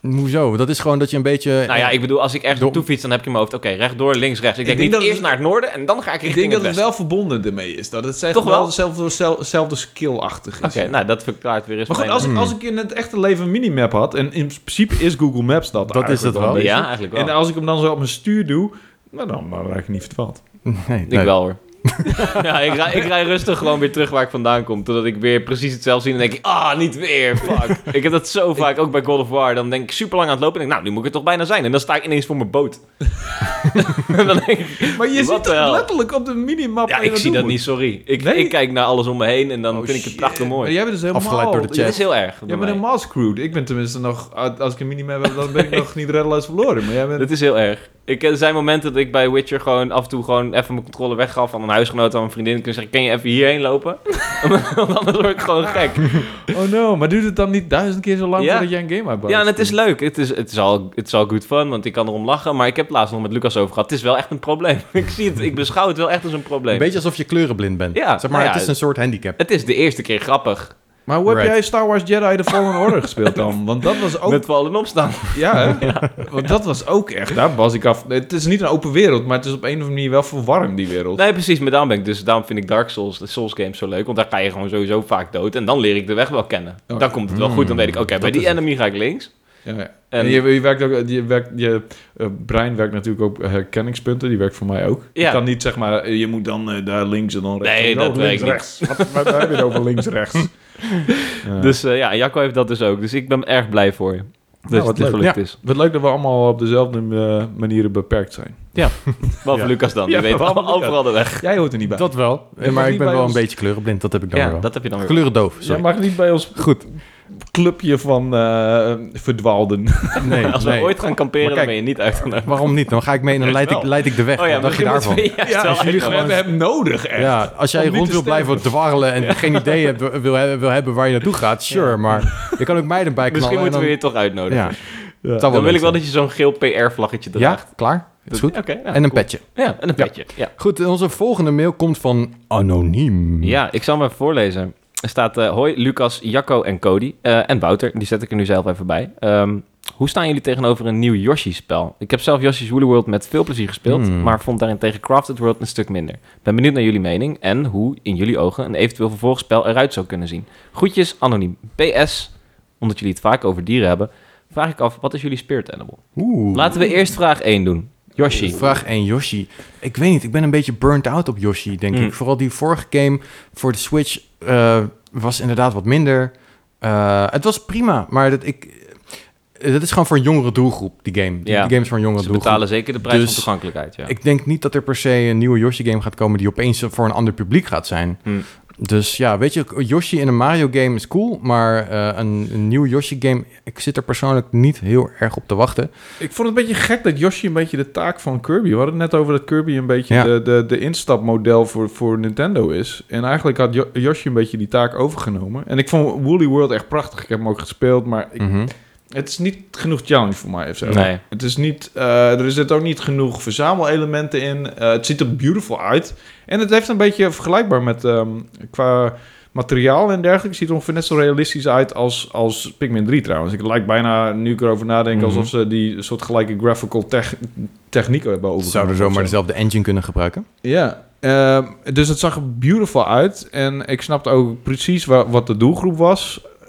Hoezo? Dat is gewoon dat je een beetje...
Nou ja, ik bedoel, als ik ergens
Door-
naartoe fiets, dan heb ik in mijn hoofd, oké, rechtdoor, links, rechts. Ik,
Ik
denk,
denk dat
niet
het-
eerst naar het noorden en dan ga ik
Ik
richting
denk dat
het
het
westen.
wel verbonden ermee is. Dat het zeg,
Toch
Toch
wel?
wel dezelfde, zel- zelfde skill-achtig is.
Oké, nou, dat verklaart weer eens
Maar goed,
mijn-
als, ik- als ik in het echte leven een minimap had... en in principe is Google Maps dat
Dat is het
eigenlijk
wel.
een beetje.
Ja, eigenlijk wel.
En als ik hem dan zo op mijn stuur doe... Nou, dan, dan raak ik niet verdwaald.
Nee,
ik
nee.
wel hoor. Ja, ik, rij, ik rij rustig gewoon weer terug waar ik vandaan kom. Totdat ik weer precies hetzelfde zie. En dan denk ik, ah, niet weer. Fuck. ik heb dat zo vaak, ook bij God of War. Dan denk ik super lang aan het lopen. En denk ik, nou, nu moet ik er toch bijna zijn. En dan sta ik ineens voor mijn boot. en dan denk ik,
Maar je
What
ziet
the hell?
het letterlijk op de minimap.
ja,
waar je
ik zie
doen
dat
moet.
niet, sorry. Ik,
Nee.
ik kijk naar alles om me heen en dan
Oh,
vind ik het
shit.
prachtig
Maar
mooi.
jij bent dus helemaal...
Afgeleid door de
Het
chat.
is heel erg. bij
Jij
mij.
bent helemaal screwed. Ik ben tenminste nog... Als ik een minimap heb, dan ben ik nog niet reddeloos verloren. Maar jij bent...
Dat is heel erg. Ik, er zijn momenten dat ik bij Witcher gewoon af en toe gewoon even mijn controle weggaf aan een huisgenoot, aan mijn vriendin. Ik kan zeggen, kan je even hierheen lopen? Want anders word ik gewoon gek.
Oh no, maar duurt het dan niet duizend keer zo lang
Ja.
voordat jij een game uitbouwt?
Ja, en het is leuk. Het is, het, is al, het is al good fun, want ik kan erom lachen. Maar ik heb het laatst nog met Lucas over gehad. Het is wel echt een probleem. Ik zie het, ik beschouw het wel echt als een
Een
probleem.
beetje alsof je kleurenblind bent.
Ja,
zeg maar,
nou ja,
het is een soort handicap.
Het is de eerste keer grappig.
Maar hoe heb
Right.
jij Star Wars Jedi The Fallen Order gespeeld dan? Want dat was
Oh.
ook...
Met vallen en opstaan.
Ja, hè? want dat was ook echt... Daar was ik af... Het is niet een open wereld, maar het is op een of andere manier wel verwarmd, die wereld.
Nee, precies. Maar daarom ben ik dus. Daarom vind ik Dark Souls, de Souls games zo leuk. Want daar ga je gewoon sowieso vaak dood. En dan leer ik de weg wel kennen.
Oh.
Dan komt het wel goed. Dan weet ik, oké, bij
dat
die
is het.
enemy ga ik links.
Ja, ja. En,
En-
je, je werkt ook, je, werkt, je eh, brein werkt natuurlijk ook eh, herkenningspunten, die werkt voor mij ook. Je
Ja.
kan niet zeg maar, eh, je moet dan eh, daar links en dan rechts.
Nee,
Oh,
dat
links,
werkt niet.
rechts. Wat, wat hebben we het over links, rechts? Ja.
Dus eh, ja, en Jacco heeft dat dus ook. Dus ik ben erg blij voor je. Dat
Nou, wat
het dus
leuk.
gelukt
Ja.
is.
Wat leuk dat we allemaal op dezelfde eh, manieren beperkt zijn.
Behalve
Ja.
Lucas dan. Die
Ja,
weet
behalve
allemaal overal de weg.
Jij hoort er niet bij.
Dat wel.
Ja, maar
Eh, maar
niet
ik ben
bij
wel
ons.
een beetje kleurenblind. Dat heb ik dan
Ja,
weer wel.
dat heb je dan weer.
Kleurendoof, sorry.
Jij mag niet bij ons
Goed.
clubje van eh, verdwaalden.
Nee,
Als we
nee.
ooit gaan kamperen,
Maar
dan
kijk-
ben je niet uitgenodigd.
Waarom niet? Dan ga ik mee en dan
Juist
leid ik,
wel. Oh
leid ik de weg. Wat dacht je
misschien
daarvan?
moeten we- juist
Ja,
wel
als jullie
uitnodigen.
gewoon hebben hem nodig, echt.
Ja, als jij
Om niet
rond
te
wil blijven dwarrelen en geen idee hebt, wil, wil, wil hebben waar je naartoe gaat, sure. Maar je kan ook mij erbij knallen.
Misschien
en
moeten we
dan-
je toch uitnodigen.
Ja,
Ja.
dat zou
Dan wil
leuk
ik wel
zijn.
dat je zo'n geel PR-vlaggetje
Ja,
draagt.
klaar. Is goed.
Oké, ja,
en een
cool.
petje.
Ja, en een
Ja.
petje. Ja.
Goed, onze volgende mail komt van Anoniem.
Ja, ik zal hem even voorlezen. Er staat, eh, hoi Lucas, Jacco en Cody eh, en Wouter. Die zet ik er nu zelf even bij. Ehm, hoe staan jullie tegenover een nieuw Yoshi-spel? Ik heb zelf Yoshi's Woolly World met veel plezier gespeeld,
Hmm.
maar vond daarentegen Crafted World een stuk minder. Ben benieuwd naar jullie mening en hoe, in jullie ogen, een eventueel vervolgspel eruit zou kunnen zien. Groetjes, anoniem. PS, omdat jullie het vaak over dieren hebben, vraag ik af, wat is jullie spirit animal?
Oeh.
Laten we eerst vraag 1 doen. Yoshi.
Vraag 1, Yoshi. Ik weet niet, ik ben een beetje burnt out op Yoshi, denk
Mm.
ik. Vooral die vorige game voor de Switch eh, was inderdaad wat minder. Eh, het was prima, maar dat, ik, eh, dat is gewoon voor een jongere doelgroep, die game. Die,
Ja.
die game is voor een jongere
Ze
doelgroep.
betalen zeker de prijs
Dus-
van toegankelijkheid, ja.
Ik denk niet dat er per se een nieuwe Yoshi-game gaat komen die opeens voor een ander publiek gaat zijn.
Hmm.
Dus ja, weet je, Yoshi in een Mario-game is cool, maar eh, een, een nieuwe Yoshi-game, ik zit er persoonlijk niet heel erg op te wachten.
Ik vond het een beetje gek dat Yoshi een beetje de taak van Kirby... We hadden het net over dat Kirby een beetje
Ja.
de, de, de instapmodel voor, voor Nintendo is. En eigenlijk had Jo- Yoshi een beetje die taak overgenomen. En ik vond Woolly World echt prachtig. Ik heb hem ook gespeeld, maar ik-
Mhm.
het is niet genoeg challenge voor mij of zo.
Nee.
Het is niet, eh, er zitten ook niet genoeg verzamelelementen in. Eh, het ziet er beautiful uit. En het heeft een beetje vergelijkbaar met ehm, qua materiaal en dergelijke. Het ziet er ongeveer net zo realistisch uit als, als Pikmin 3 trouwens. Ik lijkt bijna, nu ik erover nadenk,
Mhm.
alsof ze die soort gelijke graphical tech- techniek hebben overgenomen.
Zouden
of zo.
zomaar dezelfde engine kunnen gebruiken.
Ja, ehm, dus het zag er beautiful uit. En ik snapte ook precies wa- wat de doelgroep was. Eh,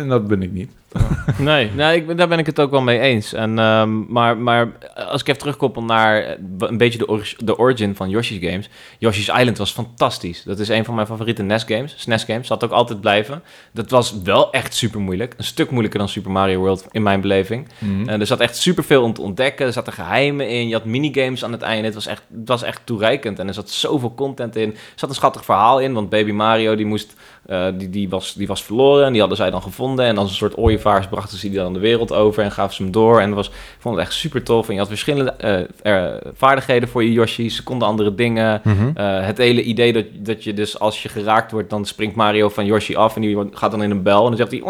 En dat ben ik niet.
Nee, nee ik, ben- daar ben ik het ook wel mee eens. En, ehm, maar, maar als ik even terugkoppel naar eh, een beetje de, ori- de origin van Yoshi's games. Yoshi's Island was fantastisch. Dat is een van mijn favoriete NES games. SNES games, zal het ook altijd blijven. Dat was wel echt super moeilijk. Een stuk moeilijker dan Super Mario World in mijn beleving. Eh, er zat echt superveel om te ontdekken. Er zaten geheimen in. Je had minigames aan het einde. Het was echt, het was echt toereikend. En er zat zoveel content in. Er zat een schattig verhaal in. Want Baby Mario die moest, eh, die, die, was, die was verloren. En die hadden zij dan gevonden. En als een soort ooievaars brachten ze die dan de wereld over. En gaven ze hem door. En het was, ik vond het echt super tof. En je had verschillende eh, eh, vaardigheden voor je Yoshi. Ze konden andere dingen.
Mhm.
Eh, het hele idee dat, dat je dus als je geraakt wordt, dan springt Mario van Yoshi af en die wordt- gaat dan in een bel en dan zegt hij...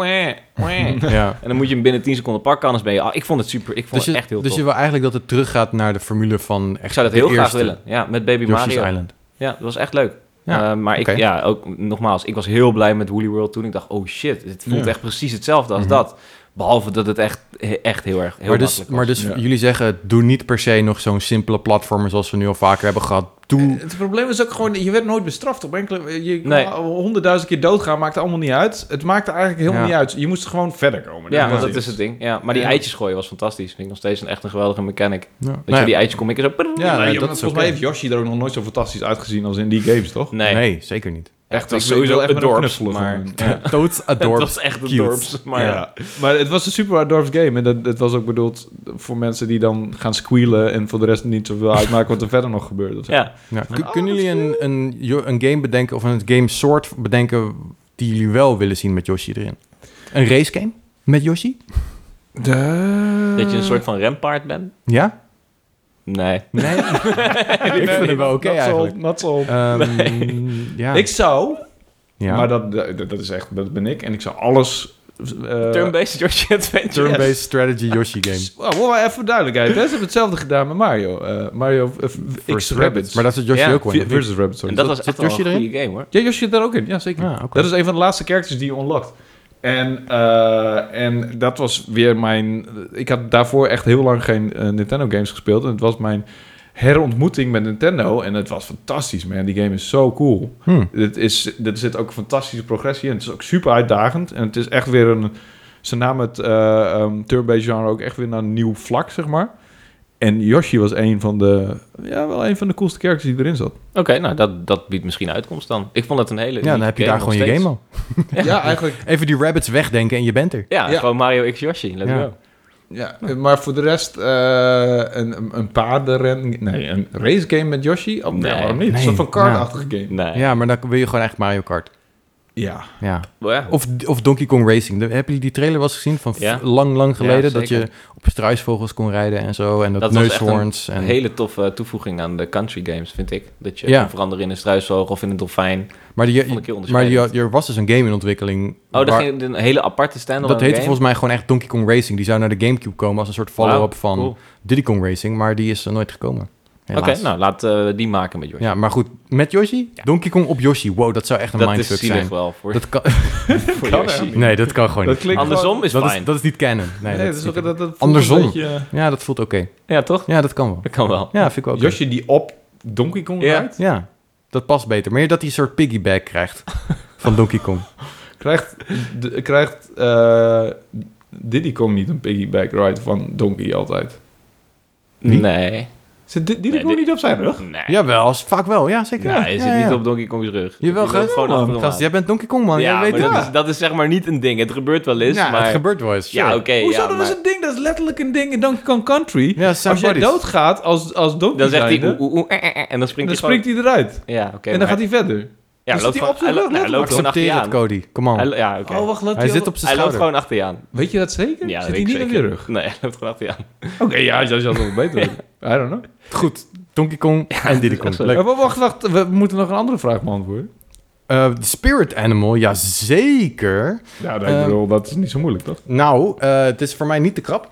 "Wah, wah."
Ja.
En dan moet je hem binnen 10 seconden pakken, anders ben je... ah, Ik vond het super, ik vond
Dus,
het
je,
echt heel
dus
tof.
je wil eigenlijk dat het teruggaat naar de formule van echt
ik zou dat
de
heel graag
eerste
willen. Ja, met Baby
Yoshi's
Mario.
Island.
Ja, dat was echt leuk.
Ja,
Eh, maar
oké.
ik, ja, ook nogmaals, ik was heel blij met Woolly World toen. Ik dacht, oh shit, het voelt
Ja.
echt precies hetzelfde als
Mhm.
dat. Behalve dat het echt, he- echt heel erg heel
maar, dus,
makkelijk was.
maar dus
Ja.
jullie zeggen, doe niet per se nog zo'n simpele platformer zoals we nu al vaker hebben gehad.
Eh,
Doe...
Het probleem is ook gewoon, je werd nooit bestraft. Op enkele, je kon
Hm. Nee.
al honderdduizend keer doodgaan, maakte allemaal niet uit. Het maakte eigenlijk helemaal
Ja.
niet uit. Je moest gewoon verder komen.
dus-
ja, want
was
dat is het ding. Ja, maar die
Ja.
eitjes gooien was fantastisch. Vind ik nog steeds een, echt een geweldige mechanic. Dat
Nou Ja.
je die eitjes kom ik zo...
Ja,
Maar
nee, dat is
je- volgens
oké.
mij heeft Yoshi er ook nog nooit zo fantastisch uitgezien als in die games, toch?
Nee,
nee, zeker niet.
Echt,
was
ik wil- ik
sowieso
wil echt
het
met hem
dorps,
knuffelen
maar-
gewoon.
Ja.
Toads
het
adorbs.
was echt een
cute.
dorps. Maar ja.
ja. maar het was een super hard dorps game. En dat, dat was ook bedoeld voor mensen die dan gaan squealen... en voor de rest niet zoveel uitmaken wat er verder nog gebeurt. of zo.
Ja.
Ja, kun- kunnen jullie een, een, jo- een game bedenken of een game soort bedenken die jullie wel willen zien met Yoshi erin? Een race game met Yoshi?
De-
Dat je een soort van rempaard bent?
Ja?
Nee.
Nee? ik vind het wel oké
Not so-
eigenlijk.
not so.
Ehm, ja.
Ik zou,
ja.
maar dat, dat, dat is echt, dat ben ik. En ik zou alles... eh,
Turn-based Yoshi Adventure.
Turn-based strategy Yoshi game.
S- Wow, wow, even voor duidelijkheid. hè. Ze hebben hetzelfde gedaan met Mario. Eh, Mario eh, v- X
Versus
Rabbits.
Maar dat zit Yoshi
Ja,
ook wel in.
V- versus Rabbits, sorry.
En dat
Zat-
was
zat
echt wel een
Yoshi
goede
erin?
game hoor.
Ja, Yoshi zit daar ook in. Ja, zeker.
Ah, oké.
Dat is een van de laatste characters die je unlockt. En, eh, en dat was weer mijn... Ik had daarvoor echt heel lang geen eh, Nintendo games gespeeld. En het was mijn herontmoeting met Nintendo. En het was fantastisch, man. Die game is zo cool.
Hmm.
Dit is, dit zit ook een fantastische progressie in. Het is ook super uitdagend. En het is echt weer een... Ze namen het eh ehm, turn-based genre ook echt weer naar een nieuw vlak, zeg maar. En Yoshi was een van de... Ja, wel een van de coolste characters die erin zat.
Oké, nou dat, dat biedt misschien uitkomst dan. Ik vond het een hele.
Ja, dan heb je daar gewoon je game al.
Ja, eigenlijk...
Even die rabbits wegdenken en je bent er.
Ja,
Ja.
gewoon Mario X Yoshi. Let's
Ja.
go.
Ja, maar voor de rest eh, een, een paardenren... Nee, een race game met Yoshi? Oh, nee,
Nee.
waarom niet?
Nee. Nou.
Een soort van kartachtige game.
Nee.
Ja, maar dan wil je gewoon echt Mario Kart.
Ja.
Ja.
Maar ja.
Of, of Donkey Kong Racing. De- Heb je die trailer wel eens gezien van f-
Ja.
lang, lang geleden?
Ja,
dat
zeker.
je op struisvogels kon rijden en zo. En dat,
Dat was echt
neushoorns. En...
Een hele toffe eh, toevoeging aan de country games, vind ik. Dat je
Ja.
kan veranderen in een struisvogel of in een dolfijn. Oh,
Maar, die,
Vond ik heel
maar die,
onderscheidend.
er was dus een game in ontwikkeling.
Oh, dat
waar-
ging een hele aparte stand
dat heette volgens mij gewoon echt Donkey Kong Racing. Die zou naar de Gamecube komen als een soort follow-up
Wauw,
van
cool.
Diddy Kong Racing. Maar die is er nooit gekomen.
Oké,
Helaas.
nou laat eh, die maken met Yoshi.
Ja, maar goed. Met Yoshi? Donkey Kong op Yoshi. Wow, dat zou echt een
dat is
mindfuck
zielig
zijn.
wel voor,
Dat kan,
voor
Kan
Yoshi.
helemaal
nee, dat kan gewoon
Dat
niet.
klinkt
Andersom is
dat,
fijn.
is, dat is niet canon. Nee,
Nee,
dat
dat
is
is
niet
ook, dat, dat voelt
Andersom.
een beetje-
canon. Ja, dat voelt oké.
Ja, toch?
Ja, dat kan wel.
Dat kan wel.
Ja, vind ik wel oké.
Yoshi die op Donkey Kong
Ja.
rijdt,
Ja, dat past beter. Meer dat hij een soort piggyback krijgt van Donkey Kong.
krijgt, de- krijgt eh, Diddy Kong niet een piggyback ride van Donkey altijd.
Wie?
Nee.
Zit Di- Diddy
Nee,
Kong
dit-
niet op zijn rug?
Nee.
Jawel, is- vaak wel. Ja, zeker.
Nee,
Ja,
hij
ja,
zit
ja.
niet op Donkey Kong's rug.
Jawel,
Die loopt
gast. Man,
achter hem
gast,
aan.
jij bent Donkey Kong, man.
ja,
jij weet
maar
het.
dat is, dat is zeg maar niet een ding. Het gebeurt wel eens,
ja,
maar...
het gebeurt wel eens.
ja,
sure.
oké.
Hoezo?
ja,
dat
maar-
is een ding, dat is letterlijk een ding in Donkey Kong Country.
Ja, zijn
als jij
buddies.
doodgaat als, als Donkey
Dan zegt hij
zijnde,
oeh, oeh, oeh, eh, eh, eh, en dan springt
dan
hij
springt hij eruit.
gewoon... Ja, oké.
en
maar
dan gaat hij verder.
Ja,
dan
loopt
zit hij
gewoon-
op zijn
hij loopt-
rug,
hij
letterlijk.
loopt gewoon achter je
Accepteer het,
aan.
Cody. Come on.
Hij
Hij,
lo- Ja, oké.
Oh, wacht, loopt hij,
zit
al-
op
Hij
zijn
loopt
schouder.
gewoon achter je aan.
Weet je dat zeker?
Ja, dat
Zit
weet
hij
ik
niet op je
zeker.
rug?
Nee, hij loopt gewoon achter je aan.
Oké, ja, jij zal het wel beter weten. I don't know.
Goed, Donkey Kong en Diddy Kong.
echt zo.
Leuk.
Maar wacht, wacht. We moeten nog een andere vraag beantwoorden.
Eh, de Spirit Animal, ja zeker.
Ja, dat,
ik
ik
bedoel,
dat is niet zo moeilijk, toch?
Nou, eh, het is voor mij niet te krap.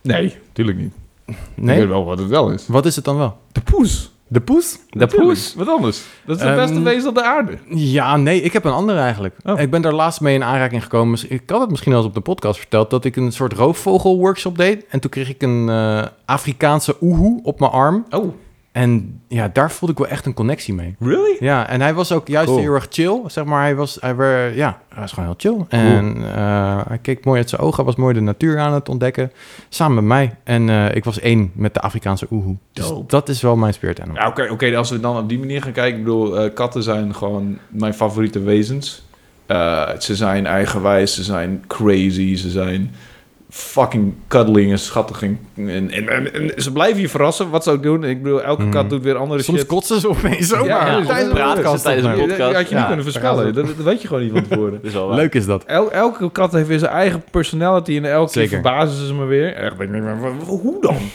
Nee, tuurlijk niet. Ik weet
Nee?
wel wat het wel is.
Wat is het dan wel?
De poes.
De poes?
De poes.
Wat anders? Dat is het
Ehm,
beste wezen op de aarde.
Ja, nee, ik heb een andere eigenlijk.
Oh.
Ik ben daar laatst mee in aanraking gekomen. Dus Ik had het misschien al eens op de podcast verteld... dat ik een soort roofvogel-workshop deed. En toen kreeg ik een eh, Afrikaanse oehoe op mijn arm.
Oh,
En ja, daar voelde ik wel echt een connectie mee.
really?
Ja, en hij was ook juist
Cool.
heel erg chill. Zeg maar, hij was, hij werd, ja, hij was gewoon heel chill. En eh, hij keek mooi uit zijn ogen. Hij was mooi de natuur aan het ontdekken. Samen met mij. En eh, ik was één met de Afrikaanse oehoe. Dus
Dope.
dat is wel mijn spirit animal.
Ja, oké, oké, als we dan op die manier gaan kijken. Ik bedoel, eh, katten zijn gewoon mijn favoriete wezens. Eh, ze zijn eigenwijs, ze zijn crazy, ze zijn fucking cuddling en schattig. En, en, en, en ze blijven je verrassen, wat ze ook doen. Ik bedoel, elke
Mhm.
kat doet weer andere
Soms
shit.
kotsen ze opeens ook.
Ja,
maar
ja,
tijdens
praten ze
een podcast
tijdens een
opnemen.
Ja, dat had je niet
Ja,
kunnen voorspellen. Dat, dat weet je gewoon niet van tevoren.
Dat is wel waar.
Leuk is dat.
El- elke kat heeft weer zijn eigen personality en elke keer
Zeker.
verbazen ze me weer. Echt, ik denk, maar hoe dan?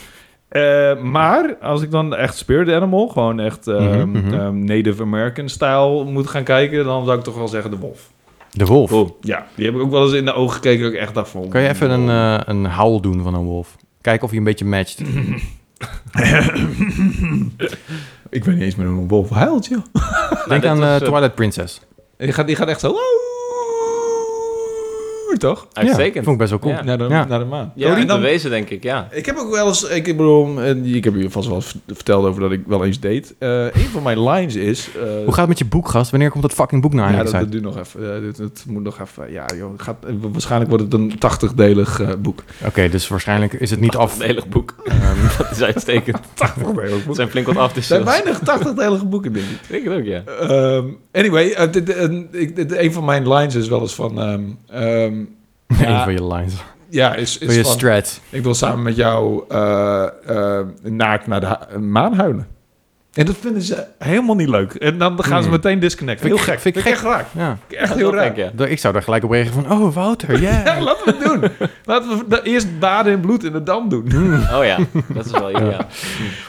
Eh, maar als ik dan echt Spirit Animal, gewoon echt ehm,
Mhm, mhm.
ehm, Native American style moet gaan kijken, dan zou ik toch wel zeggen de wolf. Oh,
De wolf.
Ja, die heb ik ook wel eens in de ogen gekeken. dat Ik echt dacht van.
Kan je even een, eh, een howl doen van een wolf? Kijken of je een beetje matcht.
Ik weet niet eens meer hoe een wolf huilt, joh.
Denk
dat
aan
was,
eh,
eh,
Twilight Princess.
Die gaat, die gaat echt zo. super, toch?
Ja,
Uitstekend.
vond ik best wel cool.
Ja.
Naar de,
Ja.
naar de maan.
Ja,
Oh, die-
bewezen denk ik, ja.
Ik heb ook wel eens, ik bedoel, eh, ik heb je vast wel eens verteld over dat ik wel eens deed. Eh, een van mijn lines is. eh,
Hoe gaat het met je nou boek, gast? Wanneer komt dat fucking boek naar
ja,
Heineken
dat, dat
uit?
duurt nog even. eh, dit, het moet nog even. Ja, joh, het gaat, eh, waarschijnlijk wordt het een 80-delig eh, boek.
Oké, dus waarschijnlijk is het niet af.
Afdelig boek. dat is uitstekend.
80-delig
Er
boek. Er
zijn flink wat af te
zijn weinig 80-delige boeken, denk ik.
Ik denk het ook, ja.
Ehm, anyway, eh, dit- een- ik- dit- een van mijn lines is wel eens van. ehm, ehm,
Een
ja,
van je lines.
ja, is,
Van je
is van.
strat.
Ik wil samen met jou eh, eh, naakt naar de hu- maan huilen. En dat vinden ze helemaal niet leuk. En dan gaan ze
Hmm.
meteen disconnecten.
Vind
Heel
ik
gek.
gek, vind ik
Vind ik echt raar.
Ja.
Echt heel raar.
Ja.
Ik zou daar gelijk op reageren van, oh Wouter, yeah.
Ja, laten we het doen. Laten we da- eerst baden in bloed in de dam doen.
Oh ja, dat is wel... Ja.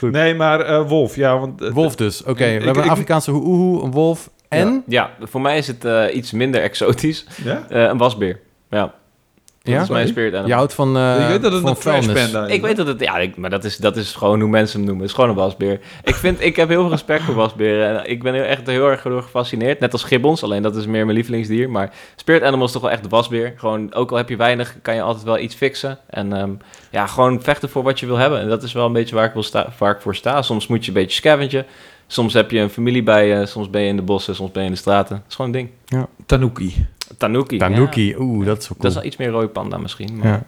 Nee, maar eh, Wolf, ja, want... eh,
Wolf dus, oké.
Ik-
we hebben
ik-
een Afrikaanse hoehoe, een wolf en...
ja, voor mij is het eh, iets minder exotisch.
Ja?
Eh, een wasbeer. Ja,
Ja?
dat is mijn spirit animal.
Je houdt van eh
ik weet dat het
van
een trash
vuilnis.
panda is.
Ik weet dat het, ja, ik- maar dat is, dat is gewoon hoe mensen hem noemen. Het is gewoon een wasbeer. Ik vind, ik heb heel veel respect voor wasberen. En ik ben heel, echt heel erg door gefascineerd. Net als gibbons, alleen dat is meer mijn lievelingsdier. Maar spirit animal is toch wel echt de wasbeer. Gewoon, ook al heb je weinig, kan je altijd wel iets fixen. En ehm, ja, gewoon vechten voor wat je wil hebben. En dat is wel een beetje waar ik, wil sta, waar ik voor sta. Soms moet je een beetje scavengen. Soms heb je een familie bij je. Soms ben je in de bossen, soms ben je in de straten. Het is gewoon een ding.
Tanuki.
Tanuki. ja.
Tanuki, oeh, dat is wel
Dat
cool.
is wel iets meer rode panda misschien. Maar... Ja.
ja.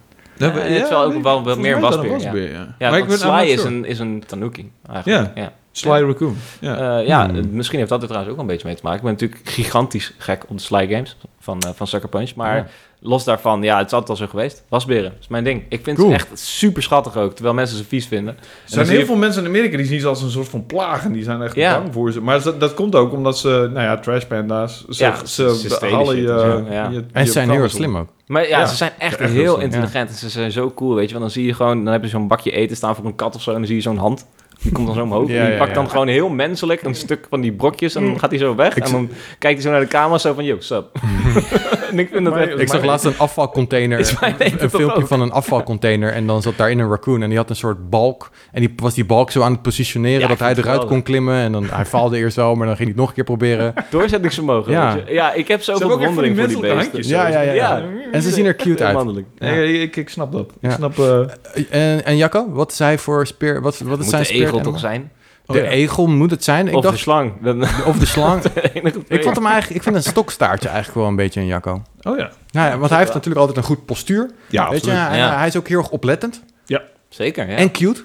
Ja,
het is wel ook
nee,
wel- wel
volgens
meer
mij is dat
wasbeer, ja.
ja.
Ja,
Maar
want
ik ben- I'm
Sly
not
is
sure.
een, is een tanuki eigenlijk.
Ja.
Ja.
Sly Raccoon. Ja.
Ja, ja
Hmm.
eh, misschien heeft dat er trouwens ook wel een beetje mee te maken. Ik ben natuurlijk gigantisch gek op de Sly Games van, eh, van Sucker Punch. Maar
Ja.
los daarvan, ja, het is altijd al zo geweest. Wasberen is mijn ding. Ik vind
Cool.
ze echt super schattig ook, terwijl mensen ze vies vinden.
er
dan
zijn
zie
heel
je-
veel mensen in Amerika die zien ze als een soort van plagen. Die zijn echt
Ja.
bang voor ze. Maar dat, dat komt ook omdat ze, nou ja, trash panda's. Ze,
Ja,
ze,
ze stelen
halen
shit
je,
en zo, ja.
je-
En
je
ze zijn heel erg
vuilnis op.
slim ook.
Maar ja,
Ja,
ze zijn echt,
echt heel
heel
slim, ja.
intelligent en ze zijn zo cool, weet je. Want dan zie je gewoon, dan heb je zo'n bakje eten staan voor een kat of zo en dan zie je zo'n hand. Die komt dan zo omhoog
Ja,
en die
ja,
pakt dan
ja.
gewoon heel menselijk een stuk van die brokjes
Mm.
en dan gaat hij zo weg. en dan kijkt hij zo naar de camera zo van, yo, sup. en ik vind dat echt...
Ik zag laatst een afvalcontainer,
Is mijn eten
een
toch
filmpje
ook?
van een afvalcontainer en dan zat daarin een raccoon en die had een soort balk en die was die balk zo aan het positioneren
Ja,
dat
ik
hij
vind het
eruit kon
geweldig.
klimmen en dan hij faalde eerst wel, maar dan ging hij het nog een keer proberen.
Doorzettingsvermogen,
Ja.
ja. Ja, ik heb
Ze
zoveel
hebben ook echt van die
bewondering voor die
menselijke
beesten.
handjes.
Ja, ja, ja, ja. En ze zien er cute uit.
Mannelijk.
Ja.
Nee, ik, ik snap dat.
Ja.
Ik snap... eh,
En, en Jacco, wat is hij voor speer? Wat, wat is
Moet
zijn
de egel
speer?
toch zijn?
Oh,
De
ja.
egel moet het zijn. Ik
of
dacht
de slang. Dan,
Of de slang. ik
ik
vond hem eigenlijk, ik vind een stokstaartje eigenlijk wel een beetje een Jacco.
Oh ja.
Nou ja, want hij heeft natuurlijk altijd een goed postuur.
Ja,
Weet je,
absoluut.
hij,
Ja.
hij is ook heel erg oplettend
Zeker, ja.
en cute.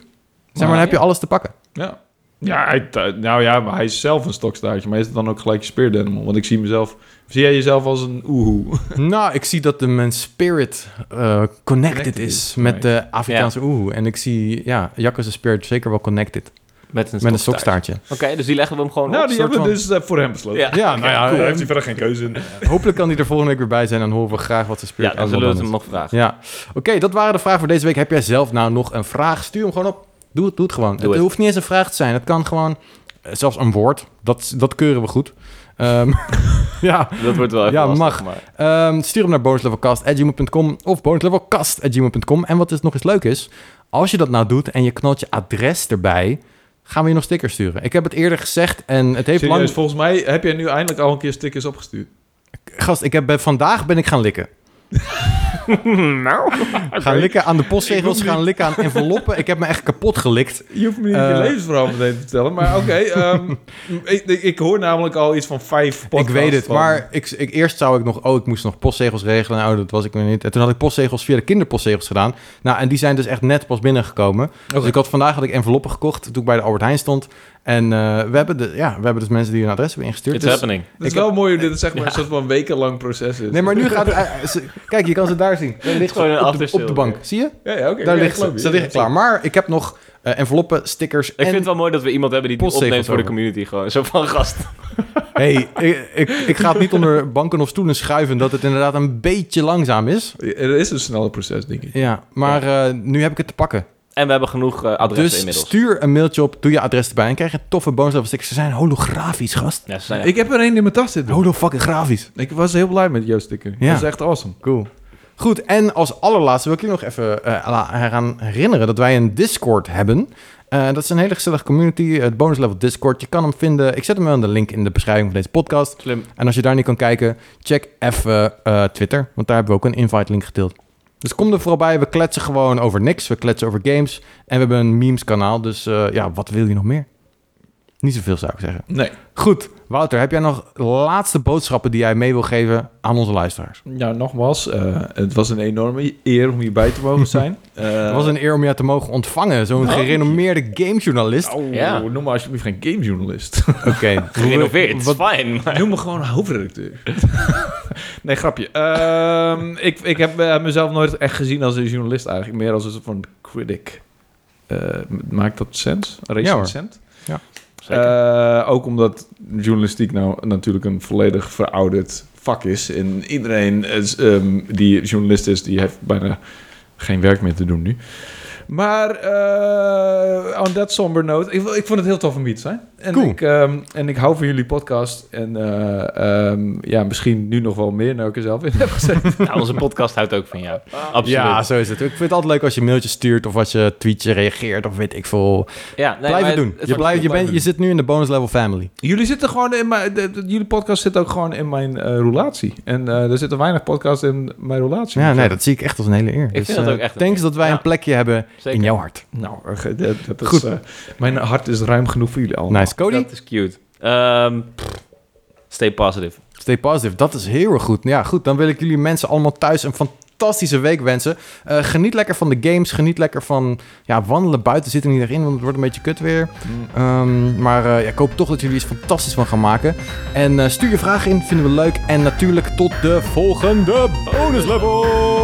Zeg maar, dan
Ja.
heb je alles te pakken.
Ja. Ja, hij, eh, nou ja, maar hij is zelf een stokstaartje. Maar is het dan ook gelijk je spirit animal? Want ik zie mezelf... Zie jij jezelf als een oehoe?
Nou, ik zie dat de, mijn spirit eh, connected,
Connected
is
is,
met
right.
de Afrikaanse oehoe. En ik zie, ja, Jacco zijn spirit zeker wel connected.
Met een
Met een
stokstaart.
stokstaartje.
Oké, dus die leggen we hem gewoon
nou,
op.
die
soort
hebben we
van-
dus eh, voor hem besloten.
Ja.
Ja, nou ja,
Cool, daar
eh,
heeft hij verder geen keuze in.
hopelijk kan hij er volgende week weer bij zijn. En horen we graag wat zijn spirit
Ja, dan zullen we het hem
animal
nog vragen.
dan is. Ja, oké, dat waren de vragen voor deze week. Heb jij zelf nou nog een vraag? Stuur hem gewoon op. Doe het, doe het gewoon. het,
het.
hoeft niet eens een vraag te zijn. Het kan gewoon, eh, zelfs een woord. Dat, dat keuren we goed. Ehm, ja,
Dat wordt wel even
Ja, mag.
lastig, Maar.
Ehm, stuur hem naar bonuslevelcast.gmail.com of bonuslevelcast.gmail.com. En wat dus nog eens leuk is, als je dat nou doet en je knalt je adres erbij, gaan we je nog stickers sturen. Ik heb het eerder gezegd en het heeft
Serieus,
lang...
volgens mij heb jij nu eindelijk al een keer stickers opgestuurd.
Gast, ik heb, bij- vandaag ben ik gaan likken.
nou.
Gaan likken aan de postzegels,
Ik doe
gaan likken aan enveloppen. Ik heb me echt kapot gelikt.
Je hoeft me niet
Eh.
je levensverhaal meteen te vertellen. Maar oké, ehm, ik, ik, ik hoor namelijk al iets van vijf podcasts.
ik weet het,
van-
maar ik, ik, eerst zou ik nog... Oh, ik moest nog postzegels regelen. Nou, dat was ik nog niet. En toen had ik postzegels via de kinderpostzegels gedaan. Nou, en die zijn dus echt net pas binnengekomen. Dus ik had, vandaag had ik enveloppen gekocht toen ik bij de Albert Heijn stond. En eh, we, hebben de, ja, we hebben dus mensen die hun adres hebben ingestuurd.
It's
Dus-
happening.
Het is
Ik
wel mooi hoe dit zeg maar, een soort van wekenlang proces is.
nee, maar nu gaat het... eh, ze- kijk, je kan ze daar zien. Daar ligt
Gewoon een
ze op de,
aftersale,
op de bank.
ja.
Zie je?
ja, ja, oké.
Daar
Ja, ik
ligt
geloof
ze.
je.
Ze liggen klaar. Maar ik heb nog eh, enveloppen, stickers
Ik
en...
vind het wel mooi dat we iemand hebben die het
postzegels
opneemt voor de
over.
community. Gewoon zo van gast.
hey, ik, ik, ik ga het niet onder banken of stoelen schuiven... dat het inderdaad een beetje langzaam is.
Er is een sneller proces, denk ik.
Ja, maar eh, nu heb ik het te pakken.
En we hebben genoeg eh, adressen
dus
inmiddels.
stuur een mailtje op, doe je adres erbij... en krijg je toffe bonuslevel stickers. Ze zijn holografisch, gast.
Ja, ze zijn echt-
Ik heb er één in mijn tas zitten.
Holofucking grafisch.
Ik was heel blij met jouw sticker.
Ja.
Dat is echt awesome.
Cool. Goed, en als allerlaatste wil ik je nog even eh, la- eraan herinneren dat wij een Discord hebben. Eh, dat is een hele gezellige community, het bonus level Discord. Je kan hem vinden. Ik zet hem wel in de link in de beschrijving van deze podcast.
Slim.
En als je daar niet kan kijken, check even eh, Twitter, want daar hebben we ook een invite link gedeeld. Dus kom er vooral bij. We kletsen gewoon over niks. We kletsen over games. En we hebben een memes kanaal. Dus eh, ja, wat wil je nog meer? Niet zoveel zou ik zeggen.
Nee.
Goed, Wouter, heb jij nog laatste boodschappen die jij mee wil geven aan onze luisteraars?
Nou, nogmaals, eh, het was een enorme eer om hierbij te mogen zijn. Eh,
Het was een eer om jou te mogen ontvangen. Zo'n gerenommeerde gamejournalist.
Ja.
nou, Noem me alsjeblieft geen gamejournalist.
Oké.
Gerenoveerd,
Wat-
fijn.
Noem me gewoon hoofdredacteur. nee, grapje. Ehm, ik, ik heb eh, mezelf nooit echt gezien als een journalist eigenlijk. Meer als een soort van critic. Eh, maakt dat sens?
Ja,
Recent
hoor.
cent?
Ja,
Eh, ook omdat journalistiek nou natuurlijk een volledig verouderd vak is. En iedereen is, ehm, die journalist is, die heeft bijna geen werk meer te doen nu. Maar eh on that somber note, ik, ik vond het heel tof om hier te zijn. En,
Cool.
ik, ehm, en ik hou van jullie podcast. En eh, ehm, ja, misschien nu nog wel meer, nou ik er zelf in heb gezet.
Nou, onze podcast houdt ook van jou. Absoluut.
Ja,
Ja,
zo is het. Ik vind het altijd leuk als je mailtjes stuurt of als je tweetje reageert of weet ik veel.
nee,
blijf
maar
het doen.
het- het
je,
wordt-
blijft, je, bent, je zit nu in de bonus level family.
jullie zitten gewoon in mijn, de- de- jullie podcast zit ook gewoon in mijn eh, relatie. En eh, er zitten weinig podcasts in mijn Dus, eh, relatie.
Ja, nee, dat zie ik echt als een hele eer. Dus, eh, Ik
vind dat ook echt een
Thanks
eer.
dat wij
Ja.
een plekje hebben
Zeker.
in jouw hart.
Nou, eh, ge- dat, dat is,
Goed. Nou,
eh, mijn hart is ruim genoeg voor jullie allemaal.
Nice. Cody,
Dat is cute. Ehm, pff, stay positive.
stay positive. Dat is heel erg goed. Nou Ja, goed. Dan wil ik jullie mensen allemaal thuis een fantastische week wensen. Eh, geniet lekker van de games. Geniet lekker van ja, wandelen buiten. Zit er niet erg in, want het wordt een beetje kut weer.
Mm.
Ehm, maar eh, ja, ik hoop toch dat jullie iets fantastisch van gaan maken. En eh, stuur je vragen in. Vinden we leuk. En natuurlijk tot de volgende bonus level.